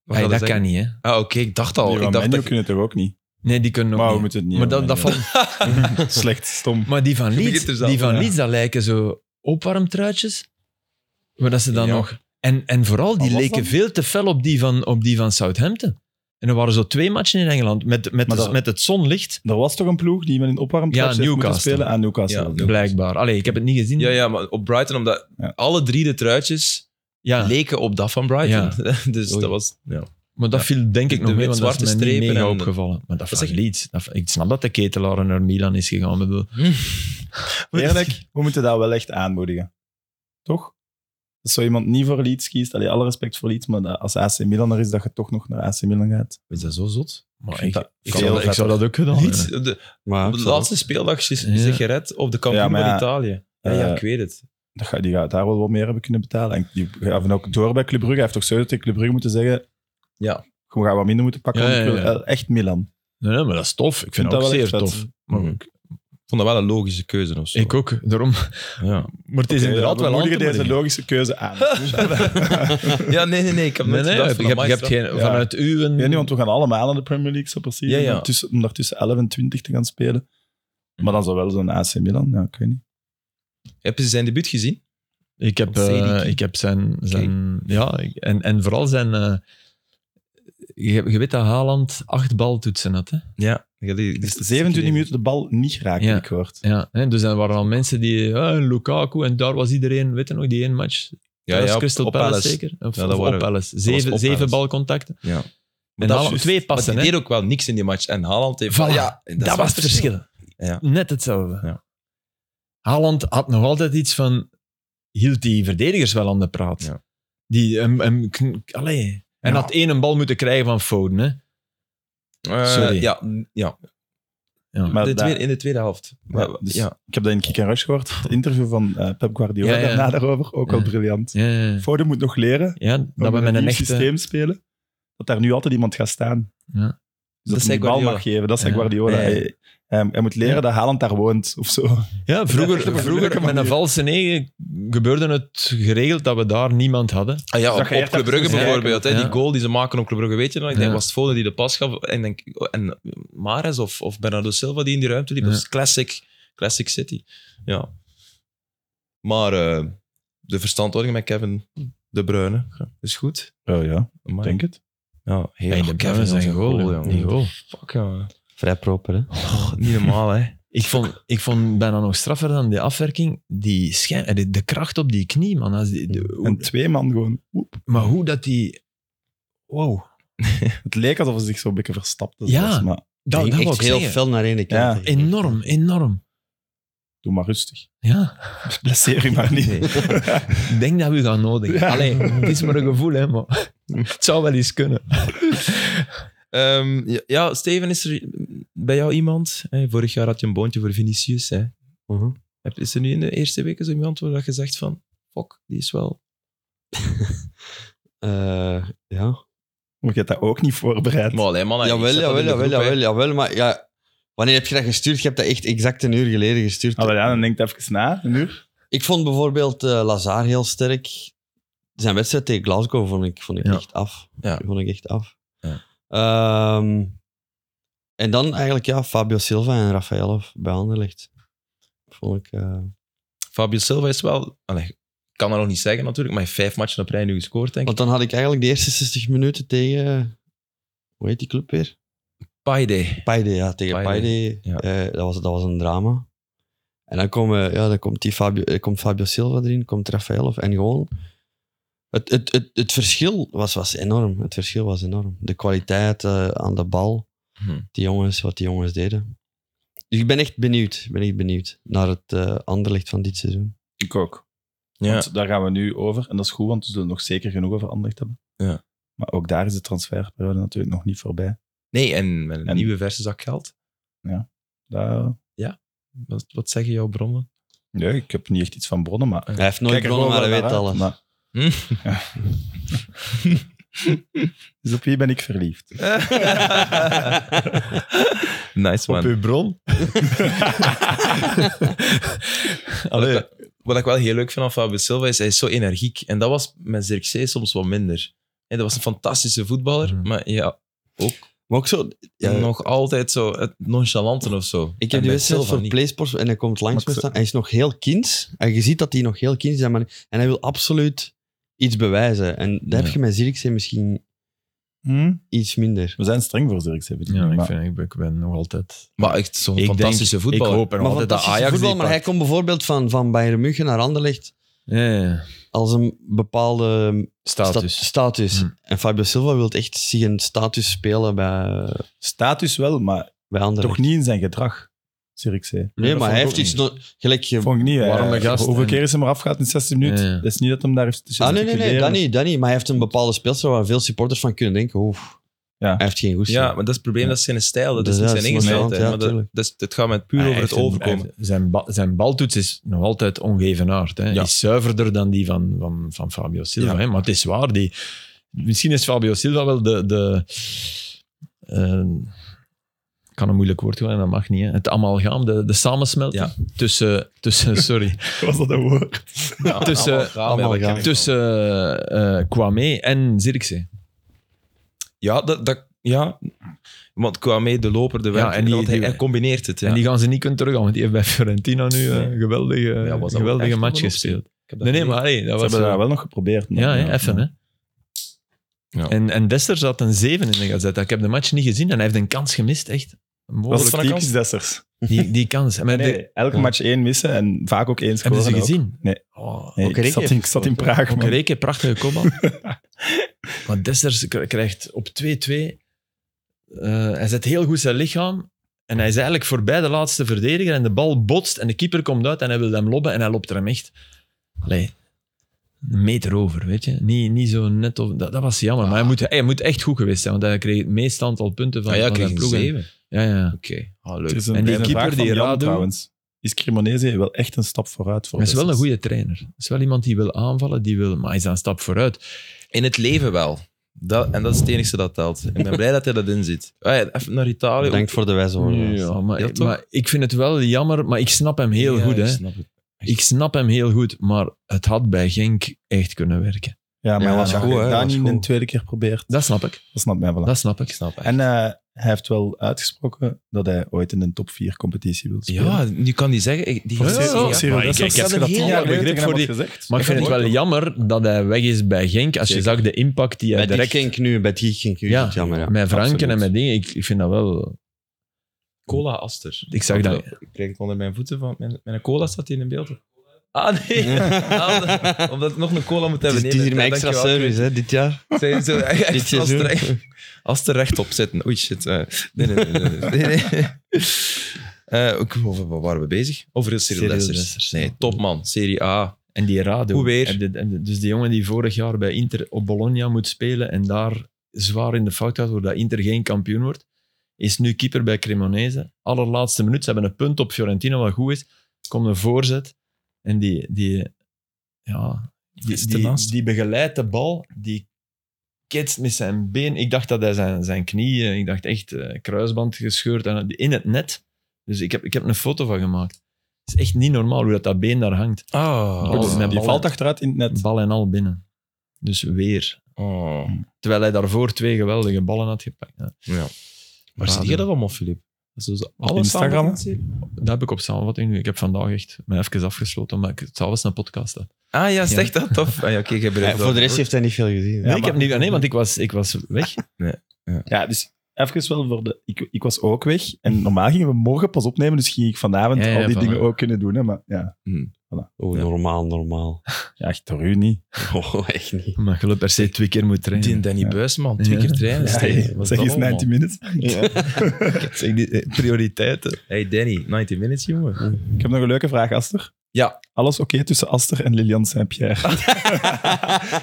Hey,
wil
dat
zeggen?
kan niet, hè.
Ah, oké, ik dacht al.
Ja,
ik dacht
Menu
dat...
kunnen het toch ook niet?
Nee, die kunnen nog
maar we
niet.
moeten het niet
maar, dat, dat
hebben,
vond,
ja. Slecht, stom.
maar die van
Je
Leeds,
begint er zelf
die van
aan.
Leeds dat lijken zo opwarmtruitjes. Maar dat ze dan
Ja.
nog... En, en vooral, die
Wat was
leken
dat?
veel te fel op die van, op die van Southampton. En er waren zo twee matchen in Engeland met, met,
Maar
de-
dat-
met het zonlicht,
Er was toch een ploeg die met een opwarmtrap
Ja,
ja, moeten
Newcastle.
spelen aan Newcastle.
Ja,
Ja,
blijkbaar. Allee, ik heb het niet gezien.
Ja, ja, maar op Brighton, omdat
Ja.
alle drie de truitjes
Ja,
leken op dat van Brighton. dus
Oei.
dat was... Ja.
maar dat
Ja.
viel denk ik
De
nog mee, want dat is
wit-zwarte
mij niet
strepen
mega
en-
opgevallen. Maar
Wat
dat van
zeg je?
Leeds. dat van- ik snap dat de ketelaar naar Milan is gegaan. ik Bedoel.
Eerlijk, we moeten dat wel echt aanmoedigen. Toch? Als zo iemand niet voor Leeds kiest, allee, alle respect voor Leeds, maar dat als AC Milan er is, dat je toch nog naar AC Milan gaat.
Is dat zo zot?
Maar
vind
ik,
dat
ik,
veel
zou, dat- ik zou dat ook gedaan
Leeds,
hebben.
op de,
Maar
op de laatste speeldag is
Ah, Ja.
zich gered op de kampioen
Ja, maar
van
ja,
Italië. Ja, ja,
eh,
ik weet het.
Dat ga, die gaat daar wel wat meer hebben kunnen betalen. En die gaven ook door bij Club Brugge. Hij heeft toch zo tegen Club Brugge moeten zeggen...
Ja.
We gaan wat minder moeten pakken,
Ja,
want ik
ja,
wil
ja.
wel echt Milan.
Nee, nee, maar dat is tof. Ik vind,
vind
dat ook
dat wel
zeer
echt vet.
tof. Maar
Mhm.
ik-
vond dat wel een logische keuze. Of zo.
Ik ook, daarom.
Ja.
Maar het is inderdaad wel aan
moedigen
te
deze
moedigen.
logische keuze aan.
ja, nee, nee, nee. Ik heb
Nee,
net
nee,
gedacht
je hebt,
van,
je hebt
amai, straf.
geen, vanuit uw...
Ik weet niet, want we gaan allemaal aan de Premier League zo precies.
Ja, ja.
Om, daar tussen, om daar tussen 11 en 20 te gaan spelen. Maar dan zou wel zo'n AC Milan, ja, ik weet niet.
Heb je zijn debuut gezien?
Ik heb,
Van
eh,
Sediki.
ik heb zijn... zijn Ja, ik- en, en vooral zijn... eh, je, je weet dat Haaland acht baltoetsen had, hè?
Ja. ja die, die
Dus
statistieken
27
die-
minuten de bal niet raken,
Ja.
ik hoort.
Ja, hè? dus er waren al mensen die... eh, Lukaku, en daar was iedereen, weet je nog, die één match?
Ja,
Palace,
ja, op-
Crystal
op
Palace,
Palace.
zeker? Of,
Ja, dat
of op
waren-
Palace.
was
Zeven,
op
zeven
Palace.
balcontacten.
Ja. Maar
En
dat is
Haaland
juist.
twee passen,
Maar
hè?
die deed ook wel niks in die match. En Haaland heeft...
Voilà.
ja,
Dat, was het verschil.
Ja.
Net hetzelfde.
Ja.
Haaland had nog altijd iets van... Hield die verdedigers wel aan de praat.
Ja.
Die hem... hem kn- allee. En had één een bal moeten krijgen van Foden. Hè.
Eh,
Sorry.
Ja, n- ja.
Ja.
Maar
de
daar-
tweede- in de tweede helft.
Ja,
Maar-
dus
ja.
Ik heb dat in Kick Rush gehoord, het interview van eh, Pep Guardiola
Ja, ja.
daarna daarover, ook wel
Ja.
briljant.
Ja, ja, ja.
Foden moet nog leren
Ja, dat
om
we
in
met een
nieuw
echte...
systeem spelen, dat daar nu altijd iemand gaat staan.
Ja.
Dus dat,
zei
hij de bal
Guardiola.
mag geven, dat zei
Ja.
Guardiola.
Ja, ja.
Hij, hij- hij moet leren
Ja.
dat Haaland daar woont, of zo.
Ja,
Ja,
vroeger,
op een leuke
vroeger met
manier.
een valse negen gebeurde het geregeld dat we daar niemand hadden.
Ah ja,
Dat
op,
je echt
op Club Brugge
even
bijvoorbeeld. Hè,
kijken.
Die goal die ze maken op Club Brugge, weet je nog? Ik denk,
Ja.
was het volgende die de pas gaf? En, ik denk, oh, en Mares of, of Bernardo Silva die in die ruimte liep.
Ja.
Dat is classic, classic City. Ja. Maar eh, de verstandhouding met Kevin De Bruyne is goed.
Oh ja,
Amai.
denk het.
Ja, heel
En
goed. Kevin
zijn
onze
goal,
goal,
jongen.
jongen.
goal.
Fuck, jongen.
Vrij proper, hè?
Oh, niet normaal, hè.
Ik vond, ik vond bijna nog straffer dan die afwerking. Die schijn, eh, de, de kracht op die knie, man. Als die, de- hoe-
En twee man gewoon. Oep.
maar hoe dat die... Wow.
Het leek alsof hij zich zo'n beetje verstapte.
Ja.
zelfs, maar
Dat, dat
Ging
wou
echt
ik
heel
zeggen.
fel naar één kant.
Ja.
hè.
Enorm, enorm.
doe maar rustig.
Ja.
Blesseer je maar niet.
Nee. Ik denk dat we gaan nodig hebben.
Ja.
Allee, het is maar een gevoel, hè, maar het zou wel eens kunnen.
Ehm, ja, ja, Steven, is er bij jou iemand? Hè, vorig jaar had je een boontje voor Vinicius. Hè. Heb- Is er nu in de eerste weken zo iemand waar je zegt van... Fuck, die is wel...
Eh, ja.
Maar je hebt dat ook niet voorbereid.
Maar allee, man, hè, ik
Jawel,
zet dat
jawel,
in de
jawel,
groep, hè.
jawel, jawel, maar ja, wanneer heb je dat gestuurd? Je hebt dat echt exact een uur geleden gestuurd.
Allee, Ah, ja, dan denk ik even na, een uur.
Ik vond bijvoorbeeld eh Lazar heel sterk. Zijn wedstrijd tegen Glasgow vond ik, vond ik
Ja.
echt af.
Ja.
Die Vond ik echt af.
Ja.
Ehm, en dan eigenlijk ja, Fabio Silva en Rafael bij Anderlecht. Vond ik... eh,
Fabio Silva is wel... allee, ik kan dat nog niet zeggen natuurlijk, maar hij heeft vijf matchen op rij nu gescoord, denk ik.
want dan had ik eigenlijk de eerste 60 minuten tegen... Hoe heet die club weer?
Paide.
Paide, ja, tegen
Paide,
Paide.
ja.
eh, dat, was, dat was een drama. En dan, komen, ja, dan komt, die Fabio, eh, komt Fabio Silva erin, komt Rafaelov en gewoon... Het, het, het, het verschil was, was enorm. Het verschil was enorm. De kwaliteit eh, aan de bal,
Hm.
die jongens, wat die jongens deden. Dus ik ben echt benieuwd, ik ben echt benieuwd naar het eh anderlicht van dit seizoen.
Ik ook.
Ja.
Want daar gaan we nu over. En dat is goed, want we zullen nog zeker genoeg over Anderlecht hebben.
Ja.
Maar ook daar is de transferperiode natuurlijk nog niet voorbij.
Nee, en met een
En-
nieuwe verse zak geld.
Daar...
Wat, wat zeggen jouw bronnen?
Nee, ik heb niet echt iets van bronnen, maar...
Hij heeft nooit
Kijk er
gewonnen, maar
gewoon
hij
wel
weet
naar
alles.
uit, maar- Dus op wie ben ik verliefd?
nice, man.
bron? Allee,
Wat, wat ik wel heel leuk vind aan Fabio Silva is, hij is zo energiek. En dat was met Zirkzee soms wat minder. En dat was een fantastische voetballer,
Mhm.
maar ja,
Maar ook zo... ja,
Mm.
nog altijd zo het nonchalante of zo.
Ik
En
heb die
bij
wedstrijd
Silva
voor
niet.
PlaySports en hij komt langs
Maar
me
ik
staan. Hij is nog heel kind. En je ziet dat hij nog heel kind is. maar- En hij wil absoluut iets bewijzen. En daar
Ja.
heb je met Zirkzee misschien
Hm?
iets minder.
We zijn streng voor Zirkzee, bedoel ik.
ja, ik,
maar-
vind, ik ben nog altijd...
Maar echt zo'n
Ik
fantastische
denk-
voetballer.
Ik hoop er
Maar,
altijd dat
fantastische
Ajax
voetbal,
die
maar hij
pakt.
komt bijvoorbeeld van, van Bayern München naar Anderlecht
Ja, ja, ja.
als een bepaalde sta-
Status.
status.
Hm.
En Fabio Silva wil echt zien status spelen bij,
Status wel, maar
bij Anderlecht.
toch niet in zijn gedrag, Zirkzee.
Nee,
dat
maar
vond
hij
ik
heeft
ook
iets...
niet.
no- gelijk je...
Vond ik niet. hè.
Warme gast
Hoeveel
en-
keer is hij maar afgehaald in 16 minuten?
Ja, ja.
Dat is niet dat hem daar heeft te
Ah, nee, nee, nee,
gesticuleren.
dat niet, dat niet. Maar hij heeft een bepaalde speelstijl waar veel supporters van kunnen denken. Oef,
Ja.
hij heeft geen goesting.
Ja, maar dat is het probleem,
Ja.
dat is geen stijl, dat is
Dus
niet
ja,
zijn
dat is
ingesteldheid.
nonchalant, ja,
maar dat,
tuurlijk.
dat, is- het gaat met puur over
Ah, Hij
het
heeft een-
overkomen.
hij heeft- zijn, ba- zijn baltoets is nog altijd ongevenaard. Hè.
Ja.
Is zuiverder dan die van, van, van Fabio Silva.
Ja.
Hè. Maar het is waar. Die, misschien is Fabio Silva wel de. de eh, ehm, kan een moeilijk woord worden, dat mag niet. Hè. Het amalgaam, de, de samensmelting
Ja.
tussen, tussen, sorry,
Was dat een woord?
Ja,
Tussen-
allemaal gaan, ja, dat ken ik wel.
tussen eh, eh, Kwame en Zirkzee.
Ja, dat, dat, ja, want Kwame, de loper, de werker,
en die-
want hij,
die-
hij combineert het. Ja.
En die gaan ze niet kunnen teruggaan, want die heeft bij Fiorentina nu
Nee.
een geweldige,
was dat ook
geweldige
echt
match
wel een
gespeeld.
Ik heb dat
Nee, nee,
geleerd.
maar hey, dat
Ze
was...
hebben
eh,
dat wel nog geprobeerd. maar-
ja, hè, even, hè.
Ja.
En, en Dessers had een 7 in de gazette. Ik heb de match niet gezien en hij heeft een kans gemist, echt.
Dat is
Mogelijk.
van een
typisch Dessers.
Die, die kans. Maar de-
Nee, elke match één missen en vaak ook één scoren.
hebben ze
ook.
gezien?
Nee.
Oh,
Nee,
Ook
ik,
Rikke
zat in,
heeft
ik zat in Praag,
Ook
man.
Reken, prachtige kopbal. maar Dessers k- krijgt op 2-2... eh, hij zet heel goed zijn lichaam. En hij is eigenlijk voorbij de laatste verdediger. En de bal botst. En de keeper komt uit en hij wil hem lobben. En hij loopt er hem echt... Allee, een meter over, weet je. Niet, niet zo net... Of, dat, dat was jammer. Maar hij moet, hij moet echt goed geweest zijn. Want hij kreeg het meeste aantal punten van,
Ah ja, ik
van
kreeg
zijn
een
ploeg. En-
zeven.
Ja, ja.
Oké, ah,
Het
leuk.
is een
En die
bijna
keeper,
vraag van
die
Jan,
Radu-
trouwens. Is Cremonese wel echt een stap vooruit
Oh,
voor
Hij is wel een
Dessers?
goede trainer. Hij is wel iemand die wil aanvallen, die wil, maar hij is dan een stap vooruit.
In het leven wel. Dat, en dat is het enige dat telt. Ik ben blij dat hij dat in zit. Ah ja, even naar Italië.
Bedankt voor de wijze woorden.
Ja, maar,
Ja, toch?
maar ik vind het wel jammer, maar ik snap hem heel
Ja,
goed.
ik
Hè.
snap het.
Ik snap hem heel goed, maar het had bij Genk echt kunnen werken.
Ja, maar
Ja,
als
dat
je
is goed, hè,
dat
dat is
niet een
goed.
tweede keer probeert,
Dat snap ik.
dat snapt mij wel. aan.
Dat snap
Ik
ik.
snap het.
En eh, hij heeft wel uitgesproken dat hij ooit in een top 4 competitie wil spelen.
ja, nu kan die zeggen... ik- Die
Ja,
gaat
ja,
zeggen,
ja.
ja.
Maar ik- ik heb
dat heel lang
begrip voor die-
gezegd.
Maar ik vind het wel jammer dat hij weg is bij Genk. Als je
Zeker.
zag de impact die hij
Bij die
direct...
ging ik nu, bij die ging ik nu.
Ja.
Ja, jammer. Ja.
met Franken
absoluut.
en met dingen, ik, ik vind dat wel...
Cola Aster.
Ik zag dat...
Ik kreeg het onder mijn voeten van... Mijn, mijn cola staat hier in beeld. Ah, nee. Ah, nee. Omdat ik nog een cola moet
Het
hebben.
is, het is hier mijn extra service, hè, dit jaar.
Zijn zo,
Dit
echt, als,
seizoen.
er echt, als er rechtop zitten. Oei, shit. eh, nee, nee, nee. nee, nee, nee. Eh, ook- over- waar waren we bezig? Over heel Cyril
Cyril
Dessers.
Dessers.
Nee, topman. Serie A.
En die Rado.
Hoe weer?
Heb je- heb je- dus die jongen die vorig jaar bij Inter op Bologna moet spelen en daar zwaar in de fout gaat doordat Inter geen kampioen wordt, is nu keeper bij Cremonese. Allerlaatste minuut, ze hebben een punt op Fiorentina, wat goed is. Komt een voorzet en die, die, ja,
Is
die,
het
die,
ernaast?
die begeleidt de bal, die ketst met zijn been. Ik dacht dat hij zijn, zijn knie, eh, ik dacht echt eh, kruisband gescheurd en eh, in het net. Dus ik heb, ik heb een foto van gemaakt. Het is echt niet normaal hoe dat, dat been daar hangt.
Ah.
Oh,
die
met ballen.
valt achteruit in het net.
Bal en al binnen. Dus weer.
Oh.
Terwijl hij daarvoor twee geweldige ballen had gepakt. Ja.
Ja. Waar
Raden.
zie je dat van, Filip?
Instagram?
Dat heb ik op samenvatting nu. Ik heb vandaag echt me even afgesloten, omdat ik s'avonds een podcast had.
Ah ja, zeg dat tof. Ah, ja, oké, jij bereikt
Ja, voor
dat.
de rest heeft hij niet veel gezien.
Nee,
Ja,
ik heb niet, nee want ik was, ik was weg.
Ja, dus even wel voor de... Ik, ik was ook weg. En normaal gingen we morgen pas opnemen, dus ging ik vanavond
Ja, ja,
al die
van-
dingen ook kunnen doen. Hè, maar ja,
Oh, normaal, normaal.
ja echt door u niet.
Oh, echt niet.
Omdat je wel per se twee keer moet trainen.
Die Danny
Ja.
Buisman, twee keer
Ja.
trainen.
Ja,
Stijn. Wat
hey,
is
zeg
dat
eens
allemaal?
19 minutes.
Zeg, die, eh, prioriteiten.
Hey Danny, 19 minutes, jongen.
Ik heb nog een leuke vraag, Aster.
Ja.
Alles oké tussen Aster en Lilian Saint-Pierre?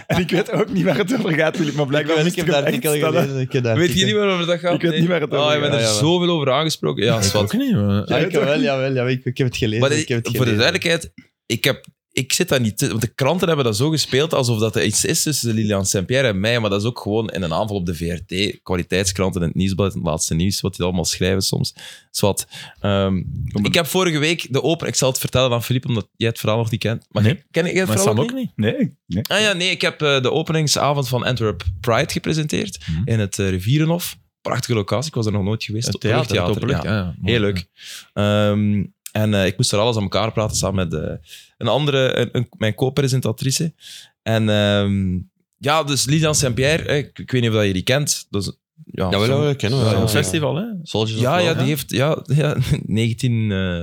en ik weet ook niet waar het over gaat, Filip, maar blijkbaar
ik
moest
heb
hem
dat
echt
artikel
stellen.
gelezen. Ik heb dat
Weet je
artikel-
niet waarover dat gaat?
Ik weet niet waar het
Oh,
over
je bent er
gaat, jawel.
zowel zoveel over aangesproken. Ja,
Ik
zwart.
ook niet, maar- Ah,
Ja, ik heb wel, jawel, jawel, ik, ik heb het gelezen.
Maar
ik heb
dit-
het
voor de
gelezen.
duidelijkheid, ik, heb, ik zit daar niet... te- Want de kranten hebben dat zo gespeeld alsof dat er iets is tussen Lilian Saint-Pierre en mij. Maar dat is ook gewoon in een aanval op de VRT. Kwaliteitskranten en het nieuwsblad, het laatste nieuws, wat die allemaal schrijven soms. Zwat. Ehm, ik heb vorige week de open... Ik zal het vertellen aan Filip, omdat jij het verhaal nog niet kent. Maar
Nee.
ken- ken jij het
Maar
verhaal
Sam
ook
ook
niet?
niet.
Nee, nee.
Ah ja, nee, ik heb eh, de openingsavond van Antwerp Pride gepresenteerd
Mhm.
in het eh, Rivierenhof. Prachtige locatie, ik was er nog nooit geweest.
Het theater, het
Openluchttheater,
openlucht,
ja.
ja, ja.
Heel leuk. Ehm, en eh, ik moest er alles aan elkaar praten samen met eh, een andere, een, een- mijn co-presentatrice. En ehm, ja, dus Lilian Saint-Pierre, eh, ik, ik weet niet of dat je die kent. Dat is, ja,
Ja, wel,
zo'n-
wel, ik ken hem
Dat
wel.
is een
ja.
festival, hè?
Soldiers of
ja, ja,
Love,
die heeft ja, ja,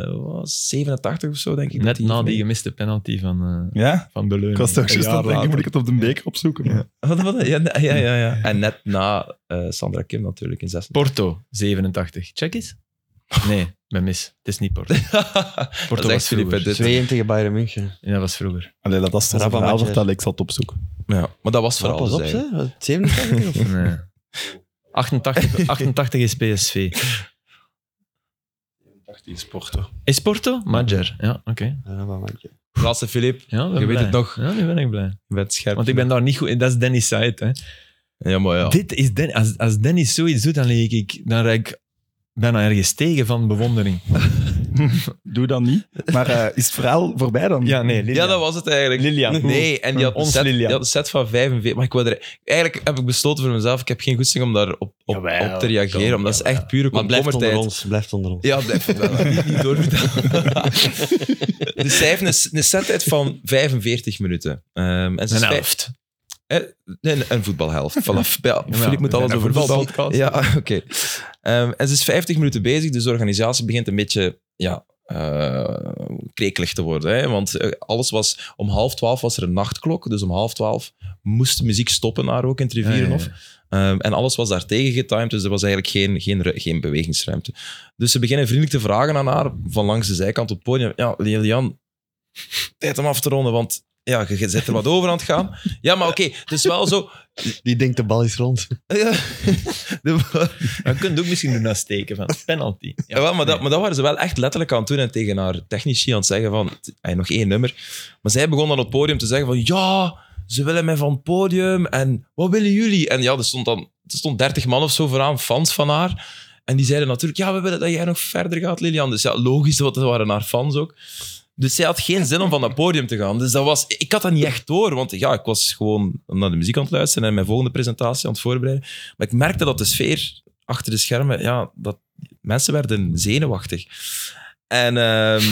1987 of zo, denk ik. dat
Net
die
na
heeft
die
mee-
gemiste penalty van, eh
Ja?
van Beleuning.
Ik was toch
Een
juist
jaar
aan het denken,
later.
moet ik het op de beker opzoeken? maar-
Wat, wat, ja, ja, ja, ja, ja. En net na eh, Sandra Kim natuurlijk in 86.
Porto, 87. Check eens. Nee, mijn mis. Het is niet Porto. Porto
Dat is echt
was
Philippe,
vroeger.
dit.
Tweeën tegen Bayern München.
Ja, dat was vroeger.
Allee, dat Aster zijn
Rafa
verhaal
Mathieu.
vertellen, ik zal het opzoeken.
Ja, maar dat was
Maar
vooral
pas op,
dus
hè.
eigenlijk.
Wat, 87 of...
Nee. 88, 88 is PSV.
Dacht die sporten.
Is Porto? Majer. Ja, oké.
Ja, wat maak je?
Laatste Filip,
Ja, ben
Je weet
blij.
het nog.
Ja, nu ben ik blij.
je bent scherp.
Want ik ben daar niet goed in. Dat is Dennis Said. Hè.
Ja, maar ja.
Dit is Den als, als Dennis zoiets doet, dan, lig ik, dan rijd ik bijna ergens tegen van bewondering.
Doe dat niet. Maar eh, is het verhaal voorbij dan?
Ja, nee, Lilian.
Ja, dat was het eigenlijk.
Lilian.
Nee, en die had, een
Ons
set, die
Lilian.
had een set van 45. Maar ik wou er, eigenlijk heb ik besloten voor mezelf, ik heb geen goesting om daar op, op,
Jawel,
op te reageren. Omdat dat is echt pure
Maar blijft onder
komkommertijd.
ons. Blijft onder ons.
Ja, blijf wel. Niet, niet doorvertellen. dus zij heeft een, een settijd van 45 minuten. Ehm, en ze
Een
is vij-
helft.
Eh, Nee, een, een voetbalhelft. Vanaf, ja,
Ja,
Filip moet
we
alles
zijn een
over voetbal.
voetbalpodcast.
Ja, oké. Ehm, en ze is 50 minuten bezig, dus de organisatie begint een beetje ja, eh, krekelig te worden. Hè? Want eh, alles was, om half twaalf was er een nachtklok, dus om half twaalf moest de muziek stoppen daar ook in het Rivierenhof. Ehm, en alles was daartegen getimed, dus er was eigenlijk geen, geen, ru- geen bewegingsruimte. Dus ze beginnen vriendelijk te vragen aan haar, van langs de zijkant op het podium. Ja, Lilian, tijd om af te ronden, want ja, je je zit er wat over aan het gaan. Ja, maar oké, het is wel zo...
Die denkt de bal is rond.
Ja. De-
Dan kun je ook misschien doen als steken van penalty.
Ja, wel, maar, dat, maar dat waren ze wel echt letterlijk aan het doen en tegen haar technici aan het zeggen van, t- hey, nog één nummer. Maar zij begon dan op het podium te zeggen van, ja, ze willen mij van het podium en wat willen jullie? En ja, er stond dan er stond 30 man of zo vooraan, fans van haar. En die zeiden natuurlijk, ja, we willen dat jij nog verder gaat, Lilian. Dus ja, logisch, want dat waren haar fans ook. Dus zij had geen zin om van dat podium te gaan. Dus dat was, ik had dat niet echt door, want ja, ik was gewoon naar de muziek aan het luisteren en mijn volgende presentatie aan het voorbereiden. Maar ik merkte dat de sfeer achter de schermen, ja, dat, mensen werden zenuwachtig. En ehm,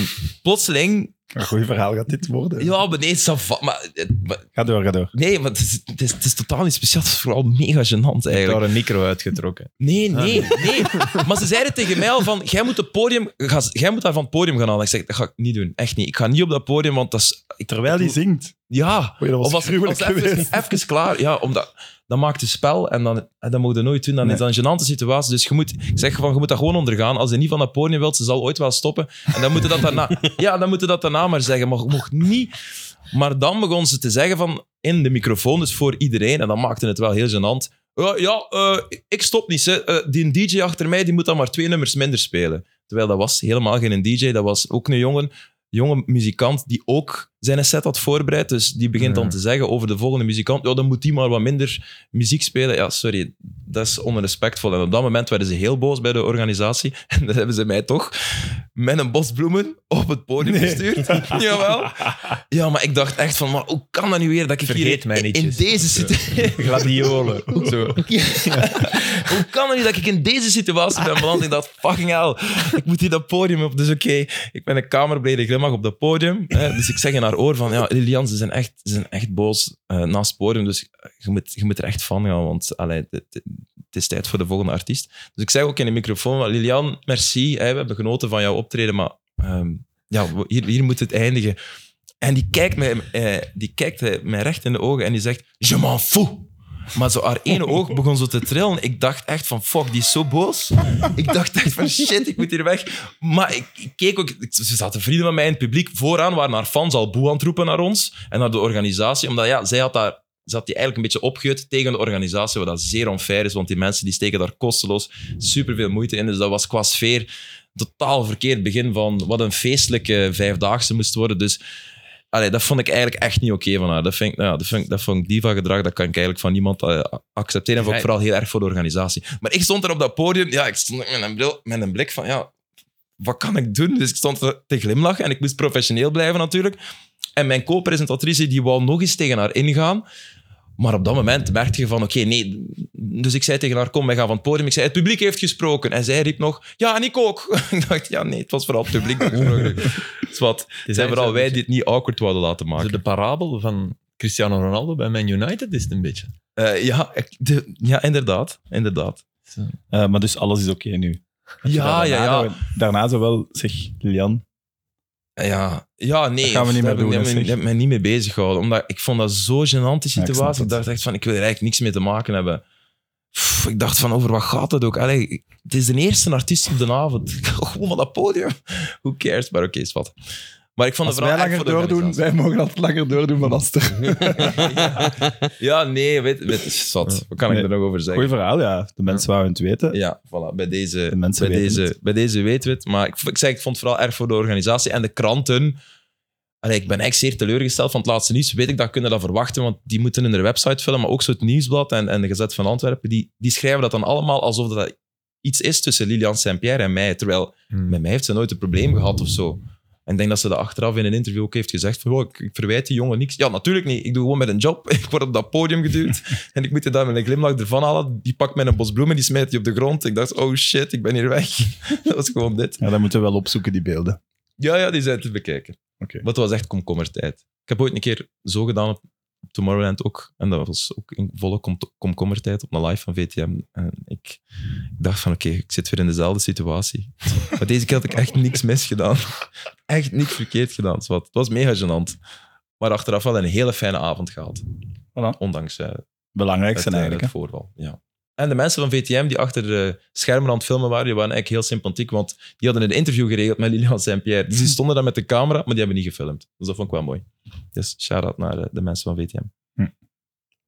plotseling,
Een goed verhaal gaat dit worden.
ja, beneden, ça va, maar, eh, maar-
Ga door, ga door.
nee, maar het is, het, is, het is totaal niet speciaal. Het is vooral mega gênant
Ik heb
eigenlijk.
daar een micro uitgetrokken.
Nee, nee, nee. Maar ze zeiden tegen mij al van, jij moet, het podium, ga- jij moet daar van het podium gaan halen. Ik zeg, dat ga ik niet doen. Echt niet. Ik ga niet op dat podium, want dat is... Ik,
Terwijl die zingt.
Ja.
Oei, dat was
Of was,
gruwelijk
was even,
geweest.
even klaar. Ja, omdat... Dan maakt het spel en dan, en dat moet je nooit doen. Dan is dat een gênante situatie. Dus je moet, ik zeg van, je moet dat gewoon ondergaan. Als je niet van dat podium wilt, ze zal ooit wel stoppen. En dan moeten dat daarna, ja, dan moeten dat daarna maar zeggen. Maar je mocht niet. Maar dan begon ze te zeggen van in de microfoon, dus voor iedereen. En dan maakte het wel heel gênant. Ja, ja eh, ik stop niet. Hè. Eh, die DJ achter mij die moet dan maar twee nummers minder spelen. Terwijl dat was helemaal geen DJ. Dat was ook een jongen, jonge muzikant die ook zijn set had voorbereid. Dus die begint dan te zeggen over de volgende muzikant. Ja, dan moet die maar wat minder muziek spelen. Ja, sorry, dat is onrespectvol. En op dat moment werden ze heel boos bij de organisatie. En dat hebben ze mij toch met een bos bloemen op het podium gestuurd. Jawel. Ja, maar ik dacht echt van, maar hoe kan dat nu weer dat ik
Vergeet
hier
mij
in,
niet,
in
Jesse.
deze situatie...
Gladiolen. Zo.
hoe kan dat nu dat ik in deze situatie ben beland? Ik dacht, fucking hell, ik moet hier dat podium op. Dus oké, ik ben een kamerbrede glimlach op dat podium. Hè. Dus ik zeg in haar oor van, ja, Lilian, ze zijn echt, ze zijn echt boos eh, naast het podium. Dus je moet, je moet er echt van gaan, want allee, het, het- het is tijd voor de volgende artiest. Dus ik zeg ook in de microfoon, van, Lilian, merci, hè, we hebben genoten van jouw optreden, maar ehm, ja, we- hier, hier moet het eindigen. En die kijkt, mij, eh, die kijkt eh, mij recht in de ogen en die zegt, je m'en fous. Maar zo haar ene oog begon zo te trillen. Ik dacht echt van, fuck, die is zo boos. Ik dacht echt van, shit, ik moet hier weg. Maar ik, ik keek ook... ik- Ze zaten vrienden van mij in het publiek. Vooraan waren haar fans al boe aan het roepen naar ons en naar de organisatie. Omdat ja, zij had daar... Ze had die eigenlijk een beetje opgeut tegen de organisatie, wat dat zeer onfair is, want die mensen die steken daar kosteloos superveel moeite in. Dus dat was qua sfeer totaal verkeerd begin van wat een feestelijke vijfdaagse moest worden. Dus Allee, dat vond ik eigenlijk echt niet oké van haar. Dat, vind ik, nou ja, dat, vind ik, dat vond ik diva-gedrag, dat kan ik eigenlijk van niemand eh, accepteren. En vond ik
Zij-
vooral heel erg voor de organisatie. Maar ik stond er op dat podium, ja, ik stond met een, bril, met een blik van, ja, wat kan ik doen? Dus ik stond er te glimlachen en ik moest professioneel blijven natuurlijk. En mijn co-presentatrice, die wou nog eens tegen haar ingaan. Maar op dat moment merkte je van, oké, nee. Dus ik zei tegen haar, kom, wij gaan van het podium. Ik zei, het publiek heeft gesproken. En zij riep nog, ja, en ik ook. ik dacht, ja, nee, het was vooral het publiek dat gesproken heeft. Dus wat, het zijn vooral wij die het niet awkward wilden laten
Zo
maken.
de parabel van Cristiano Ronaldo bij Man United is het een beetje.
Eh, ja, ik- de- ja, inderdaad. inderdaad.
Eh, maar dus alles is oké nu.
Ja, ja, ja.
Daarna, daarna zo wel, zeg, Lilian.
Ja, ja nee.
Dat gaan we niet
daar
meer
heb Ik
doen, hè,
heb me-
zeg.
heb me niet mee bezig gehouden. Omdat ik vond dat zo'n gênante
snap
situatie. ik
het.
dacht echt van, ik wil er eigenlijk niks mee te maken hebben. Pff, ik dacht van, over wat gaat het ook? Allee, ik- het is de eerste artiest op de avond. Gewoon van dat podium. Who cares? Maar oké, is wat. Maar ik vond
Als
het
wij
vooral
langer
echt voor de
doordoen,
organisatie.
wij mogen altijd langer doordoen van Aster.
Ja, nee, weet, weet, zat. Wat kan ik
Nee.
er nog over zeggen?
Goeie verhaal, ja. De mensen wouden het weten.
Ja, voilà. Bij deze,
De mensen
bij
weten
deze,
het.
bij deze weten we het. Maar ik, ik zei, ik vond het vooral erg voor de organisatie en de kranten. Allee, ik ben echt zeer teleurgesteld van het laatste nieuws. Weet ik dat, kunnen dat verwachten, want die moeten hun website vullen. Maar ook zo het Nieuwsblad en, en de Gezet van Antwerpen, die, die schrijven dat dan allemaal alsof dat iets is tussen Lilian Saint-Pierre en mij. Terwijl met mij heeft ze nooit een probleem gehad of zo. En ik denk dat ze dat achteraf in een interview ook heeft gezegd. Van, "Oh, ik, ik verwijt die jongen niks. Ja, natuurlijk niet. Ik doe gewoon met een job. Ik word op dat podium geduwd. en ik moet er daar met een glimlach ervan halen. Die pakt mij een bos bloemen, die smijt die op de grond. Ik dacht, oh shit, ik ben hier weg. dat was gewoon dit.
Ja, dat moeten we wel opzoeken, die beelden.
Ja, ja, die zijn te bekijken.
Oké.
Maar het was echt komkommertijd. Ik heb ooit een keer zo gedaan op Tomorrowland ook. En dat was ook in volle kom komkommertijd op een live van VTM. En ik dacht van, oké, ik zit weer in dezelfde situatie. maar deze keer had ik echt niks misgedaan. echt niks verkeerd gedaan. Zwat. Het was mega gênant. Maar achteraf wel een hele fijne avond gehad.
Voilà.
Ondanks eh,
Belangrijk
het,
zijn
eh,
eigenlijk.
het voorval. Ja. En de mensen van VTM die achter de schermen aan het filmen waren, die waren eigenlijk heel sympathiek, want die hadden een interview geregeld met Lilian Saint-Pierre. Dus die stonden daar met de camera, maar die hebben niet gefilmd. Dus dat vond ik wel mooi. Dus shout-out naar eh, de mensen van VTM.
hè.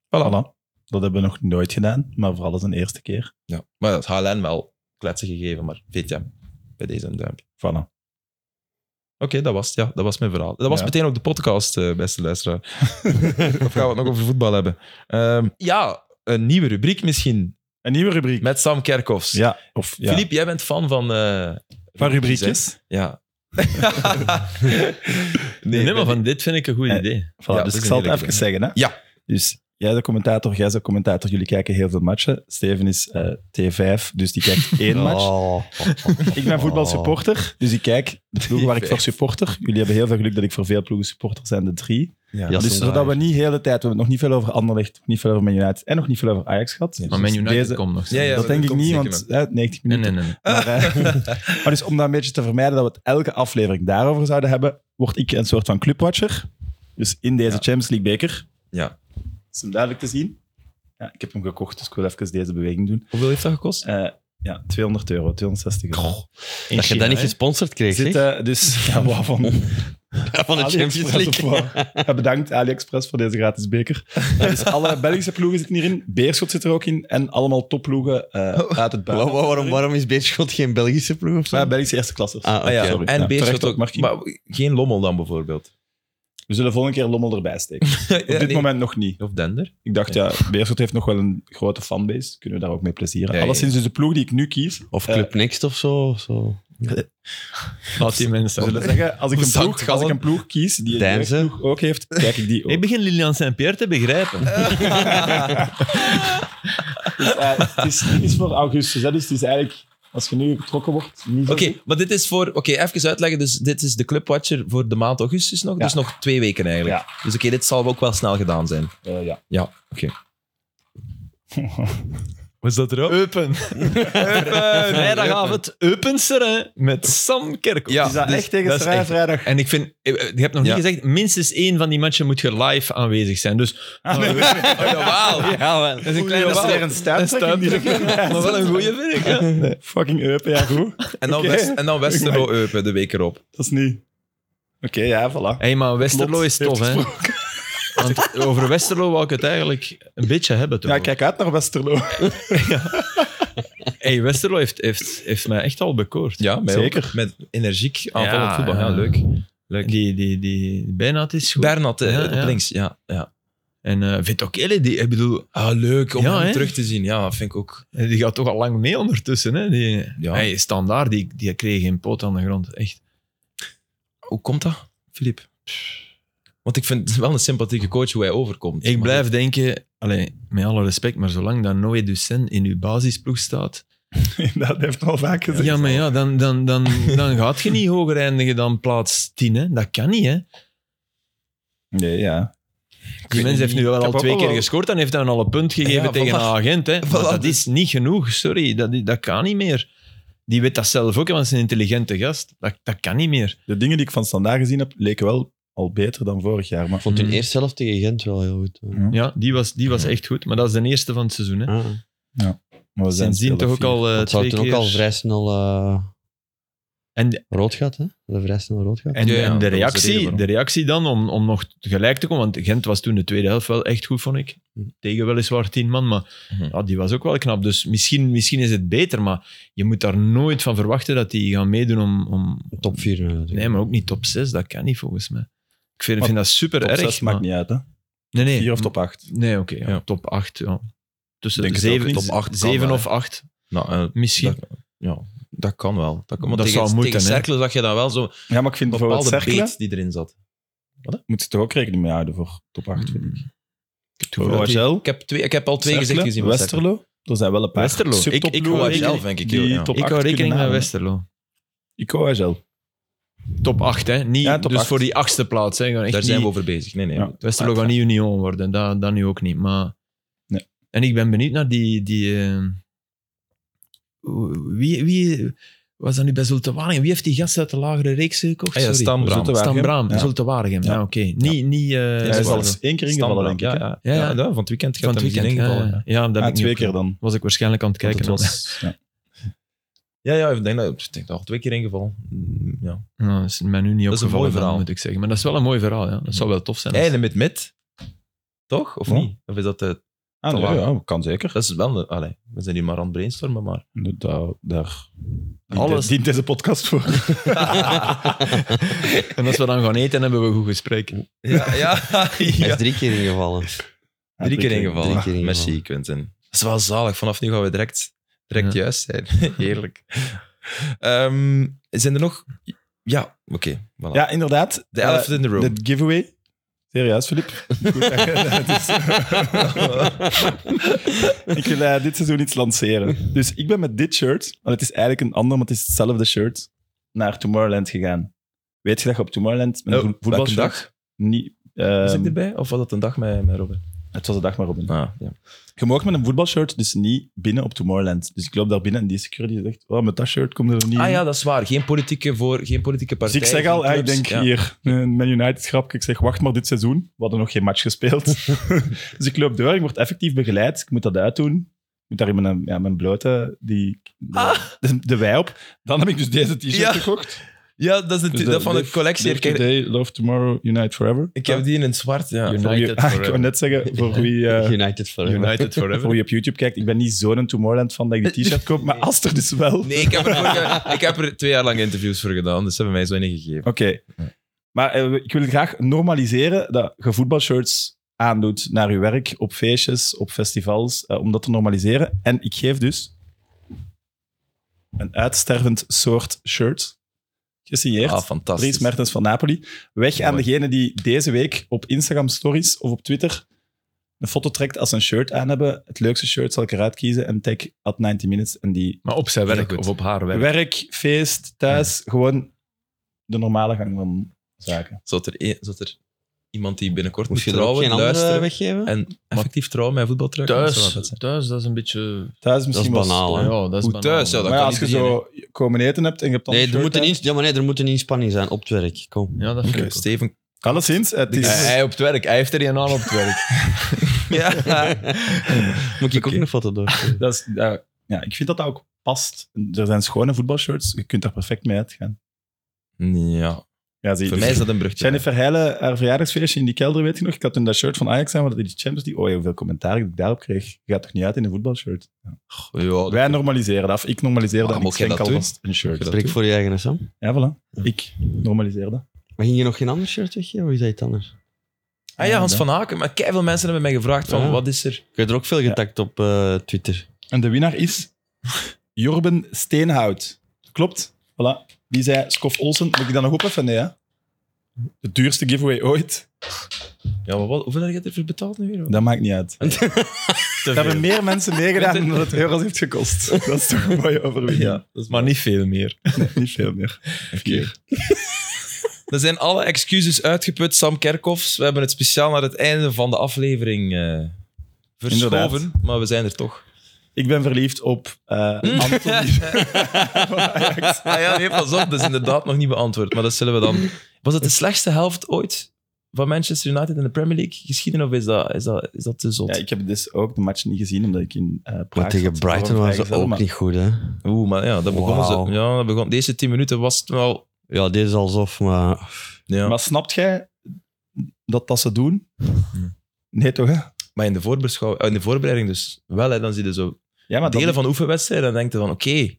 Voilà. Dat hebben we nog nooit gedaan, maar vooral als een eerste keer.
Ja. Maar dat had HLN wel kletsen gegeven, maar VTM, bij deze een duimpje.
Voilà.
Oké, dat was het. Ja, dat was mijn verhaal. Dat was
Ja.
meteen ook de podcast, eh, beste luisteraar. of gaan we het nog over voetbal hebben? Ehm, ja, een nieuwe rubriek misschien,
Een nieuwe rubriek.
met Sam Kerkhoffs.
Ja, of ja.
Filip, jij bent fan van... eh,
Van
hè?
rubriekjes.
Ja.
Nee, maar
ben-
van dit vind ik een goed
Eh,
idee.
Voilà,
Ja, dat is
dus ik
een
zal het
heerlijke
even zeggen. Hè?
Ja.
Dus jij de commentator, jij de commentator. Jullie kijken heel veel matchen. Steven is eh, T5, dus die kijkt één
Oh.
match.
Oh.
Ik ben voetbalsupporter, dus ik kijk de ploegen waar ik voor supporter. Jullie hebben heel veel geluk dat ik voor veel ploegen supporter zijn, de drie.
Ja.
Ja.
dus
Assendraai.
zodat we niet de hele tijd, we hebben nog niet veel over Anderlecht, nog niet veel over Man United en nog niet veel over Ajax gehad.
Maar Man
Dus
United
deze-
komt nog.
Ja, ja.
dat denk ik
komt
niet,
zeker
want hè, 90
Nee,
minuten.
nee, nee.
Maar, eh, maar dus om dat een beetje te vermijden dat we het elke aflevering daarover zouden hebben, word ik een soort van clubwatcher. Dus in deze
Ja.
Champions League beker.
Ja.
Is hem duidelijk te zien? Ja, ik heb hem gekocht, dus ik wil even deze beweging doen.
Hoeveel heeft dat gekost?
Eh, ja, 200 euro, 260 euro.
Dat je dat niet gesponsord kreeg,
Zit,
zeg.
eh, dus ja, wat van
van de Champions
AliExpress
League.
of wat? Ja, bedankt AliExpress voor deze gratis beker. Ja, dus alle Belgische ploegen zitten hierin. Beerschot zit er ook in. En allemaal topploegen eh, uit het
Wa-
buitenland.
wa- waarom, waarom is Beerschot geen Belgische ploeg of zo?
Ja, Belgische eerste klassers.
Ah, oké.
Ah, ja.
sorry.
En
Ja,
Beerschot
terecht ook,
ook.
Markie.
Maar geen Lommel dan bijvoorbeeld.
We zullen volgende keer Lommel erbij steken. Op
Op
dit moment nog niet.
Of Dender.
Ik dacht, ja, Beerschot heeft nog wel een grote fanbase. Kunnen we daar ook mee plezieren.
Ja, ja,
Alleszins dus de ploeg die ik nu kies.
Of Club Next of zo. zo.
Laat die
We
mensen
zullen zeggen, als ik een
Zou het
ploeg, als ik
gewoon-
een ploeg kies die een
Deinzen.
ploeg ook heeft, kijk ik die ook.
Ik begin Lilian Saint-Pierre te begrijpen.
Dus, eh, het, is, het is voor augustus, hè, dus het is eigenlijk, als je nu getrokken wordt, niet zo
Oké,
goed.
maar dit is voor... Oké, even uitleggen. Dus dit is de Clubwatcher voor de maand augustus nog. Dus nog twee weken eigenlijk. Dus oké, dit zal ook wel snel gedaan zijn.
Eh, ja.
Ja, oké. Was dat erop?
Eupen. Vrijdagavond, Eupenster met Sam Kerkhoff.
Ja,
is dat
dus
echt tegen
dat is
Serijn
echt-
vrijdag?
En ik vind, je hebt nog
Ja.
niet gezegd, minstens één van die matchen moet je live aanwezig zijn. Dus
Ja, wel.
dat is een kleine
dat is weer
stap.
een stuiptrekking. die ik-
Maar wel een goede vind ik. hè.
Nee, Fucking Eupen, ja goed.
En dan,
Oké.
West, en dan Westerlo Eupen de week erop.
Dat is niet... Oké, ja, voilà.
Hey, maar Westerlo
Lot
is tof,
heeft
hè? Want over Westerlo wou ik het eigenlijk een beetje hebben. Toch?
Ja, kijk uit naar Westerlo.
Hey, Westerlo heeft, heeft, heeft mij echt al bekoord.
Ja, mij ook.
Zeker.
Met energiek aanvallend
Ja,
voetbal. Ja,
ja.
leuk.
Die, die, die bijna is goed.
Bernat eh,
Ja,
op
ja.
links, ja. ja.
en eh Vitokele, die, ik bedoel,
Ah, leuk om
Ja,
hem
hè?
terug te zien. Ja, dat vind ik ook.
die gaat toch al lang mee ondertussen. Hè? Die,
Ja.
hey, standaard, die, die kreeg geen poot aan de grond. Echt.
Hoe komt dat, Filip? Want ik vind het wel een sympathieke coach hoe hij overkomt.
Ik
Maar
blijf denken, allee, met alle respect, maar zolang dat Noé Ducen in uw basisploeg staat,
dat heeft al vaak gezegd.
ja, maar ja, dan, dan, dan, dan gaat je niet hoger eindigen dan plaats 10. Hè? Dat kan niet, hè?
Nee, ja.
Die
weet
mens heeft
niet.
nu wel
Ik
al
heb
twee
ook
keer
wel-
gescoord en heeft dan al een punt gegeven
Ja,
tegen
voilà.
een agent. Hè. Maar
Voilà,
dat
dus-
is niet genoeg, sorry. Dat, dat kan niet meer. Die weet dat zelf ook, want het is een intelligente gast. Dat, dat kan niet meer.
De dingen die ik van standaard gezien heb, leken wel al beter dan vorig jaar. Maar
Ik vond hun
Mm.
eerst zelf tegen Gent wel heel goed.
Ja, die was, die was echt goed, maar dat is de eerste van het seizoen. Hè.
Ah.
Maar we zijn
Sindsdien toch
spelen
ook al eh,
Dat zou
twee
toen
keer...
ook al vrij snel eh,
En,
rood gaat, hè? Dat vrij snel rood gaat.
en,
Ja, ja,
en
dat was
de,
de reden
reactie,
waarom.
de reactie dan, om, om nog gelijk te komen, want Gent was toen de tweede helft wel echt goed, vond ik. Tegen weliswaar tien man, maar
Mhm.
ja, die was ook wel knap. Dus misschien, misschien is het beter, maar je moet daar nooit van verwachten dat die gaan meedoen om, om,
Top eh, 4.
Nee, maar ook niet top 6, dat kan niet volgens mij. Ik vind, vind dat super
Top
erg.
zes
maar-
maakt niet uit, hè?
Nee, nee.
Vier of top acht.
Nee, oké. ja.
Ja.
Top 8. Ja. Tussen
Denk het ook
zeven,
niet.
top
Top
acht kan
7
wel,
of 8.
Nou, eh,
Misschien.
Dat, ja, dat kan wel. Dat, kan, want
Dat
tegen,
zou moeten,
tegen
hè.
Cercle zag je dan wel zo'n
Ja, maar ik vind bijvoorbeeld
bepaalde
cirkelen,
beet die erin zat.
moet ze toch ook rekening mee houden voor top 8, vind ik. Voor
dat die-
OHL,
Ik heb, twee, ik heb al twee gezichten
Cercle,
gezien. met Cercle.
Westerlo, er zijn wel een paar
Westerlo. Ik- ik
subtopploegen
OHL,
die-
denk ik,
die
ja.
top
Ik hou
acht
rekening
kunnen
met
halen.
Westerlo.
Ik OHL.
Top 8, hè? Niet,
Ja, top
dus
acht.
voor die achtste plaats. Hè. Gewoon echt
Daar zijn we
niet-
over bezig. Nee, nee.
Ja.
Westerlo gaat niet Union worden, dat, dat nu ook niet. Maar...
Nee.
En ik ben benieuwd naar die... die eh, Wie, wie was dat nu bij Zulte Waregem? Wie heeft die gast uit de lagere reeks gekocht?
Ah ja,
Sorry.
Stan Braam.
Zulte
Stan Braam,
Ja.
Zulte Waregem. Ja,
Ja.
oké. Niet... niet eh,
Hij is
Westerlo.
al eens één keer ingevallen, denk ik. hè?
Ja, ja.
Ja, ja.
Ja, van het weekend
van
gaat
het
hij misschien
weekend.
ingevallen.
Ja, ja, dat heb
Ah,
ik niet
twee keer
opgelet.
dan.
Was ik waarschijnlijk aan het
Want
kijken.
het was- ja.
Ja, ja, ik denk dat ik denk dat al twee keer ingevallen. Mm, Ja.
Nou, dat is mij nu niet
Dat is een
opgevallen,
mooi verhaal.
moet ik zeggen. Maar dat is wel een mooi verhaal, ja. Dat zou wel tof zijn. als-
Eilen met mid. Toch? Of
Ja.
niet? Of is dat... eh,
Ah, nee,
Te laag.
ja, kan zeker.
dat is wel... een- Allee, we zijn hier maar aan het brainstormen, maar...
Daar, daar
Alles.
Alles. dient deze podcast voor.
En als we dan gaan eten, hebben we een goed gesprek.
Ja, ja.
Hij is drie keer ingevallen.
Drie keer ingevallen.
Drie keer ingevallen.
Merci, Quentin. Dat is wel zalig. Vanaf nu gaan we direct, direct
Ja.
juist zijn. Heerlijk. Ehm, zijn er nog... Ja, oké. voilà.
Ja, inderdaad. Eh,
De Oh, elephant in the room.
De giveaway. Serieus, Filip? Goed dat je- het is- ik wil eh, dit seizoen iets lanceren. Dus ik ben met dit shirt, want het is eigenlijk een ander, maar het is hetzelfde shirt, naar Tomorrowland gegaan. Weet je dat je op Tomorrowland met een
Oh,
vo- voetbalshirt...
welke dag?
Niet, ehm,
Was ik erbij? Of was dat een dag met, met Robin?
het was de dag maar op.
Ah, ja.
Je mag met een voetbalshirt dus niet binnen op Tomorrowland. Dus ik loop daar binnen en die security zegt, oh, met dat shirt kom je er niet
ah
in."
ja, dat is waar. Geen politieke, voor, geen politieke
Dus
partij.
ik zeg al,
geen
ah, ik
clubs.
denk
Ja.
hier, een Man United grapje. Ik zeg, wacht maar dit seizoen. We hadden nog geen match gespeeld. dus ik loop door, ik word effectief begeleid. Ik moet dat uitdoen. Ik moet daar in mijn, ja, mijn blote, die, de, de, de wei op. Dan heb ik dus deze t-shirt
Ah. Ja,
gekocht.
Ja, dat is
Dus
natuurlijk dat van de
live-
collectie.
live
herken-
today, love tomorrow, unite forever.
Ik heb die in het zwart, ja.
United
Voor wie-
United
Ah, ik
forever.
wou net zeggen, voor wie, eh,
United forever.
United
voor
forever.
wie op YouTube kijkt, ik ben niet zo'n Tomorrowland fan dat ik die t-shirt koop, maar als er dus wel...
Nee, ik heb, er vorige- ik heb er twee jaar lang interviews voor gedaan, dus ze hebben mij zo ingegeven.
Oké. Maar eh, ik wil graag normaliseren dat je voetbalshirts aandoet naar je werk, op feestjes, op festivals, eh, om dat te normaliseren. En ik geef dus een uitstervend soort shirt, gesigneerd,
Ah,
Dries
fantastisch.
Mertens van Napoli, weg aan
Mooi.
degene die deze week op Instagram stories of op Twitter een foto trekt als ze een shirt aan hebben. Het leukste shirt zal ik eruit kiezen en tag at 90 minutes en die
Maar op zijn werk
goed.
of op haar werk.
werk, feest, thuis, gewoon de normale gang van zaken.
Zodat er, een- zodat er iemand die binnenkort moet
Moet je er ook
trouwen,
geen andere
luisteren
weggeven?
en effectief trouwen met voetbaltruik. dat zou wel vet
Thuis,
zijn.
thuis, dat is een beetje...
Thuis is
Dat is
misschien wel-
banaal, hè?
Ja, dat is
Hoe
banaal.
thuis, ja, dat
maar
kan
ja, als je
iedereen,
zo komen eten hebt en je hebt dan
Nee,
een
er
shirt
moet een
aan-
ins- ja, maar nee, er moet een inspanning zijn op het werk. Kom.
Ja, dat vind ik ook.
Steven.
Alleszins, het is...
Eh, Hij op het werk, hij heeft er een aan op het werk.
Moet ik ook een foto door?
dat is ja, ja, ik vind dat dat ook past. Er zijn schone voetbalshirts, je kunt daar perfect mee uitgaan.
Ja,
Ja, zie je.
voor
Dus
mij is dat een brugje.
Jennifer Heijlen, haar verjaardagsfeestje in die kelder, weet je nog? Ik had toen dat shirt van Ajax aan, maar dat in die Champions League... Oh ja, hoeveel commentaar ik daarop kreeg. Je gaat toch niet uit in een voetbalshirt?
Ja, Oh, dat-
Wij normaliseren dat, of ik normaliseer dat.
Maar
en
moet
Ik
jij
schenk
dat doen?
alvast een shirt.
Dat
Spreek voor je eigen, hè, Sam.
Ja, voilà. Ik normaliseer dat.
Maar ging je nog geen ander shirt weggeven? Of is dat iets anders?
Ah ja, Hans van Haken. Maar veel mensen hebben mij gevraagd van,
Ja.
wat is er?
Ik heb er ook veel getakt op eh, Twitter.
En de winnaar is Jorben Steenhout. Klopt. Voilà. Die zei Scoff Olsen. Moet ik dat nog op even? Nee, hè? De duurste giveaway ooit.
Ja, maar wat, hoeveel heb je ervoor betaald nu weer?
Dat maakt niet uit. Er hebben meer mensen meegedaan dan
Quinten.
dat het euro's heeft gekost. Dat is toch een mooie overwinning.
Ja, dat is
Maar niet veel meer.
Nee, niet veel meer. Vier.
Er zijn alle excuses uitgeput, Sam Kerkhoffs. We hebben het speciaal naar het einde van de aflevering eh verschoven.
Inderdaad.
Maar we zijn er toch.
Ik ben verliefd op eh Anthony.
ah ja, nee, pas op. Dat is inderdaad nog niet beantwoord. Maar dat zullen we dan... Was het de slechtste helft ooit van Manchester United in de Premier League geschieden? Of is dat, is dat, is dat te zot?
ja, ik heb dus ook de match niet gezien, omdat ik in eh Praag
Maar tegen
zat.
Brighton
Waarom
waren ze
vrijgezel,
ook
maar-
niet goed, hè?
Oeh, maar ja, dat begonnen
Wauw.
ze. Ja, dat begon, deze tien minuten was het wel...
Ja, dit is alsof, maar...
Ja.
Maar snapt jij dat dat ze doen? Nee, toch? Hè?
Maar in de, voorbeschouw- eh, in de voorbereiding dus wel. Hè, dan zie je zo
Ja, maar
delen
dat,
van oefenwedstrijden. Dan denk je van, oké,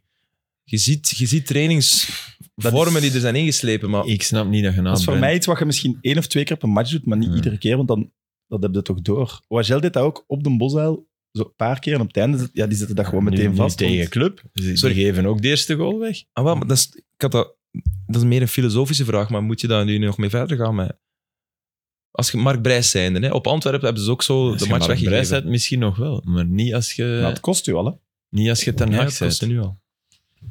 je, ziet, je ziet trainingsvormen
is-
die er zijn ingeslepen. Maar
Ik snap niet dat je
Dat is voor
bent.
mij iets wat je misschien één of twee keer op een match doet, maar niet
Ja.
iedere keer, want dan dat heb je toch door. OHL deed dat ook op de Bosuil zo een paar keer en op het einde, ja, die zitten daar gewoon meteen
nu,
vast.
Nu tegen
want-
club. Ze
Sorry.
geven ook de eerste goal weg.
Ah, wel, maar dat is, ik had dat, dat is meer een filosofische vraag, maar moet je daar nu nog mee verder gaan? Met, als je Mark Brijs zijnde, hè, op Antwerpen hebben ze ook zo
Als
de
je
match
maar op reis
weggegeven. Nou,
bent, misschien nog wel, maar niet als je,
Ja, Nou, het kost u al, hè.
niet als je ten
Ja,
ja,
dat kostte nu al.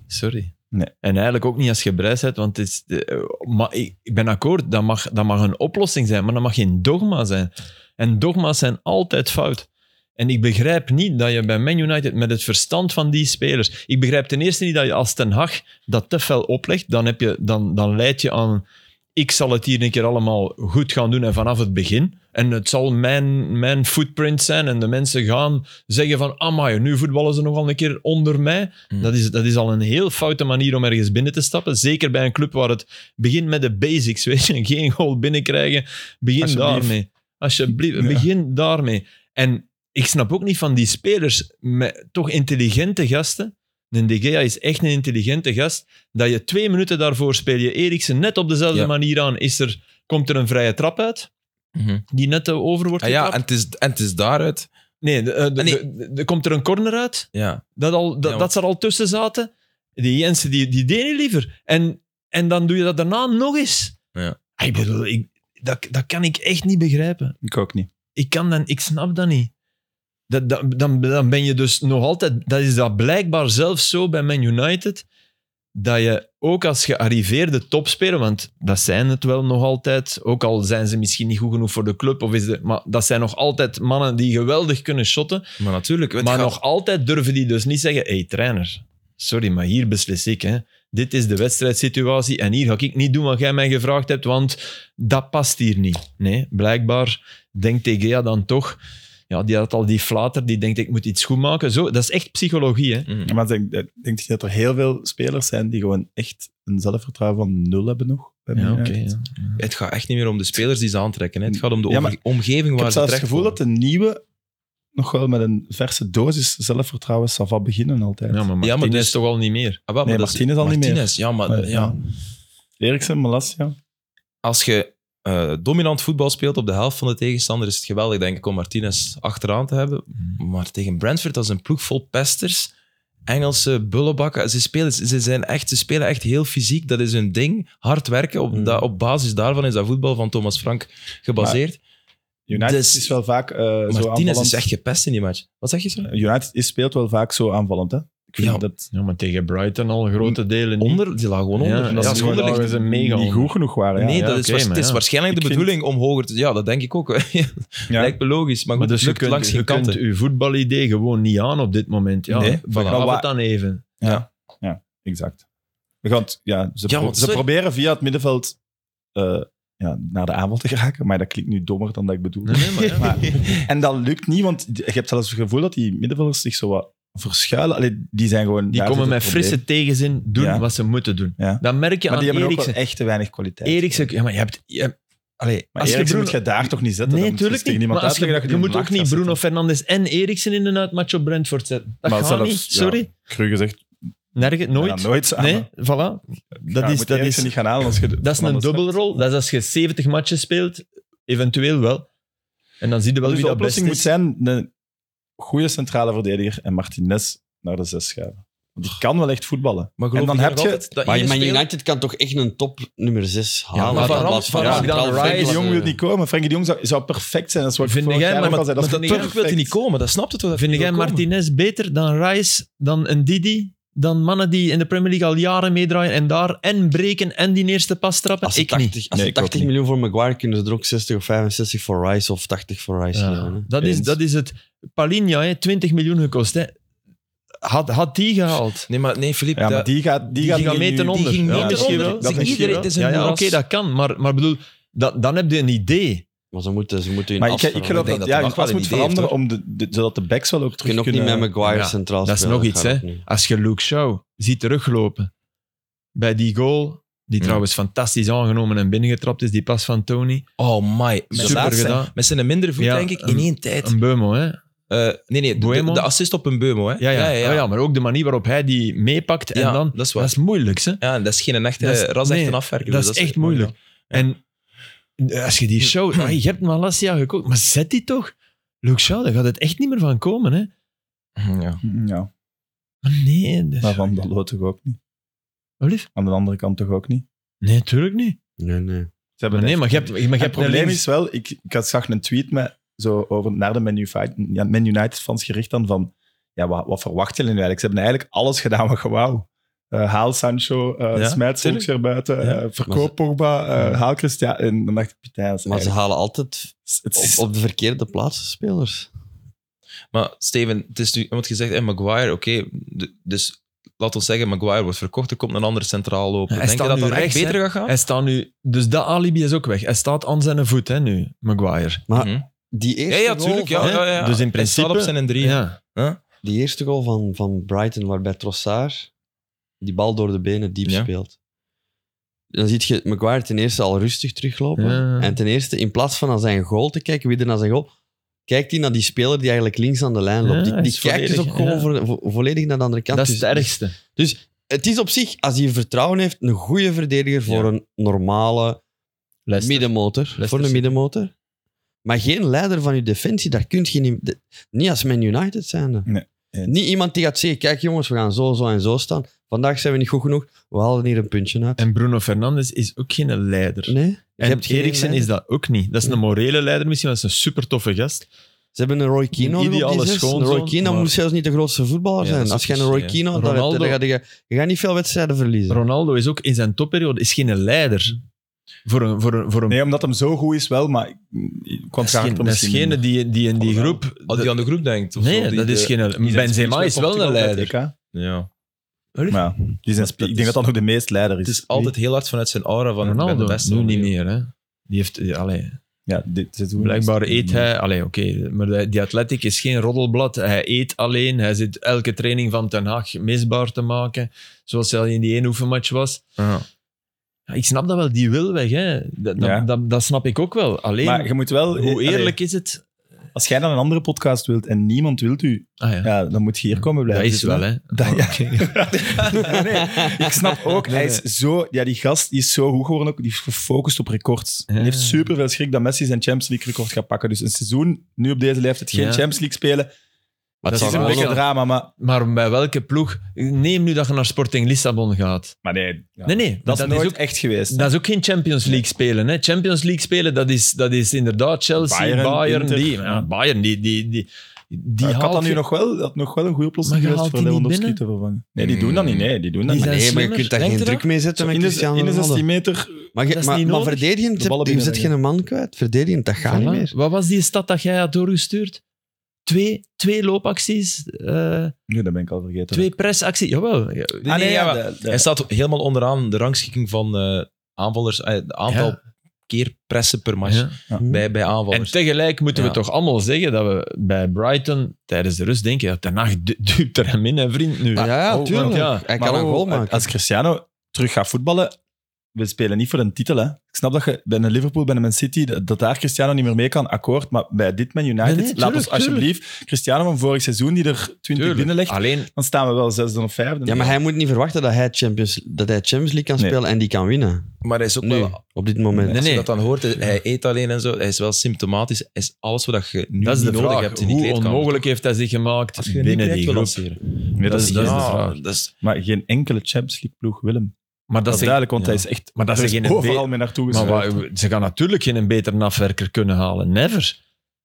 Sorry.
Nee.
En eigenlijk ook niet als je bereid bent, want het is, de- eh, maar ik, ik ben akkoord, dat mag, dat mag een oplossing zijn, maar dat mag geen dogma zijn. En dogma's zijn altijd fout. En ik begrijp niet dat je bij Man United met het verstand van die spelers. Ik begrijp ten eerste niet dat je als Ten Hag dat te fel oplegt. Dan, heb je, dan, dan leid je aan. Ik zal het hier een keer allemaal goed gaan doen en vanaf het begin. En het zal mijn, mijn footprint zijn. En de mensen gaan zeggen: van, Amai, nu voetballen ze nogal een keer onder mij.
Hmm.
Dat, is, dat is al een heel foute manier om ergens binnen te stappen. Zeker bij een club waar het begint met de basics. Weet je, geen goal binnenkrijgen. Begin
Alsjeblieft.
daarmee. Alsjeblieft,
Ja.
begin daarmee. En ik snap ook niet van die spelers, met toch intelligente gasten. Een De Gea is echt een intelligente gast. Dat je twee minuten daarvoor speel je Eriksen net op dezelfde
Ja.
manier aan. Is er, komt er een vrije trap uit, die net eh, over wordt
Mhm. Ah, ja,
getrapt?
en het, is, en het is daaruit.
Nee, de- eh, de-
Ah, nee.
de- de- de- komt er een corner uit,
Ja.
dat, al, dat,
Ja,
dat ze er al tussen zaten. Die Jensen, die, die deden liever. En, en dan doe je dat daarna nog eens.
Ja.
Ah, Ik bedoel, ik, dat, dat kan ik echt niet begrijpen
Ik ook niet.
ik kan dan, ik snap dat niet. Dat, dat, dan, dan ben je dus nog altijd, dat is dat blijkbaar zelfs zo bij Man United, dat je ook als gearriveerde topspeler, want dat zijn het wel nog altijd, ook al zijn ze misschien niet goed genoeg voor de club, of is de, maar dat zijn nog altijd mannen die geweldig kunnen shotten,
Maar natuurlijk. het
maar
gaat-
nog altijd durven die dus niet zeggen: hey, trainer, sorry, maar hier beslis ik. Hè. Dit is de wedstrijdsituatie en hier ga ik niet doen wat jij mij gevraagd hebt, want dat past hier niet. Nee, blijkbaar denkt Tegea dan toch. Ja, die had al die flater, die denkt ik moet iets goed maken. Zo, dat is echt psychologie. Hè.
Mhm.
Maar ik denk, ik denk dat er heel veel spelers zijn die gewoon echt een zelfvertrouwen van nul hebben nog. bij Man
Ja, oké.
United.
ja.
Het gaat echt niet meer om de spelers die ze aantrekken. Hè. Het gaat om de
Ja, maar
omge- omgeving
Ik
waar
heb
ze
zelfs
terecht
het gevoel dat de nieuwe nog wel met een verse dosis zelfvertrouwen Sava beginnen altijd.
Ja, maar Martinez
dat is-
is toch al niet meer.
Ah,
Nee, Martinez al niet meer.
Ja, maar
Eh,
ja.
ja. Eriksen, Malasia.
als je eh, dominant voetbal speelt op de helft van de tegenstander, is het geweldig, denk ik, om Martinez achteraan te hebben. Maar tegen Brentford, dat is een ploeg vol pesters. Engelse bullebakken. Ze spelen, ze, zijn echt, ze spelen echt heel fysiek. Dat is hun ding. Hard werken. Op, da- op basis daarvan is dat voetbal van Thomas Frank gebaseerd.
United
Dus-
is wel vaak eh, zo
Martinez
aanvallend. Eh,
is echt gepest in die match. Wat zeg je zo?
United is, speelt wel vaak zo aanvallend. Hè? Ik vind
Ja.
dat
Ja, maar tegen Brighton al grote delen niet.
Onder, die lag gewoon onder.
Ja,
En
dat
als
is
ze
gewoon
onder
daar
ligt-
is een mega
niet
onder.
goed genoeg waren. Ja.
nee,
ja,
dat is,
oké,
waars-
maar
het is
ja.
waarschijnlijk de
Ik vind-
bedoeling om hoger te... Ja, dat denk ik ook.
Ja.
Lijkt me logisch. Maar goed,
Maar
het
dus je
lukt
kunt,
langs
je
geen
kunt
kanten.
uw voetbalidee gewoon niet aan op dit moment. Ja,
Nee,
nee,
voilà.
begraaf
Maar
het dan even.
Exact. We gaan het- ja, ze
Ja,
pro-
want
ze
sorry.
proberen via het middenveld eh, ja, naar de aanval te geraken, maar dat klinkt nu dommer dan dat ik bedoel.
Nee, nee, maar ja.
Maar- en dat lukt niet, want je hebt zelfs het gevoel dat die middenvelders zich zo wat verschuilen. Allee, die zijn gewoon...
Die
daar
komen
zit
met
het probleem.
frisse tegenzin doen
Ja.
wat ze moeten doen.
Ja.
Dan merk je
Maar
aan
die hebben ook
Eriksen.
wel echt te weinig kwaliteit.
Eriksen, ja, maar je hebt... Je, hebt- allee,
Maar
als je
Eriksen
Bruno-
moet je daar toch niet zetten?
Nee,
Dan moet je
natuurlijk
eens tegen
niet. Maar
iemand
als je,
uitleggen
je,
dat die
moet
in de
ook
nacht
niet
gaat
Bruno
zitten.
Fernandes en Eriksen in een uitmatch op Brentford zetten. Dat
Maar
gaat
zelfs,
niet,
ja,
sorry.
Kreuger zegt,
Nergens,
nooit.
nooit.
Ja, nooit samen.
nee, voilà. Dat,
Ja, je
is,
moet
dat,
Eriksen
is,
niet gaan halen als je... de-
dat is een
Fernandes hebt.
dubbelrol. Dat is als je 70 matches speelt, eventueel wel. En dan zie je wel
Dus
wie
de
dat best
oplossing moet
is.
zijn een goede centrale verdediger en Martinez naar de zes schuiven. Want die kan wel echt voetballen.
Maar geloof
En dan
ik
heb
nog
je-
altijd dat
Maar
ene
Man
speler-
United kan toch echt een top nummer 6 halen?
maar Van
Dan
Ram-
laat
Van
Van
Ram-
Centraal
dan
Frank
Rice-
Frenkie de
laten-
Jong wil niet komen. Frenkie de Jong zou, zou perfect zijn. Dat is wat ik
Vind
vorig
jij,
jaar
maar
ook al
dat-
zei. Dat is
maar dat-
Terug wil hij niet komen, dat snapt het wel. dat
Vind
hij
jij
wil komen.
Martinez beter dan Rice, dan een Didi, dan mannen die in de Premier League al jaren meedraaien en daar en breken en die eerste pas trappen?
Als ze
Ik niet.
80, als ze
Nee, ik ook
80 miljoen voor Maguire kunnen ze er ook 60 of 65 voor Rice of 80 voor Rice
Ja,
nemen, hè.
dat, is,
Eens.
dat is het. Palinha, hè, 20 miljoen gekost. Hè. Had, had die gehaald?
Nee, maar nee, Filip.
Ja, maar
dat-
die gaat, die
Die,
gaat
ging
nu-
mee ten onder.
ging mee
ja,
ten
misschien
onder.
wel.
Dat
Misschien
iedereen-
wel.
het is een
ja, ja, oké,
moeras.
dat kan. Maar, maar bedoel, dat, dan heb je een idee.
Maar ze moeten, ze moeten hun
Maar ik, ik
afstand-
geloof
Ik denk dat
dat, ja,
de Bach
je
wel
pas
een
moet
idee heeft,
veranderen om de, de- zodat de backs wel ook
Je kunt
terug
ook niet
kunnen...
met Maguire
Ja,
centraal
dat is
spelen,
nog iets,
gaat
hè.
ook niet.
Als je Luke Shaw ziet teruglopen bij die goal, die
Ja.
trouwens fantastisch aangenomen en binnengetrapt is, die pas van Tony.
Oh my. Met
Super
zijn-
gedaan.
Met zijn minder voet,
Ja,
denk ik, in
een-
één tijd.
Een beumo, hè.
Eh, nee, nee, de- de,
Boemo.
de assist op een beumo. Hè?
Ja, ja. Oh, ja, maar ook de manier waarop hij die meepakt en
Ja,
dan...
dat is waar.
dat is moeilijk, hè.
Ja, dat is geen echte,
Dat is-
ras echt
nee,
een afwerker.
Dat
dus
is echt moeilijk. eh, En als je die show... ah, je hebt Malasia gekocht, maar zet die toch? Luke Shaw, daar gaat het echt niet meer van komen. Hè?
Ja.
Ja,
Maar nee. dat-
maar van Balo toch ook niet.
Wat lief?
Aan de andere kant toch ook niet.
Nee, tuurlijk niet.
Nee, nee.
Ze
Maar
hebben
nee,
echt-
maar je hebt, maar je hebt
het probleem
links-
is wel, ik, ik had, zag een tweet met, zo over, naar de Man, United- ja, Man United fans gericht dan van, ja, wat, wat verwachten jullie nu eigenlijk? Ze hebben eigenlijk alles gedaan wat gewauw. Eh haal Sancho, eh
Ja,
smijt Solskjaer buiten,
Ja.
eh, verkoop Pogba, eh, haal Christian. En dan dacht ik, Pieter, dat is
Maar ze
eigenlijk-
halen altijd
het is-
op, op de verkeerde plaatsen spelers.
Maar Steven, het is nu, want je zegt, hey, Maguire, oké, d- dus laat ons zeggen, Maguire wordt verkocht, er komt een andere centraal lopen.
Ja, hij
Denk je
staat
dat
nu
dat echt
rechts,
beter gaat gaan?
Hij staat nu, dus dat alibi is ook weg. Hij staat aan zijn voet hè, nu, Maguire.
Maar
Mhm.
die
Ja,
eerste,
ja,
goal
tuurlijk. Ja,
van,
ja, ja,
Dus in
Hij staat op
principe-
zijn en drie.
Ja.
die eerste goal van, van Brighton, waarbij Trossard die bal door de benen diep
Ja.
speelt. Dan zie je Maguire ten eerste al rustig teruglopen.
Ja.
En ten eerste, in plaats van naar zijn goal te kijken, wie er naar zijn goal, kijkt hij naar die speler die eigenlijk links aan de lijn loopt.
Ja,
die
hij
die
is
kijkt dus ook
volledig-
gewoon
ja.
vo- vo- volledig naar de andere kant.
Dat is
Dus-
het ergste.
Het is op zich, als hij vertrouwen heeft, een goede verdediger voor een normale
Leicester.
middenmotor. voor een
City.
middenmotor. Maar geen leider van je defensie, daar kun je niet... de- Niet als Man United zijnde.
Nee, eens.
Niet iemand die gaat zeggen, kijk jongens, we gaan zo, zo en zo staan. Vandaag zijn we niet goed genoeg, we halen hier een puntje uit.
En Bruno Fernandes is ook geen leider.
Nee? Je
En
hebt geen
Eriksen
leider.
is dat ook niet. Dat is een morele leider misschien, maar dat is een super toffe gast.
Ze hebben een Roy Keane
Een
nodig op die
ideale
zes. Een
schoonzoon,
Roy Keane dat
maar-
moet zelfs niet de grootste voetballer
Ja, dat
zijn.
is
Als je
ook
een Roy
zo,
Keane had, dan,
Ronaldo-
dan ga je, je gaat niet veel wedstrijden verliezen.
Ronaldo is ook in zijn topperiode is geen leider. Voor een, voor een, voor een,
Nee, omdat hem zo goed is wel, maar ik- ik kwam
dat is
graag
geen,
achter
dat is
misschien.
geen
minder.
die, die in die
Alhoewel,
groep...
Als hij aan de groep denkt. of zo,
nee,
die-
dat
de-
is geen...
Die zijn
Benzema
spits
is
met
wel een
Portugal bij
leider.
het EK.
Ja.
Maar ja, die zijn,
dat
spits-
is-
ik denk dat dat nog de meest leider is.
Het is altijd heel hard vanuit zijn aura van ik ben de
Ronaldo,
beste.
nu niet meer. Hè. Die heeft... die- Allee,
Ja, dit, dit doen we
Blijkbaar
dus.
eet hij, allee, oké, maar die- die atletiek is geen roddelblad. Hij eet alleen, hij zit elke training van Ten Haag misbaar te maken, zoals hij al in die één oefenmatch was.
Ja.
Ja, ik snap dat wel, die wil weg, hè. Dat, dat,
Ja.
dat, dat snap ik ook wel. Alleen,
Maar je moet wel... eh,
hoe
allee,
eerlijk is het?
als jij naar een andere podcast wilt en niemand wilt u,
Ah, ja.
ja, dan moet je hier komen
dat
blijven.
is wel,
zitten,
hè.
Dat, ja. nee, nee, ik snap ook.
Nee,
hij is zo, ja, die gast die is zo goed geworden. Ook, die is gefocust op records. En
Ja.
Die heeft superveel schrik dat Messi zijn Champions League record gaat pakken. Dus een seizoen, nu op deze leeftijd, geen
Ja.
Champions League spelen.
Maar
Dat
het
Dat
zal
is een
wel
beetje
nog-
drama, maar,
Maar bij welke ploeg? Neem nu dat je naar Sporting Lissabon gaat.
maar nee, ja.
Nee, nee,
dat, is nooit
ook...
echt geweest.
Dat is ook geen Champions League spelen. Hè. Champions League spelen, dat is, dat is inderdaad Chelsea, Bayern,
Bayern, Inter.
die, ja, Bayern, die, die, die, die
Maar ik had
haalt
dat nu
je-
nog wel, had nog wel een goede oplossing
Maar je
geweest
haalt
voor
die niet
Lewandowski te
binnen?
vervangen. Nee, die doen dat niet. Nee, die doen dat
Die
niet.
zijn
Nee, maar je
slimmer.
kunt daar
Denk
geen
je
druk mee
Zo
zetten met
in, de,
Cristiano
in de 16
Ronaldo.
meter
Maar,
Dat
je,
is
maar,
niet
maar
nodig.
verdedigend,
De ballen
je zet
binnen.
geen man kwijt. Verdedigend, dat gaat niet
Voilà.
meer.
Wat was die stad dat jij had doorgestuurd? Twee, twee loopacties, eh,
Nu, dat ben ik al vergeten.
twee presacties. Jawel. Ja,
Ah, nee, ja,
de- de-
Hij staat helemaal onderaan de rangschikking van eh, aanvallers. eh, Het aantal keer pressen per match
ja.
bij, bij
En
aanvallers.
tegelijk moeten
Ja.
we toch allemaal zeggen dat we bij Brighton tijdens de rust denken, ja, ten nacht du- duwt er hem in, hè, vriend, nu.
Ja, ja,
Oh,
tuurlijk.
want ja.
Hij
Maar
kan een
oh,
goal maken.
Als Cristiano terug gaat voetballen, we spelen niet voor een titel. Hè. Ik snap dat je bij een Liverpool, bij een Man City, dat, dat daar Cristiano niet meer mee kan, akkoord. Maar bij dit Man United,
Nee, nee,
laat
tuurlijk,
ons alsjeblieft Cristiano van vorig seizoen, die er 20
Tuurlijk. Ah.
binnenlegt,
Alleen,
dan staan we wel zesde of vijfde.
Ja, maar hij moet niet verwachten dat hij Champions, dat hij Champions League kan
Nee.
spelen en die kan winnen.
Maar hij is ook
Nu,
wel...
op dit moment.
Als
nee.
je dat dan hoort, hij eet alleen en zo. Hij is wel symptomatisch. Hij is alles wat je nu
dat is
niet
de
nodig
vraag.
hebt in die
Hoe
kleedkamer.
onmogelijk heeft hij zich gemaakt
je
binnen die groep?
Nee, dat is,
dat is
ja,
de vraag.
Dat is,
Maar geen enkele Champions League ploeg wil hem.
Maar
Dat
dat,
is
ze-
duidelijk, want
ja.
hij is echt
maar dat
er
ze
is
geen
overal mee naartoe
Maar
geschuift.
wa- ze gaan natuurlijk geen beter afwerker kunnen halen. Never.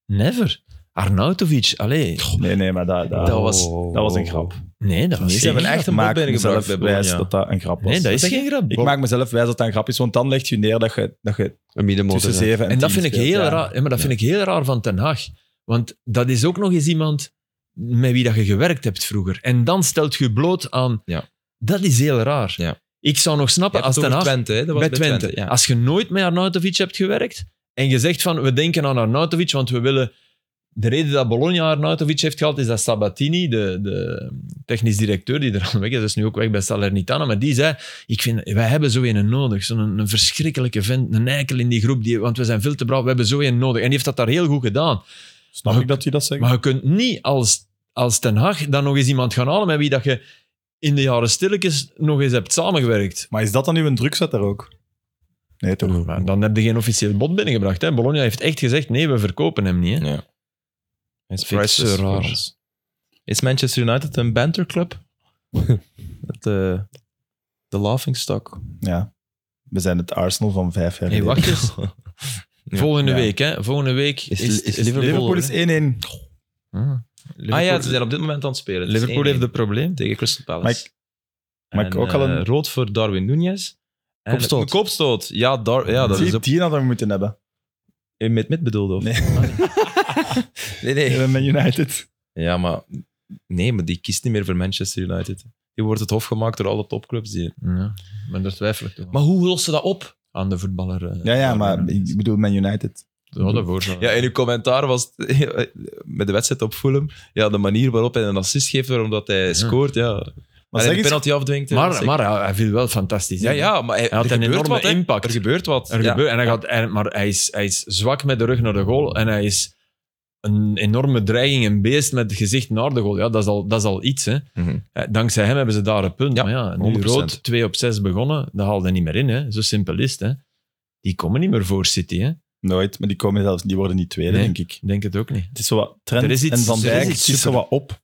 Never. Arnautovic, allee.
Nee, nee, maar dat, dat,
Dat was-
Oh.
Oh. dat was een grap.
Nee, dat was
ze hebben
geen-
echt een bot
Maak
binnengebracht bij
mezelf
Bologna.
wijs dat dat een grap was.
Nee, dat is
Zeg
geen grap.
Ik maak mezelf wijs dat dat een grap is, want dan leg je neer dat je, dat je
Een middenmotor.
tussen
zijn.
zeven en
En dat
tien
vind ik
speelt,
heel
ja.
raar. Ja, maar dat vind ik heel raar van Ten Haag. Want dat is ook nog eens iemand met wie dat je gewerkt hebt vroeger. En dan stelt je bloot aan.
Ja.
Dat is heel raar.
Ja.
Ik zou nog snappen als Ten Haag
Twente, hè? Dat was
bij Twente.
ja.
Als je nooit met Arnautovic hebt gewerkt en je zegt van we denken aan Arnautovic, want we willen. De reden dat Bologna Arnautovic heeft gehaald is dat Sabatini, de, de technisch directeur die er al weg is, is nu ook weg bij Salernitana, maar die zei, ik vind, wij hebben zo een nodig. Zo'n een, verschrikkelijke vent, een eikel in die groep, die, want we zijn veel te braaf, we hebben zo een nodig. En die heeft dat daar heel goed gedaan.
Snap
Maar-
ik dat hij dat zegt?
Maar je kunt niet als, als Ten Hag dan nog eens iemand gaan halen met wie dat je in de jaren stilletjes nog eens hebt samengewerkt.
Maar is dat dan nu een drukzet daar ook? Nee, toch?
Mm-hmm.
Maar dan heb je geen officieel bod binnengebracht. Hè? Bologna heeft echt gezegd, nee, we verkopen hem niet. Hè?
Ja. Is
Fix
priceless
is
voor
raar.
ons. Is Manchester United een banterclub? Het, eh, de laughing stock.
Ja. We zijn het Arsenal van vijf jaar
Hey,
geleden.
wacht eens.
Ja.
Volgende
Ja.
week, hè? Volgende week is,
Is-
is,
is Liverpool-
Liverpool is 1-1.
hè? Ah, Liverpool,
Ah ja, ze zijn op dit moment aan het spelen. Het is
Liverpool heeft
1-1
een probleem.
tegen Crystal Palace.
Maar ik- maar ik
En,
ook al een-
eh, rood voor Darwin Nunez. En-
Kopstoot.
Een Eh, kopstoot. Ja, Dar- ja dat is
Die,
op...
die hadden we moeten hebben.
in Met Met bedoelde, of? Ah,
Nee.
nee, nee.
Met United.
Ja, maar... Nee, maar die kiest niet meer voor Manchester United. Die wordt het hof gemaakt door alle topclubs. Die...
Ja, maar daar twijfel ik toch aan.
Maar hoe lossen ze dat op?
aan de voetballer. eh,
Ja, ja, maar
Darwin.
ik bedoel Man United.
Ja, dat voorzorg.
Ja, in uw commentaar was het, met de wedstrijd op Fulham, ja, de manier waarop hij een assist geeft, omdat hij scoort, ja.
Maar
Maar hij
zeg
de
eens,
penalty afdwingt. ja,
maar,
zeker.
maar hij- hij viel wel fantastisch.
ja,
in.
ja, maar hij,
Hij had
er
een
gebeurt
enorme
wat, hè.
impact.
Er gebeurt wat.
Er
ja.
gebeurt- en hij gaat, en- maar hij is, hij is zwak met de rug naar de goal. En hij is een enorme dreiging, een beest met het gezicht naar de goal. Ja, dat, is al, dat is al iets. Hè.
Mhm.
Eh, Dankzij hem hebben ze daar een punt.
Ja,
maar ja, nu
100%.
rood, 2 op 6 begonnen. Dat haalde niet meer in. Hè. Zo simpel is het. Hè. Die komen niet meer voor City. Hè.
nooit, maar die komen zelfs, die worden niet tweede,
Nee.
denk ik.
Ik denk het ook niet.
Het is zo wat Trent
Er is iets-
en Van
er is
Dijk, het
iets
is zo
super-
wat op.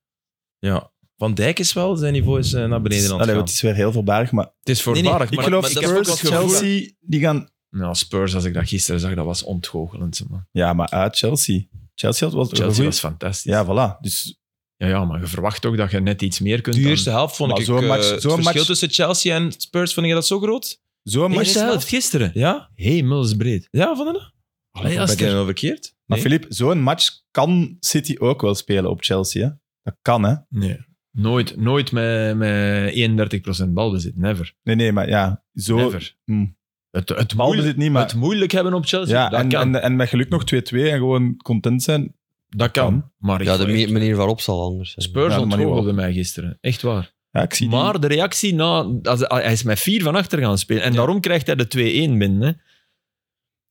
Ja. Van Dijk is wel, zijn niveau is eh, naar beneden aan het
Allee,
gaan.
het is weer heel voorbarig, maar
Het is
nee,
voorbarig.
ik
maar-
geloof
maar dat is ook
Spurs,
wat gevoel.
Chelsea, die gaan...
maar, nou, Spurs, als ik dat gisteren zag, dat was ontgoochelend. zeg Maar.
Ja, maar uit Chelsea. Chelsea had wel
Chelsea
wel
was
goed.
fantastisch.
Ja, voilà. Dus
Ja, ja, maar je verwacht ook dat je net iets meer kunt.
De
dan-
eerste helft vond
Maar
ik
zo'n
eh,
match-
het
zo'n
verschil
match-
tussen Chelsea en Spurs vond je dat zo groot?
zo'n
De
match...
eerste
Eerste
helft gisteren.
Ja?
Hemelsbreed.
Ja, vond je dat?
Allee,
ben
als
ik dat
er-
nou verkeerd?
Maar
Nee.
Filip, zo'n match kan City ook wel spelen op Chelsea, hè? Dat kan, hè?
Nee. Nooit, nooit met, met 31% balbezit. Never.
Nee, nee, maar ja, zo...
Never.
Hm.
Het, het,
Bal
moeilijk,
bezit niet, maar...
het moeilijk hebben op Chelsea,
ja,
dat,
en,
kan.
en, en met geluk nog 2-2 en gewoon content zijn.
dat kan.
kan.
Maar ik,
Ja, de manier- manier waarop zal anders zijn.
Spurs
Ja, de manier
ontgoochelde mij gisteren. Echt waar.
Ja, ik zie die-
Maar de reactie na... Als, hij is met 4 van achter gaan spelen. En daarom krijgt hij de 2-1 binnen. Hè.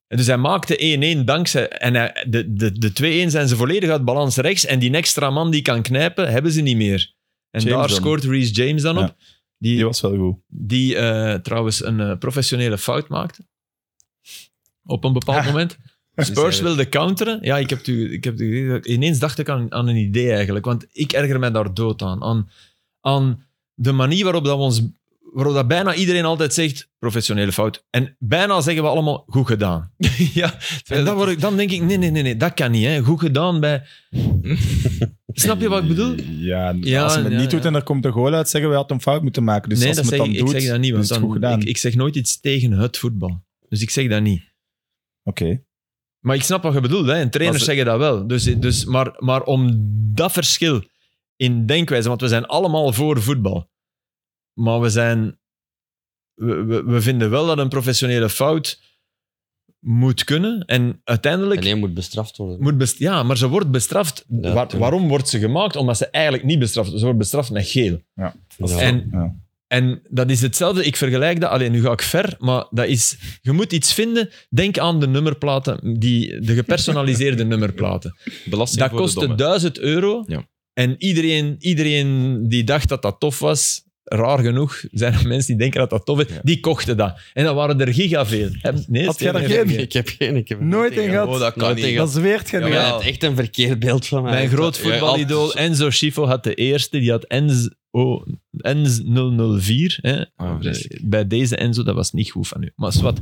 En dus hij maakte 1-1 dankzij... En hij- de, de, de 2-1 zijn ze volledig uit balans rechts. En die extra man die kan knijpen, hebben ze niet meer. En
James
daar
dan.
scoort Reece James dan
Ja.
op. Die,
Die was wel goed.
die eh, trouwens een eh, professionele fout maakte. Op een bepaald moment. Spurs wilde counteren. Ja, ik heb het u, ik heb het u, ineens dacht ik aan, aan een idee eigenlijk. Want ik erger mij daar dood aan. Aan, aan de manier waarop, dat we ons, waarop dat bijna iedereen altijd zegt: professionele fout. En bijna zeggen we allemaal: goed gedaan.
ja.
En dan, word ik, dan denk ik: nee, nee, nee, nee, dat kan niet. Hè. Goed gedaan bij. Snap je wat ik bedoel?
Ja,
Ja,
als je het
ja,
niet doet
ja.
en er komt een goal uit, zeggen we had een fout moeten maken. Dus
nee,
als
dat
je het
zeg
dan
ik, ik
doet,
zeg dat niet. Want
is het goed
dan,
gedaan.
ik, ik zeg nooit iets tegen het voetbal. Dus ik zeg dat niet.
Oké.
Maar ik snap wat je bedoelt, hè. en trainers
Maar
zeggen dat wel. Dus, dus, maar, maar om dat verschil in denkwijze, want we zijn allemaal voor voetbal, maar we, zijn, we, we, we vinden wel dat een professionele fout moet kunnen en uiteindelijk
Alleen moet bestraft worden.
moet best- ja, maar ze wordt bestraft. Waar-
tuurlijk.
waarom wordt ze gemaakt? Omdat ze eigenlijk niet bestraft wordt. Ze wordt bestraft met geel.
Ja.
En,
Ja.
en dat is hetzelfde. Ik vergelijk dat. Alleen nu ga ik ver, maar dat is. Je moet iets vinden. Denk aan de nummerplaten, die, de gepersonaliseerde nummerplaten.
Belasting
Dat
voor de
kostte
dommen.
1000 euro.
Ja.
En iedereen, iedereen die dacht dat dat tof was. Raar genoeg zijn er mensen die denken dat dat tof is.
Ja.
Die kochten dat. En dan waren er gigaveel. Heb- Nee,
Had jij
Steven,
er geen?
Ik heb geen. Ik heb er
Nooit
geen
een
gehad.
gehad.
Oh, dat kan
Nooit
niet.
een
Dat zweert geen
Ja, maar
Ja.
hij had echt een verkeerd beeld van mij.
Mijn groot
Ja, altijd-
voetbalidool Enzo Schifo had de eerste. Die had Enz, oh, Enz 004. Hè. Eh,
Ah, vreselijk.
Bij deze Enzo, dat was niet goed van u. Maar wat.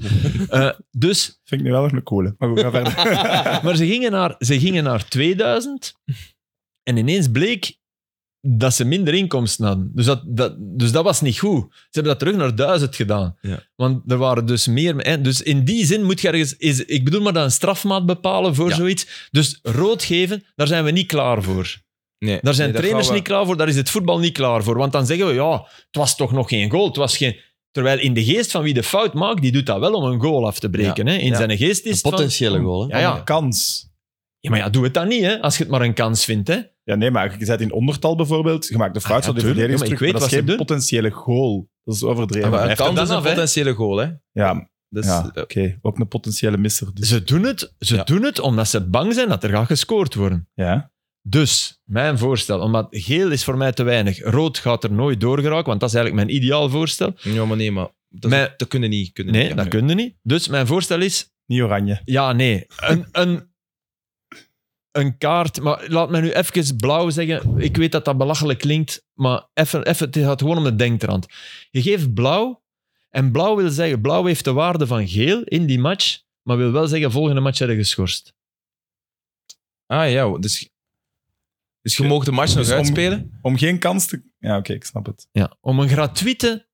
dus,
Vind ik nu wel nog een coole. Maar goed, ga verder.
maar ze gingen, naar, ze gingen naar 2000. En ineens bleek dat ze minder inkomsten hadden. Dus dat, dat, dus dat was niet goed. Ze hebben dat terug naar 1000 gedaan.
Ja.
Want er waren dus meer... hè, Dus in die zin moet je ergens... Is, ik bedoel maar dat een strafmaat bepalen voor
Ja.
zoiets. Dus rood geven, daar zijn we niet klaar voor.
Nee,
Daar zijn
nee, dat
trainers
gaan we-
niet klaar voor, daar is het voetbal niet klaar voor. Want dan zeggen we, ja, het was toch nog geen goal. Het was geen... Terwijl in de geest van wie de fout maakt, die doet dat wel om een goal af te breken. Hè? In
Ja.
zijn geest is
Een
het van-
potentiële goal. Hè?
Ja, ja.
Een kans.
ja, maar ja, doe het dan niet, hè? als je het maar een kans vindt. Hè?
Ja, nee, maar je zet in ondertal bijvoorbeeld. Je maakt de fout
Ah,
van
ja,
de
tuurlijk.
verdediging
Ja,
terug.
maar ik
Maar dat is
weet
geen
wat Ah,
potentiële goal. Dat is
Ja,
overdreven.
maar een
Blijft
kans
het
is
dan
een
af, hè?
potentiële goal, hè.
Ja,
Dus,
ja
eh,
oké. Ook een potentiële misser. Dus.
Ze, doen het, ze
Ja.
doen het omdat ze bang zijn dat er gaat gescoord worden.
Ja.
Dus, mijn voorstel, omdat geel is voor mij te weinig. Rood gaat er nooit door geraken, want dat is eigenlijk mijn ideaal voorstel.
eh, Ja, maar nee, maar dat,
Maar-
dat kunnen niet. Kunnen
Nee,
niet, ja.
dat kun je niet. Dus mijn voorstel is,
Niet oranje.
Ja, nee. Een, een, een kaart, maar laat mij nu even blauw zeggen. Ik weet dat dat belachelijk klinkt, maar even, even, het gaat gewoon om de denktrand. Je geeft blauw, en blauw wil zeggen, blauw heeft de waarde van geel in die match, maar wil wel zeggen, volgende match hebben geschorst.
Ah ja, dus, dus je mag de match nog
Dus om-
uitspelen?
Om geen kans te... Ja, oké, ik snap het.
Ja. Om een gratuite,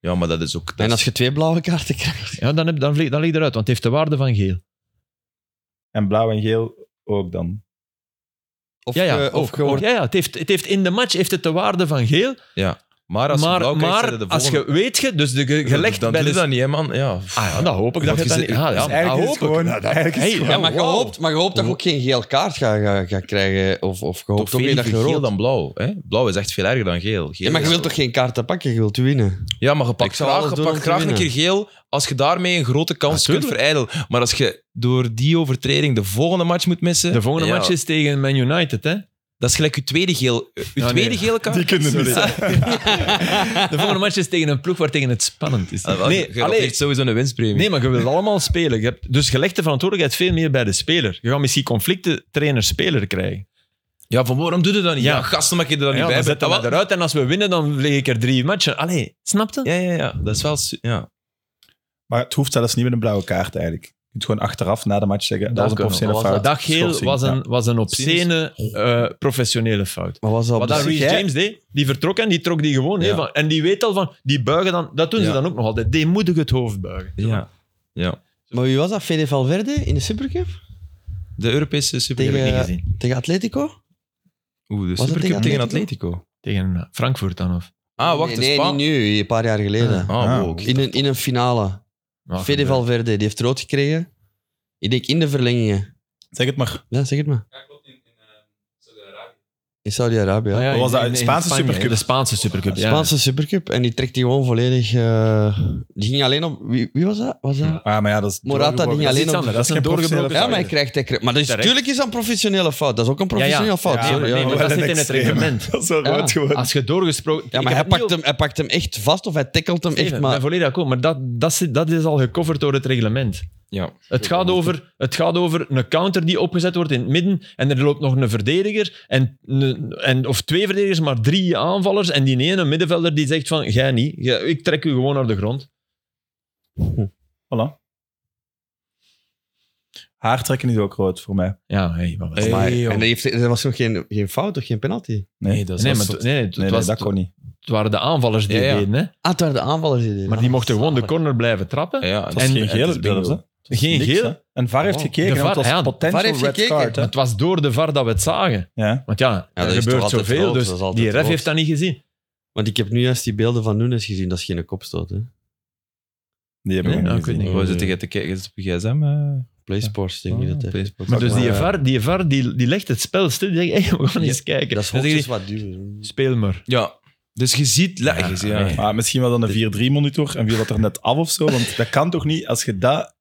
Ja, maar dat is ook... dat
En als
is-
je twee blauwe kaarten krijgt.
ja, dan, heb, dan, vlieg, dan ligt eruit, want het heeft de waarde van geel.
En blauw en geel ook dan.
Of
ja, ja,
eh,
je- of
ook.
je wordt-
ja, ja het, heeft, het heeft in de match heeft het de waarde van geel,
Maar als je
maar,
blauw krijgt,
maar
zijn er de
als je
volgende.
weet, je, dus de, ge- gelegd
dan
bij
doe
de...
je dat niet, hè, man. Ja.
Ah ja, dat hoop ik. Dat
Want
je dat
je
niet...
zegt-
Ah, ja,
Dus eigenlijk
dat
is
hoop
het
ik.
gewoon- eigenlijk is het
Hey,
gewoon-
Ja, maar je hoopt, maar je hoopt dat je ook geen geel kaart gaat ga, ga krijgen. Of, of je hoopt
Toch
ook niet dat je
geel
rood...
dan blauw. Hè? Blauw is echt veel erger dan geel. Geel
Ja, maar je
is-
wilt toch geen kaarten pakken? Je wilt winnen.
Ja, maar je pakt
Ik zou
graag, je
alles doen
pakt
om te
graag een
winnen.
keer geel als je daarmee een grote kans kunt verijdelen. Maar als je door die overtreding de volgende match moet missen...
De volgende
ja,
match is tegen Man United, hè?
Dat is gelijk je tweede geel... Je
Ja,
tweede
nee.
gele kaart?
Die kunnen
Sorry.
missen.
De volgende match is tegen een ploeg waar tegen het spannend is.
Ah, wel, je-
Nee,
je
allee,
heeft sowieso een winstpremie.
nee, maar je wilt allemaal spelen. Je hebt, dus je legt de verantwoordelijkheid veel meer bij de speler. Je gaat misschien conflicten trainer-speler krijgen.
Ja, van waarom doe je dat niet?
Ja.
Ja, gasten, mag je er dan
Ja,
niet bij
dan
bent.
zetten we
Ah, wel.
eruit en als we winnen, dan leg ik er drie matchen. Allee, snapte?
Ja, ja, ja. Dat is wel... su- Ja.
Maar het hoeft zelfs niet met een blauwe kaart eigenlijk. Je kunt gewoon achteraf na de match zeggen, dat,
Dat
was een
kan,
professionele
dat was
fout.
Daggeel
Schorsing,
was
ja.
een, was een obscene eh, professionele fout.
Maar was dat
Wat daar
zich,
Reece
hè?
James deed, die vertrok en die trok die gewoon. hè,
Ja.
van- en die weet al van, die buigen dan, dat doen ze
Ja.
dan ook nog altijd. Die moedig het hoofd buigen.
ja. ja.
Maar wie was dat? Fede Valverde in de Supercup?
De Europese Supercup.
Tegen,
Niet
eh,
gezien.
tegen Atletico?
Oeh, de
was het
Supercup tegen,
tegen
Atletico?
Tegen eh, Frankfurt dan of?
Ah, wacht,
nee,
de
nee,
Spa-
niet nu. Een paar jaar geleden.
Ah.
Ah, wow,
Ah.
oké.
in, een, in een finale.
Ja,
Fede Valverde, die heeft rood gekregen. Ik denk in de verlengingen.
Zeg het maar.
Ja, zeg het maar. In Saudi-Arabië.
Ah,
ja.
ja,
Wat was
in-
dat,
in-
de
in
Spaanse
Spanje,
Supercup?
De Spaanse Supercup, ja.
Spaanse Supercup. En die trekt die gewoon volledig... eh, die ging alleen op... Wie, wie was dat? Was dat?
Ah, maar ja, dat is
Morata
doorgebogen.
ging
Dat is
alleen
iets
op-
anders. Dat is
dat
een
is geen
doorgebroken
Ja,
professionele
maar
fout.
hij krijgt... Hij krijgt maar dat is,
Terecht.
tuurlijk is dat een professionele fout. Dat is ook een professionele fout.
Oh, Ja, maar
sorry,
nee,
ja.
maar dat
dat
zit
is
in het
extreem.
reglement.
Dat is wel
Ja.
rood gewoon.
Als je doorgesproken...
Ja,
Ik
maar hij
heb niet
pakt, hem, hij pakt hem echt vast of hij tackelt hem
Steven,
echt.
ik ben
Maar
volledig akkoord, maar dat, dat, zit- dat is al gecoverd door het reglement.
Ja.
Het gaat, over, het gaat over een counter die opgezet wordt in het midden en er loopt nog een verdediger, en, een- en, of twee verdedigers, maar drie aanvallers en die ene middenvelder die zegt van, jij niet, Jij- ik trek u gewoon naar de grond.
Voilà. Haartrekken is ook rood voor mij.
Ja, hey, wat was
Hey,
dat?
Maar-
joh.
en er, heeft, er was nog geen, geen fout, toch? Geen penalty?
Nee, dat is
Nee, maar
wel
het-
zot.
nee, het,
Nee, nee,
was,
dat kon niet.
het waren de aanvallers die
Ja,
het
ja.
deden, hè.
Ah, het waren de aanvallers die deden.
maar die mochten gewoon de corner blijven trappen.
Ja,
Het
en-
was
en-
geen
het
gele
is bingo.
zelfs, hè. Het was
Geen
niks,
gele?
hè. En VAR heeft
Oh.
gekeken,
De
want het was
VAR, ja, de
VAR
potential
heeft
red
gekeken.
card.
Maar
hè.
het was door de VAR dat we het zagen.
Ja.
Want ja,
dat
er
is
gebeurt
toch altijd
zoveel,
rood, dat is
dus
altijd
die ref
rood.
heeft dat niet gezien.
Want ik heb nu juist die beelden van Nunes gezien. Dat is geen kopstoot, hè?
Die hebben we
Nee,
niet
nou, ik weet
gezien.
niet.
Wat is het tegen te kijken? Is het op je gsm? eh?
PlaySports, denk ik
Ah,
dat heeft.
PlaySports.
Maar dus die
Maar-
VAR, die, VAR die, die legt het spel stil. Die zegt, hey, we gaan
Ja,
eens kijken.
Dat is
Dan zeg
hoogstens
je,
wat duur.
Speel maar.
Ja. Dus je ziet... la-
Ja,
je ziet-
nee.
Maar misschien wel dan een 4-3-monitor en wie dat er net af of zo. Want dat kan toch niet als je dat...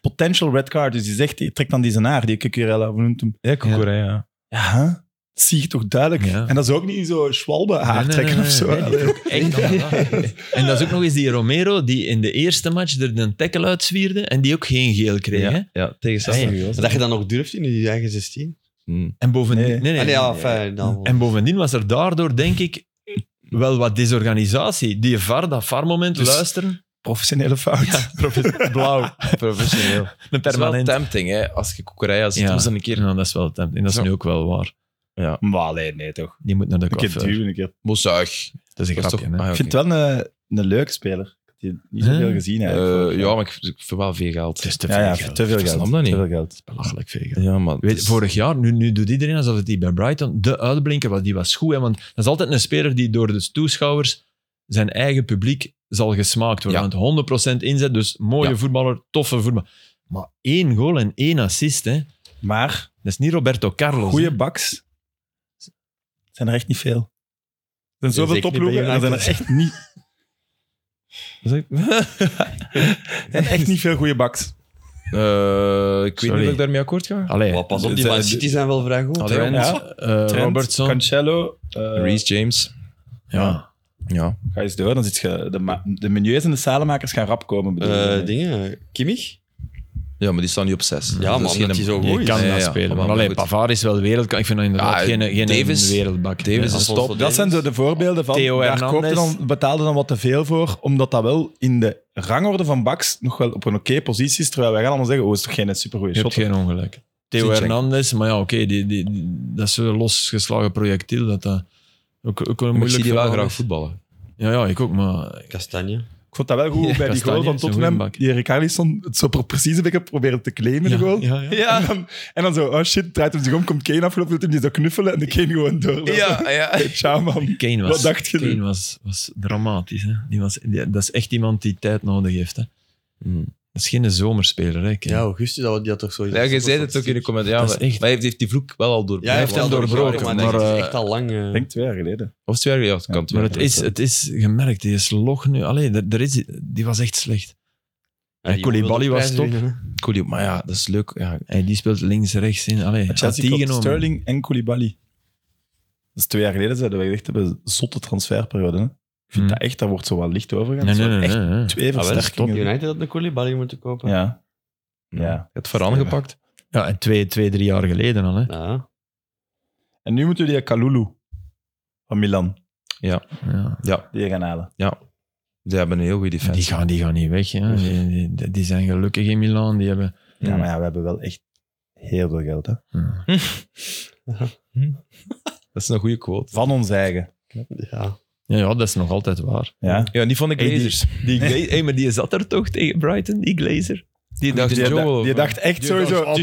Potential red card, dus die zegt, die trekt dan die zijn haar, die Cucurella, hoe noemt hem?
Ja, Koekoera, ja.
Ja, hè? dat zie je toch duidelijk.
Ja.
En dat is ook niet zo schwalbe
Nee,
haar
nee,
trekken
nee,
of zo.
nee, nee,
Allee.
Echt, en dat is ook nog eens die Romero die in de eerste match er een tackle uitswierde en die ook geen geel kreeg. hè? Ah,
Ja, ja, tegen Sassuolo.
Hey.
Dat je dat nog durft in je eigen 16.
Hm.
En bovendien,
Nee.
nee, nee,
Ah, nee, ja,
nee.
fijn, dan.
en bovendien was er daardoor, denk ik, wel wat desorganisatie. Die VAR, dat VAR-moment,
Dus-
luisteren.
Professionele fout.
Profe- Blauw.
Professioneel. Het
Een
is wel
permanent.
tempting, hè. Als je Koekoera ziet,
Ja.
was dan een keer...
Ja, dat is wel tempting. Dat is
Zo.
nu ook wel waar.
Maar allee, nee toch.
Die moet naar de
Een keer
coiffeur.
duwen, een keer.
Mozuig.
Dat is een
Dat is
grapje,
toch...
hè.
Ah,
Ik
oké.
vind het wel een, een leuk speler. Ik heb die niet
Huh?
zoveel gezien eigenlijk.
Eh, ja, maar ik, ik vind wel veel geld.
Het is te veel
ja, ja,
geld.
te veel
Ik
geld.
snap dat niet.
Te veel geld.
Belachelijk veel geld.
Ja, maar...
Weet,
het is- Eh,
Vorig jaar, nu, nu doet iedereen alsof het die bij Brighton de uitblinker was. Die was goed, hè, want dat is altijd een speler die door de toeschouwers zijn eigen publiek zal gesmaakt worden.
Ja.
Want 100% inzet, dus mooie
Ja.
voetballer, toffe voetballer. Maar één goal en één assist, hè.
Maar
dat is niet Roberto Carlos.
goede
hè.
baks zijn er echt niet veel. Er zijn zoveel
zeker niet bij
topploegen en er zijn er
United.
echt niet, er zijn echt niet veel goede baks.
Eh, ik weet
Sorry. Ah,
niet of ik daarmee akkoord ga.
Allee,
Maar Oh, pas op, die
Ze-
Man City zijn wel vrij goed.
Trent,
Ja.
eh,
Trent,
Robertson.
Cancelo. eh,
Reece James.
ja.
Ja.
Ga eens door, dan zit je... De, ma- de menus en de salemakers gaan rap komen. bedoel
Eh,
ik.
dingen, Kimmich?
Ja, maar die staan nu op zes. Dus
Ja, maar omdat die zo goed
Je
is.
kan
Ja,
dat
ja,
spelen.
maar
Maar alleen
goed.
Pavard is wel wereld. Ik vind dat inderdaad
Ja,
geen, geen
Davis-
wereldbak.
Davis
Ja.
is top.
Dat zijn zo de voorbeelden van.
Theo
daar
Hernandez.
koopte dan, betaalde dan wat te veel voor, omdat dat wel in de rangorde van Baks nog wel op een oké positie is. Terwijl wij gaan allemaal zeggen: oh, is toch geen supergoeie
Je hebt
shot?
geen ongelijk. Theo
Zinchenko.
Hernandez, maar ja, oké, die, die, die- dat is zo'n losgeslagen projectiel. Dat dat ook, ook
Maar ik
een
zie
moeilijk
die wel
verhaal
graag
is.
voetballen.
Ja, ja, ik ook, maar...
Kastanje.
Ik vond dat wel goed
Ja,
bij die
Kastanje
goal van
is een
Tottenham.
goeie bak.
Die Ricardison het zo precies een beetje proberen te claimen. de
Ja,
goal.
ja, ja.
En, dan, en dan zo: oh shit, draait hem zich om, komt Kane afgelopen, doet hem die zo knuffelen en de Kane gewoon door.
ja.
Tja, man.
Kane was,
Wat dacht je?
Kane was, was dramatisch. Hè? Die was, die- dat is echt iemand die tijd nodig heeft. Hè? Dat is geen zomerspeler. Hè, Kane.
Ja, Augustus, dat, die had toch zo...
Ja, je zei het ook in de commentaar. Ja,
Dat is
maar
echt-
maar hij heeft, heeft die vloek wel al doorbroken.
Ja, hij heeft hem
wel
doorbroken, maar,
maar,
dat is
eh,
echt al lang... eh,
Ik denk twee jaar geleden.
Of twee jaar geleden, ja, het kan
Ja,
twee
maar
jaar
het is,
geleden
het is gemerkt, die is log nu. Allee, er, er is, die was echt slecht.
ja, die
Koulibaly
wilde
was
prijzen
top.
winnen, hè.
zijn. Cool, maar ja, dat is leuk. Ja,
Hey, die speelt links, rechts in. Allee, had
Chelsea
die
koopt
genomen.
Sterling en Koulibaly. Dat is twee jaar geleden zeiden we echt hebben zotte transferperiode. Hè? Ik vind
Hmm.
dat echt, daar wordt zo wel licht over gaan.
Nee,
Dat zijn
nee, nee.
echt
nee, nee.
twee
Ah, wel,
versterkingen.
United had een Koulibaly moeten kopen.
ja.
ja.
Ja.
Het vooraan gepakt.
Ja, en twee, twee, drie jaar geleden al. Hè.
Ja.
En nu moeten we die Kalulu van Milan,
Ja.
die gaan halen.
Die hebben een heel goede
Die,
defensie.
gaan, die gaan niet weg. Hè. Die, die, die zijn gelukkig in Milaan. Die hebben...
Ja,
Hmm.
maar ja, we hebben wel echt heel veel geld. Hè?
Ja.
Dat is een goede quote.
Van ons eigen.
ja.
Ja, ja, dat is nog altijd waar.
Ja.
Ja, die van de
Hey, die-
Glazers.
Die Gla- hey, maar die zat er toch tegen Brighton, die Glazer?
Die dacht
die,
Joel.
dacht- die dacht echt sowieso, "Oh,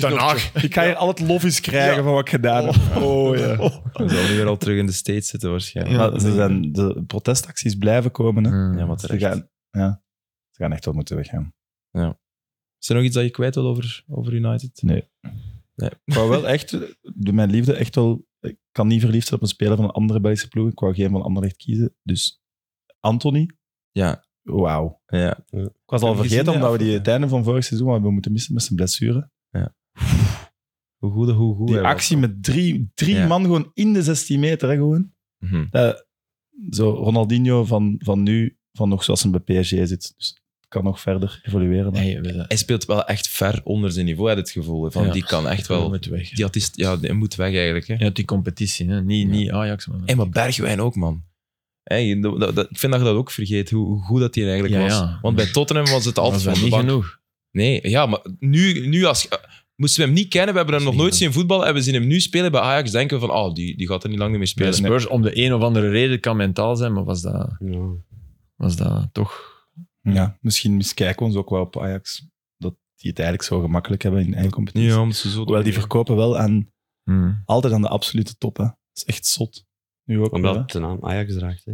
ik ga hier al het lofjes krijgen van wat ik gedaan heb. Oh, ja.
Hij zal nu weer al terug in de States zitten waarschijnlijk.
Maar ze zijn, de protestacties blijven komen. Hè?
Hmm.
Ja, maar
Ze,
terecht.
gaan, ja. ze gaan echt wel moeten weggaan.
Is er nog iets dat je kwijt wil over, over United?
Ik wou wel echt, door mijn liefde echt wel, ik kan niet verliefd zijn op een speler van een andere Belgische ploeg. Ik wou geen van Anderlecht kiezen. Dus Anthony,
Ja.
wauw.
Ja.
Ik was al
Heb je gezien,
vergeten
hè,
omdat we
of-
die het einde van vorig seizoen hebben moeten missen met zijn blessure.
Hoe goed, hoe goed.
Die
hij was.
actie met drie, drie
Ja.
man gewoon in de 16 meter. Hè, gewoon.
Mhm.
Dat- zo Ronaldinho van, van nu, van nog zoals hij bij PSG zit. Dus het kan nog verder evolueren. maar-
Hey, we zijn
Hij speelt wel echt ver onder zijn niveau, had het gevoel. hè. Van,
Ja.
Die kan echt
wel
wel...
met weg.
Die had die, st- ja, die moet weg eigenlijk. Hè.
Ja, die competitie, hè. Niet, niet Ajax. Maar...
Hey, maar Bergwijn ook, man. Hey, dat- dat- dat- ik vind dat je dat ook vergeet, hoe, hoe goed dat hij eigenlijk
Ja,
was.
ja.
Want bij Tottenham was het altijd
Was dat
van de
niet
bank.
genoeg.
Nee, ja, maar nu, nu als, eh, moesten we hem niet kennen, we hebben hem nog
niet
nooit
genoeg.
zien voetballen en we zien hem nu spelen bij Ajax, denken we van, ah, die, die gaat er niet lang meer
Bij
spelen. Nee.
Spurs, om de een of andere reden, kan mentaal zijn, maar was dat,
Ja.
was dat toch...
Ja, misschien miskijken we ons ook wel op Ajax. Dat die het eigenlijk zo gemakkelijk hebben in eigen competitie.
Ja, omdat ze zo...
Hoewel, die verkopen wel aan
Hmm.
altijd aan de absolute top. Hè. Dat is echt zot. Nu ook wel.
Omdat
hè.
het de naam Ajax draagt, hè.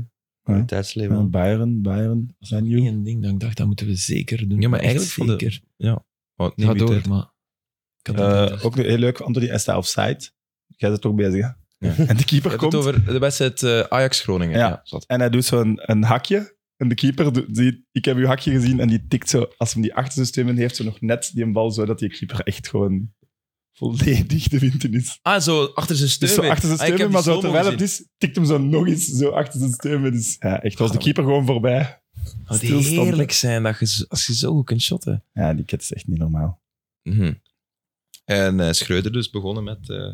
Ja.
Tijdsleven.
Ja, Bayern, Bayern, zijn you.
Eén ding dat ik dacht, dat moeten we zeker doen.
Ja, maar
Echt
eigenlijk van de-
zeker.
Oh,
Ga
door.
door, maar... Ik had dat niet
Eh
gedacht.
ook heel leuk, Anthony, hij staat offside. Jij bent toch bezig, hè?
Ja.
En de keeper
het
komt
over de wedstrijd eh, Ajax-Groningen. Ja.
Ja.
zat.
en hij doet zo'n een hakje. En de keeper, doet- die, ik heb uw hakje gezien, en die tikt zo, als hem die achterste stemmen heeft, ze nog net die een bal, zodat die keeper echt gewoon volledig de wind in is.
Ah, zo achter zijn steun.
Dus zo
weer.
achter zijn
Ah, ik heb
stemmen,
die
maar zo
slow-mo
terwijl het
gezien.
is, tikt hem zo nog eens zo achter zijn stemmen. Dus ja, echt, was de keeper gewoon voorbij.
Het moet
Stilstand.
Oh, heerlijk zijn dat je, zo- als je zo goed kunt shotten.
Ja, die kid is echt niet normaal.
Mhm. En eh, Schreuder dus begonnen met... eh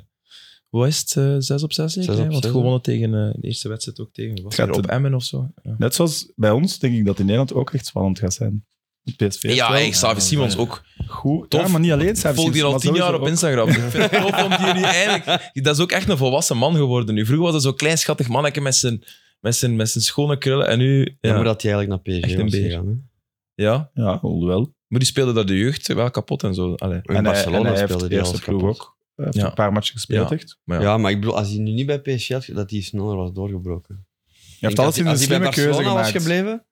hoe is het? eh, 6 op 6 zeker?
Zes
hè?
op
Want
zes,
gewonnen tegen eh, de eerste wedstrijd ook tegen... Was
gaat
het op
de-
Emmen of zo? Ja,
Net zoals bij ons denk ik dat in Nederland ook echt spannend gaat zijn. Het PSV is wel eh,
hey, Xavi Simons ook.
goed.
tof.
Ja, maar niet alleen Xavi
Volg die al
Simons,
tien
maar
jaar op
sowieso
Instagram. Ik vind het tof om die nu eindelijk... Dat is ook echt een volwassen man geworden nu. Vroeger was hij zo'n klein schattig mannetje met zijn, met, zijn, met zijn schone krullen. En nu... Ja,
Jammer dat hij eigenlijk naar PSG
Echt een
was
beer.
gegaan, hè.
ja.
ook- Ja, hoewel.
maar die speelde daar de jeugd wel kapot en zo. Allee.
In Barcelona speelde hij
de
als
eerste ploeg
kapot.
ook. Hij heeft
Ja.
een paar matchen gespeeld,
Ja.
echt.
Ja.
Ja. maar ik bedoel, als hij nu niet bij PSG had, dat hij sneller was doorgebroken.
Hij heeft alles in een
als hij bij
slimme keuze
Barcelona
gemaakt.
was gebleven,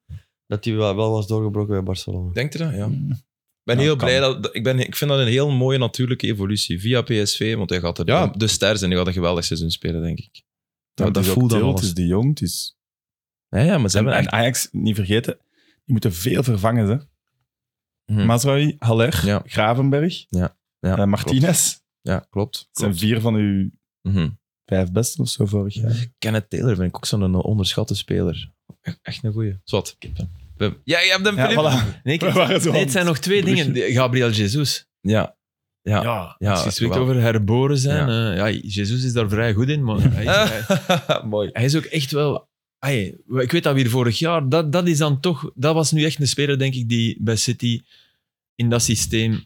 dat hij wel, wel was doorgebroken bij Barcelona.
Denk je dat? Ja.
Mm.
Ik ben
Ja,
heel
kan.
blij dat, dat- ik, ben, ik vind dat een heel mooie natuurlijke evolutie via PSV, want hij gaat er
Ja.
de ster zijn, hij gaat een geweldig seizoen spelen, denk ik. Ja,
Het
dat
is ook
voelt dan
Til,
alles.
Het is de jong, het is...
Ja, ja maar ze
En,
hebben
en
echt...
Ajax, niet vergeten, die moeten veel vervangen, hè.
Mhm.
Mazraoui, Haller,
Ja.
Gravenberg,
Ja,
eh, Martinez.
klopt. Ja, klopt.
Dat zijn
klopt.
vier van uw
Mhm.
vijf beste of zo vorig jaar.
Kenneth Taylor vind ik ook zo'n eh, onderschatte speler. E- Echt een goeie. Zwat. We- Ja, je hebt hem,
Ja,
Filip.
voilà.
Nee, ik-
We waren zo
nee, het zijn nog twee dingen. Gabriel Jesus.
Ja. Ja.
Ja,
Ja,
als je spreekt
wel.
over herboren zijn. eh, Ja. Jezus is daar vrij goed in, maar hij is, hij-
Mooi.
hij is ook echt wel... ai, ik weet dat weer vorig jaar, dat, dat is dan toch... Dat was nu echt een speler, denk ik, die bij City in dat systeem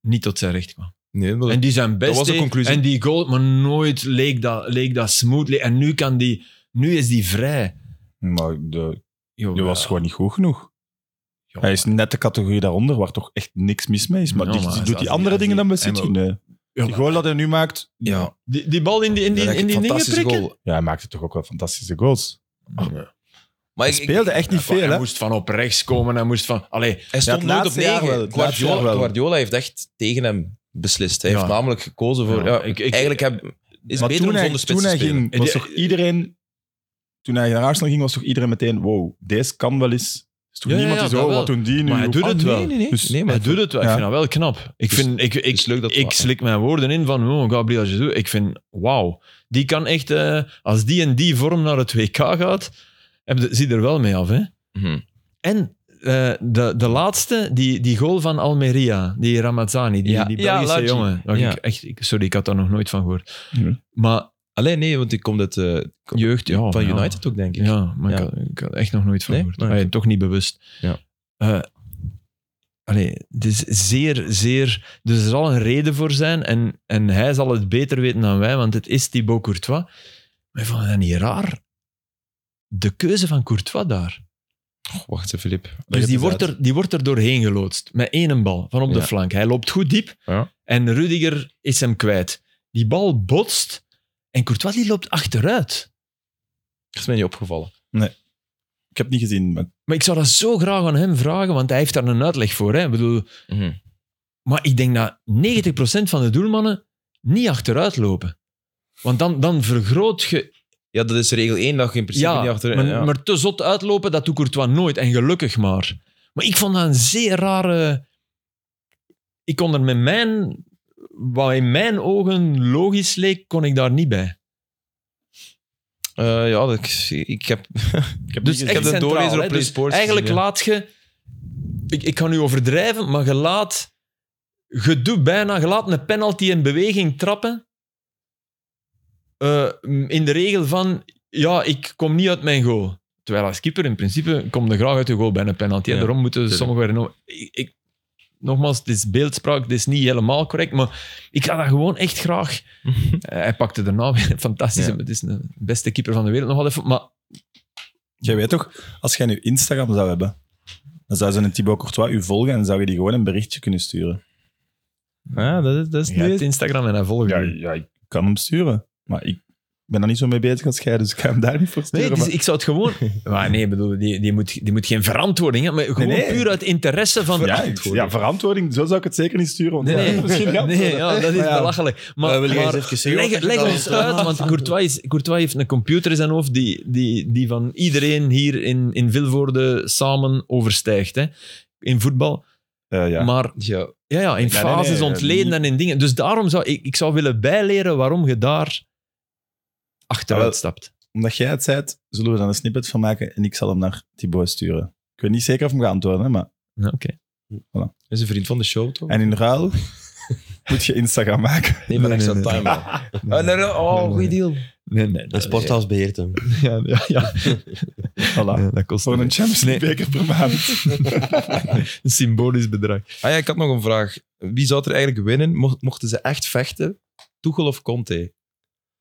niet tot zijn recht kwam.
Nee, maar
En die zijn best
was de
deed,
conclusie.
En die goal, maar nooit leek dat, leek dat smooth. le- En nu, kan die, nu is die vrij.
Maar de,
Jawel.
die was gewoon niet goed genoeg.
Ja,
Hij is net de categorie daaronder, waar toch echt niks mis mee is. Maar
Ja,
die,
maar
die
als-
doet die
als-
andere
als-
dingen dan bij
hij
City.
moet-
Nee. Die goal dat hij nu maakt,
ja,
Die, die bal in die, in die,
dat
in
is
die
een
dingen
fantastische
prikken.
goal.
ja, hij maakte toch ook wel fantastische goals.
Maar
Hij speelde echt niet veel,
Hij
hè?
moest van op rechts komen, hij moest van... Allee,
Hij
Ja,
stond
het
nooit op
laatste jaar wel,
negen.
het laatste jaar
Guardiola,
wel.
Guardiola heeft echt tegen hem beslist. Hij
Ja.
heeft namelijk gekozen voor...
Ja,
Ja,
ik- ik-
eigenlijk heb, is
maar
beter
toen
om
hij,
zonder spits
toen
te
hij
spelen.
ging, was
Die-
toch iedereen... Toen hij naar Arsenal ging, was toch iedereen meteen... Wow, deze kan wel eens... Is toch
Ja, ja,
niemand
ja,
die zo, "Oh,
dat wel.
wat doen die nu?
maar hij
Of-
doet
Ah,
het
nee,
wel.
nee, nee. Dus-
Nee, maar
Hij doet het wel. Ik
Ja.
vind dat wel knap. Ik,
Dus-
vind, ik, ik,
is leuk dat we-
ik slik mijn woorden in van oh, Gabriel Jesus. Ik vind, wauw. Die kan echt... eh, als die in die vorm naar het WK gaat, heb je- zie je er wel mee af, hè.
Mhm.
En eh, de, de laatste, die, die goal van Almeria, die Ramazzani, die,
Ja.
die
Ja,
Belgische
Lagi.
jongen. Waar
Ja.
Ik echt, ik- sorry, ik had daar nog nooit van gehoord.
Ja.
Maar
Alleen nee, want die komt uit eh,
jeugd, ja.
van
ja.
United ook, denk ik.
Ja, maar Ik,
Ja.
had, ik had echt nog nooit van
Nee?
gehoord.
Nee.
Allee, toch niet bewust.
Ja.
Eh, allee, het is zeer, zeer... Dus er zal een reden voor zijn en, en hij zal het beter weten dan wij, want het is Thibaut Courtois. Maar ik vond dat niet raar? De keuze van Courtois daar.
Oh, wacht even, Filip.
Dus die wordt, er, die wordt er doorheen geloodst. Met één bal, van op de
Ja.
flank. Hij loopt goed diep.
Ja.
En Rudiger is hem kwijt. Die bal botst. En Courtois die loopt achteruit.
Dat is mij niet opgevallen.
Ik heb het niet gezien, maar
Maar ik zou dat zo graag aan hem vragen, want hij heeft daar een uitleg voor. Hè? Ik bedoel,
Mhm.
maar ik denk dat 90% van de doelmannen niet achteruit lopen. Want dan, dan vergroot je...
Ja, dat is regel 1 dat je in principe
Ja,
niet achter...
maar,
ja.
maar te zot uitlopen, dat doet Courtois nooit. En gelukkig maar. Maar ik vond dat een zeer rare... Ik kon er met mijn... Wat in mijn ogen logisch leek, kon ik daar niet bij.
Eh, ja, dat, ik, ik heb...
ik heb
Dus
niet
echt
heb de
gezien.
centraal,
doorlezer op
hè.
Play
Dus
Sports
Eigenlijk
gezien,
laat je... Ik, ik kan nu overdrijven, maar je laat... Je doet bijna... Je laat een penalty in beweging trappen. eh, in de regel van... Ja, ik kom niet uit mijn goal. Terwijl als keeper in principe kom je graag uit je goal bij een penalty. En
Ja,
daarom moeten
tuurlijk.
sommigen... herno- Ik, ik, nogmaals, dit is beeldspraak, dit is niet helemaal correct, maar ik had dat gewoon echt graag... Eh, hij pakte daarna weer een fantastische...
Ja.
Het is de beste keeper van de wereld nog wel even, maar...
Jij weet toch, als jij nu Instagram zou hebben, dan zou ze een Thibaut Courtois u volgen en zou je die gewoon een berichtje kunnen sturen.
Ja, Ah, dat is, dat is
Je hebt
niet...
Instagram en hij volgt
Ja,
je.
ja ik kan hem sturen, maar ik ben daar niet zo mee bezig als jij, dus ik ga hem daar niet voor
Nee,
sturen.
dus
maar-
ik zou het gewoon... Maar nee, bedoel, die, die, moet, die moet geen verantwoording hebben, maar gewoon
Nee, nee.
puur uit interesse van...
ja, ik- ja, verantwoording, zo zou ik het zeker niet sturen. Want
Nee, nee,
misschien
nee,
wel.
ja, dat is
Maar ja.
belachelijk. Maar,
Eh, wil jij
maar
eens even zeggen wat
leg,
je
leg
dan-
ons uit, want Courtois, is- Courtois heeft een computer in zijn hoofd die, die, die van iedereen hier in, in Vilvoorde samen overstijgt. Hè. In voetbal.
Eh, ja.
Maar
Ja.
ja, ja, in
nee,
fases
nee,
ontleden
niet-
en in dingen. Dus daarom zou ik, ik zou willen bijleren waarom je daar
Jawel.
achteruit stapt.
Omdat jij het zei, zullen we dan een snippet van maken en ik zal hem naar Thibaut sturen. Ik weet niet zeker of hem gaat antwoorden, hè, maar...
Ja, Oké.
Dat is een vriend van de show, toch?
En in ruil moet je Instagram maken.
Nee, maar extra
Nee, nee,
time, man. Oh, nee, nee, oh,
nee.
goeie deal.
Nee, nee.
De sporthuis beheert hem.
Ja, ja, ja.
Voilà.
Nee, dat kost
Voor een Champions League beker per maand.
een symbolisch bedrag.
Ah ja, ik had nog een vraag. Wie zou er eigenlijk winnen? Mocht- mochten ze echt vechten? Tuchel of Conte?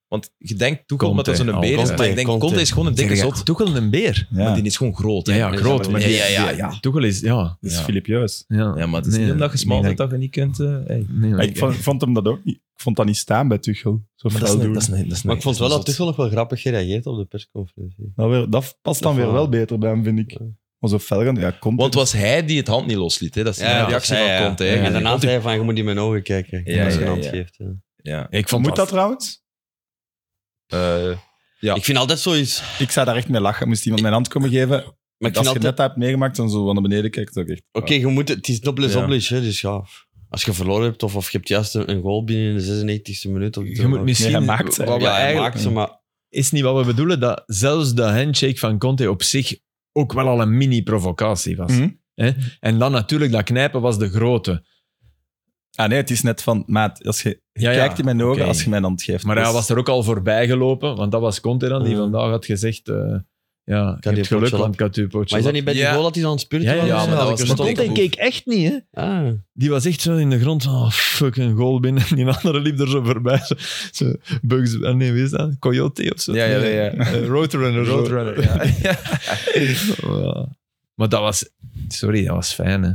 Want je denkt Tuchel omdat dat
Conte,
zo'n
al
beer is,
Conte,
maar ik denk
Conte.
Conte, is gewoon een dikke zot.
Toch wel een beer.
Ja,
Maar die is gewoon groot. hè.
Ja, ja,
Dus
groot,
dat
maar
betekent-
die-
Ja, ja, ja.
Toch wel eens, ja.
dat is
Ja.
Filip Juis.
Ja, Ah,
Ja, maar het is niet omdat je smal
smalt
bent dat je niet kunt... eh, hey.
Nee,
Maar
maar
ik vond, vond hem dat ook niet. Ik vond dat niet staan bij Tuchel. Zo
Maar dat is
fel
een- dat
doen. Dat,
is een- dat is een-
Maar ik vond wel dat
dat is
Tuchel nog wel grappig gereageerd op de persconferentie.
weer, dat past dan
Dat
weer
wel.
wel beter bij hem, vind ik. Maar zo fel gaan, ja, komt
Want het was hij die het hand niet losliet. Hè? Dat is de reactie
ja, ja.
van Conte. hè.
En daarna
Conte-
zei hij van, je moet in mijn ogen kijken.
Ja,
als je
ja,
een hand
ja.
geeft. ja.
Ja.
ik vond
Moet dat trouwens?
Eh, Ja.
Ik vind altijd zoiets...
Ik zou daar echt mee lachen. Moest iemand mijn hand komen geven.
Maar ik
als
vind
je
altijd...
net dat hebt meegemaakt en zo van naar beneden kijkt, ook echt.
Oké, je moet het, het is nobles
Ja.
oblige, hè, dus ja. Als je verloren hebt of, of je hebt juist een, een goal binnen de 96e minuut. Of
Je moet misschien...
hij maakt ze.
wat we
ja, hij
eigenlijk,
maakt ze, maar
is niet wat we bedoelen, dat zelfs de handshake van Conte op zich ook wel al een mini-provocatie was.
Mhm.
Hè? En dan natuurlijk, dat knijpen was de grote.
Ah nee, het is net van, maat, als je
Ja, ja,
kijkt in mijn ogen
oké.
als je mijn hand geeft.
Maar
Dus-
hij was er ook al voorbij gelopen, want dat was Conte dan, die
Ja.
vandaag had gezegd... eh ja, je
je
hebt geluk,
potje
want Catu Potje
Maar is dat niet bij die
Ja.
goal dat hij dan aan het spurten
Ja, ja,
was?
maar dat
ik
was
er
maar
stond-
Conte keek
echt niet, hè?
Ah.
Die was echt zo in de grond van, oh, fuck, een goal binnen. En die andere liep er zo voorbij. Zo, zo, Bugs, ah, nee, wie is dat? Coyote of zo?
Ja, ja, ja, ja.
Eh, Roadrunner. zo.
Roadrunner, ja.
Ja. Maar dat was... Sorry, dat was fijn, hè.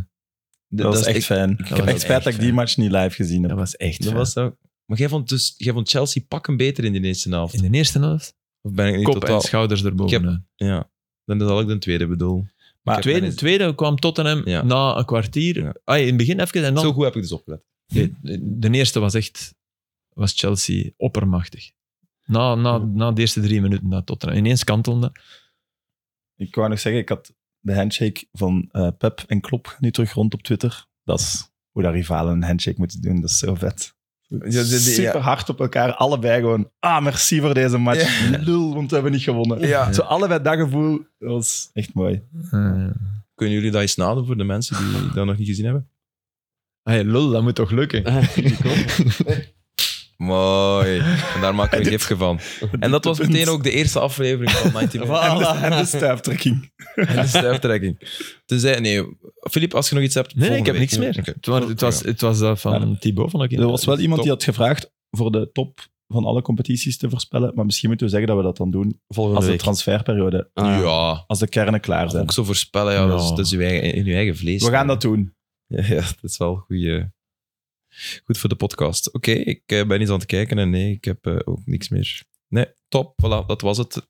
Dat, was echt fijn. Ik
was
heb echt
echt
spijt dat ik die
fijn.
match niet live gezien heb.
Dat was echt
Dat
fijn.
was dat. Maar jij vond, dus, jij vond Chelsea pakken beter in de eerste helft?
In de eerste helft?
Of ben ik niet
Kop en
totaal...
schouders erboven.
Ik
hè.
Ja. Dan zal ik de tweede bedoel.
Maar
Ik heb
Tweede,
mijn-
tweede kwam Tottenham
Ja.
na een kwartier.
Ja.
Ah, in het begin even en dan...
Zo goed heb ik dus opgelet.
Nee, de- de eerste was echt... Was Chelsea oppermachtig. Na, na, na de eerste drie minuten na Tottenham. Ineens kantelde.
Ik wou nog zeggen, ik had de handshake van eh, Pep en Klopp nu terug rond op Twitter. Dat is hoe dat rivalen een handshake moeten doen. Dat is zo vet.
ja, ja.
Super hard op elkaar. Allebei gewoon, ah, merci voor deze match. Lul, want we hebben niet gewonnen.
Ja.
Zo allebei dat gevoel. Dat was echt mooi.
Eh,
Kunnen jullie dat eens nadoen voor de mensen die dat nog niet gezien hebben?
Hey, lul, dat moet toch lukken?
Ah.
Mooi. En daar maken we een gifje van. En dat was meteen ook de eerste aflevering van 19 Minutes.
En de, en de stuiptrekking.
En de stuiptrekking. Tenzij, nee, Filip, als je nog iets hebt.
Nee, nee, ik
volgende
heb niks
week. Oké.
meer. Het, was, het, was, het was dat van Thibaut van Akin.
Er was wel iemand
Top.
die had gevraagd voor de top van alle competities te voorspellen. Maar misschien moeten we zeggen dat we dat dan doen
Volgende
als de
week.
transferperiode,
Ah, ja.
Ja,
als de kernen klaar zijn.
ook zo voorspellen. Ja, dat is,
Ja.
dat is uw eigen, in je eigen vlees.
We gaan dat doen.
Ja, ja, dat is wel goeie, goed voor de podcast. Oké, ik eh, ben iets aan het kijken en nee, ik heb eh, ook niks meer. Nee, top. Voilà, dat was het.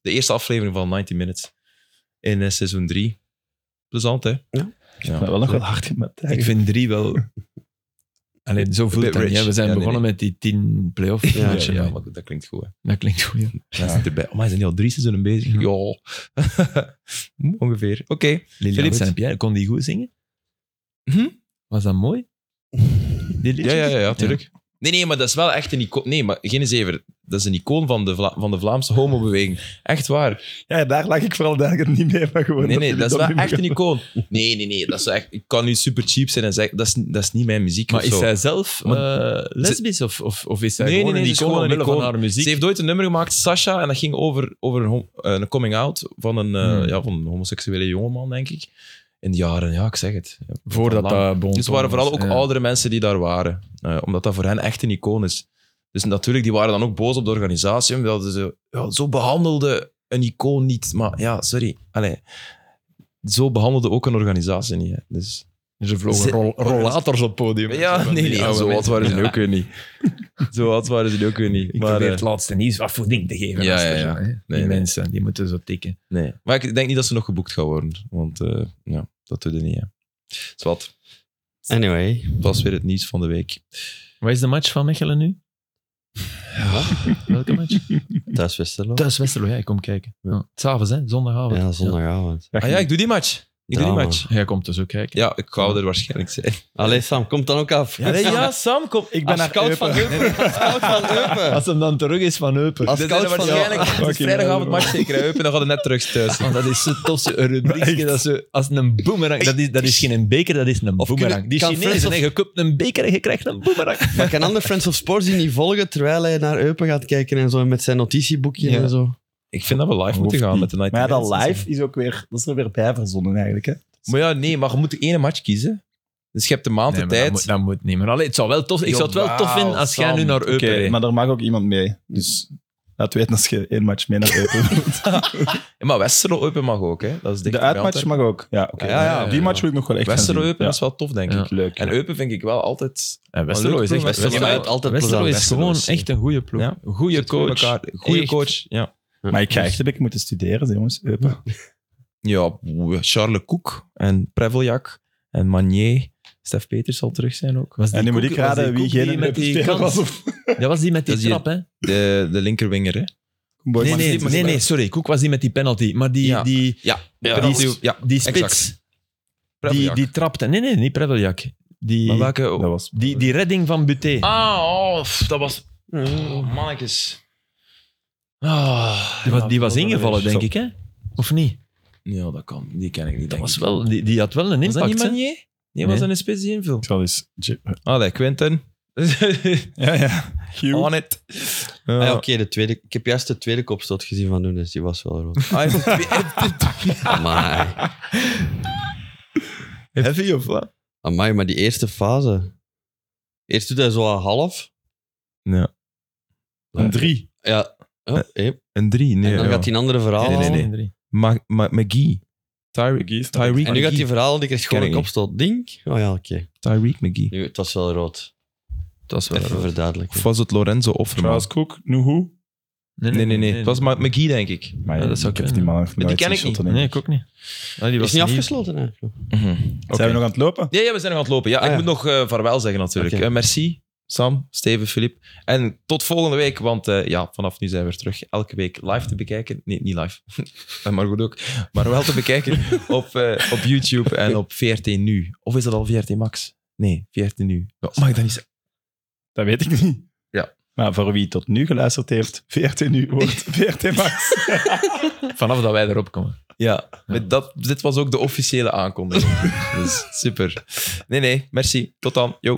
De eerste aflevering van 90 Minutes in eh, seizoen 3. Plezant, hè?
Ja.
Ja.
Maar wel nog wel hard in mijn tijd.
Ik vind drie wel... Alleen zo voelt
Bit
het niet.
rich.
hè. We zijn
Ja, nee,
begonnen met die tien playoff
Ja,
Ja,
matchen.
ja, Mhm.
hè.
maar goed, dat klinkt goed. Hè.
Dat klinkt goed, ja.
Ja. Zit erbij. Oh, maar zijn die al drie seizoenen bezig?
Ja.
Ja. Ongeveer. Oké.
Philippe
Philippe.
Saint-Pierre, kon die goed zingen?
Hm?
Was dat mooi? Die liedjes?
Ja, ja, ja, ja, tuurlijk. Nee, nee, maar dat is wel echt een icoon. Nee, maar geen zever. Dat is een icoon van de, Vla- van de Vlaamse homobeweging. Echt waar.
Ja, daar lag ik vooral eigenlijk niet mee, maar gewoon...
Nee, nee,
jullie
dat is wel
niet meer
echt een icoon. Nee, nee, nee. Dat is echt, ik kan nu super cheap zijn en zeggen, dat is, dat is niet mijn muziek
Maar
of
is
zo.
zij zelf eh, lesbisch of, of, of is zij
Nee,
gewoon
nee, nee,
een
ze is
icoon
gewoon een
omwille van
icoon.
haar muziek?
Ze heeft ooit een nummer gemaakt, Sasha, en dat ging over, over een, hom- eh, een coming-out van, een eh,
Hmm.
ja, van een homoseksuele jongeman, denk ik. In de jaren, ja, ik zeg het. Ja,
Voordat
lang.
dat bon
Dus het waren
ton
vooral ook
was, ja.
oudere mensen die daar waren. Eh, omdat dat voor hen echt een icoon is. Dus natuurlijk, die waren dan ook boos op de organisatie. Omdat ze ja, zo behandelde een icoon niet. Maar ja, sorry. Allee, zo behandelde ook een organisatie niet. Hè. Dus,
Ze
Ze-
vlogen rol- rollators op het podium.
ja,
Van
nee,
die
nee.
oude
zo oud
mensen.
waren ze ook weer niet. Zo oud waren ze ook weer niet.
Ik
Maar,
probeer
eh,
het laatste nieuws wat voor ding te geven.
Ja,
als
ja,
er
ja.
zijn, hè. die
nee.
mensen, die moeten zo tikken.
nee. maar ik denk niet dat ze nog geboekt gaan worden. Want eh, ja, dat doet er niet. Hè. Zwat,
Anyway.
dat was weer het nieuws van de week.
Wat is de match van Mechelen nu? Welke match?
Thuis Westerlo.
Thuis Westerlo, ja, ik kom kijken. Ja. S'avonds, hè? Zondagavond.
Ja, zondagavond.
Ah ja, ik doe die match. Ik doe die
Drama.
match.
Ja. Jij komt dus ook kijken.
Ja, ik ga er waarschijnlijk zijn.
Allee, Sam, komt dan ook af.
Ja, nee, ja,
Sam, kom.
Ik ben
Als
naar
scout
Eupen.
van Eupen. Als scout van Eupen.
hem dan terug is van Eupen.
Als scout van
waarschijnlijk
Eupen.
het is vrijdagavond match zeker. hè, Eupen, dan gaat het net terug thuis.
Want dat is zo'n tofse rubriekje. Dat is zo, als een boemerang. Dat is, dat is geen beker, dat is een
Of
boemerang.
kunnen-
Die
kan Friends
Chinezen,
of-
hè, je koopt een beker en je krijgt een boemerang.
Maar kan ander Friends of Sports die niet volgen terwijl hij naar Eupen gaat kijken en zo en met zijn notitieboekje
Ja.
en zo?
Ik vind dat we live moeten gaan met de Night
Maar ja, dat live is ook weer... Dat is er weer bij verzonnen eigenlijk, hè.
Maar ja, nee, maar je moet één match kiezen. Dus je hebt de maand de
dat,
tijd.
moet, dat moet niet. Maar allee, het zou wel tof, ik zou het wel tof vinden als jij nu naar Eupen
Oké,
reed.
Maar er mag ook iemand mee. Dus laat weten als je één match mee naar Eupen wilt.
Ja, maar Westerlo Eupen mag ook, hè? Dat is dicht
De
bij
uitmatch
Antwerpen.
mag ook. Ja, oké.
Ah, Ja, ja, ja,
ja.
Die match wil ik nog wel echt gaan
Westerlo
zien.
Eupen
Ja.
is wel tof, denk
Ja.
ik.
Leuk.
En Eupen vind ik wel altijd.
Ja, Westerlo is echt...
Westerlo
Westerlo,
is altijd
Westerlo
plezant.
is gewoon
Westerlo is-
echt een goede ploeg.
Ja.
Goede
Zit goed in
coach.
elkaar. Goede
Echt.
coach. Ja.
Maar ik ga echt een beetje moeten studeren, jongens. Eupen.
ja, Charles Cook en Preveljak en Manier. Stef Peters zal terug zijn ook.
Was die
En nu moet
Koek-
ik
was die
raden wie
Koek die
geen
met die
Eupen-speler
kans-
was. Of...
Dat was die met die
Dat is die-
trap, hè?
De, de linkerwinger, hè?
Boy,
Nee,
maar
nee,
dit is-
nee, nee, sorry. Koek was die met die penalty. Maar die,
Ja.
die,
Ja,
die,
ja,
die
exact.
spits, die, die trapte... Nee, nee, niet Preveljak.
Maar
Die,
welke.
Dat was...
die, die redding van Buté.
Ah, oh, pff, dat was... Oh, mannetjes. Ah,
Die was, die was
dat
ingevallen,
weer.
denk ik, hè? Of niet?
Ja, dat kan. Die ken ik niet.
Dat
denk
was
ik.
wel, die, die had wel een
Was dat
impact.
niet
hè?
Manier? Nee, was
Nee.
dat een spits die inviel?
Ik zal eens... eh, Ja,
Allee, Quinten.
ja.
On it.
Ah ja,
Ja.
Oké, de tweede. Ik heb juist de tweede kopstoot gezien van Nunes. Die was wel rood.
Ah, hij heeft het twee-
Amai.
Heavy of wat?
Amai, maar die eerste fase. Eerst doet hij zo aan half.
Een drie.
Ja. Oh, hé.
Een drie, nee.
en dan
Eh, ja.
gaat hij een andere verhaal
Nee, nee, nee.
halen.
Ma- Ma- McGee. Tyreek.
McGee is-
Tyreek
En nu gaat hij
McGee.
verhaal, die krijgt gewoon
Ken
een
ik niet.
kopstoot. Dink. Oh ja, oké.
Tyreek McGee.
Nu, het was wel rood.
Dat is wel...
Even verduidelijken.
Of was het Lorenzo Offerman?
Charles Cook, Nuhu.
Nee, nee, nee. Het was Ma- McGee, denk ik.
Maar
Ja, dat zou
ik heb
kunnen.
die man even
Maar die ken ik niet.
Nee, ik ook niet.
Ah, die
Is
was
niet
nieuw.
afgesloten eigenlijk.
Mhm. Oké.
Zijn we nog aan het lopen?
Ja, ja, we zijn nog aan het lopen. Ja,
Ah,
ik
ja.
moet nog eh vaarwel zeggen natuurlijk.
Oké.
Eh, merci, Sam, Steven, Filip. En tot volgende week, want eh, ja, vanaf nu zijn we weer terug. Elke week live te bekijken. Nee, niet live. Eh, maar goed ook. Maar wel te bekijken op, eh, op YouTube en op VRT Nu. Of is dat al VRT Max? Nee, VRT Nu. Ja, Mag ik dat niet zeggen?
Dat weet ik niet.
Ja.
Maar voor wie tot nu geluisterd heeft, 14 uur wordt 14 max.
Vanaf dat wij erop komen.
Ja, met dat, dit was ook de officiële aankondiging. dus super. Nee, nee, merci. Tot dan. Yo.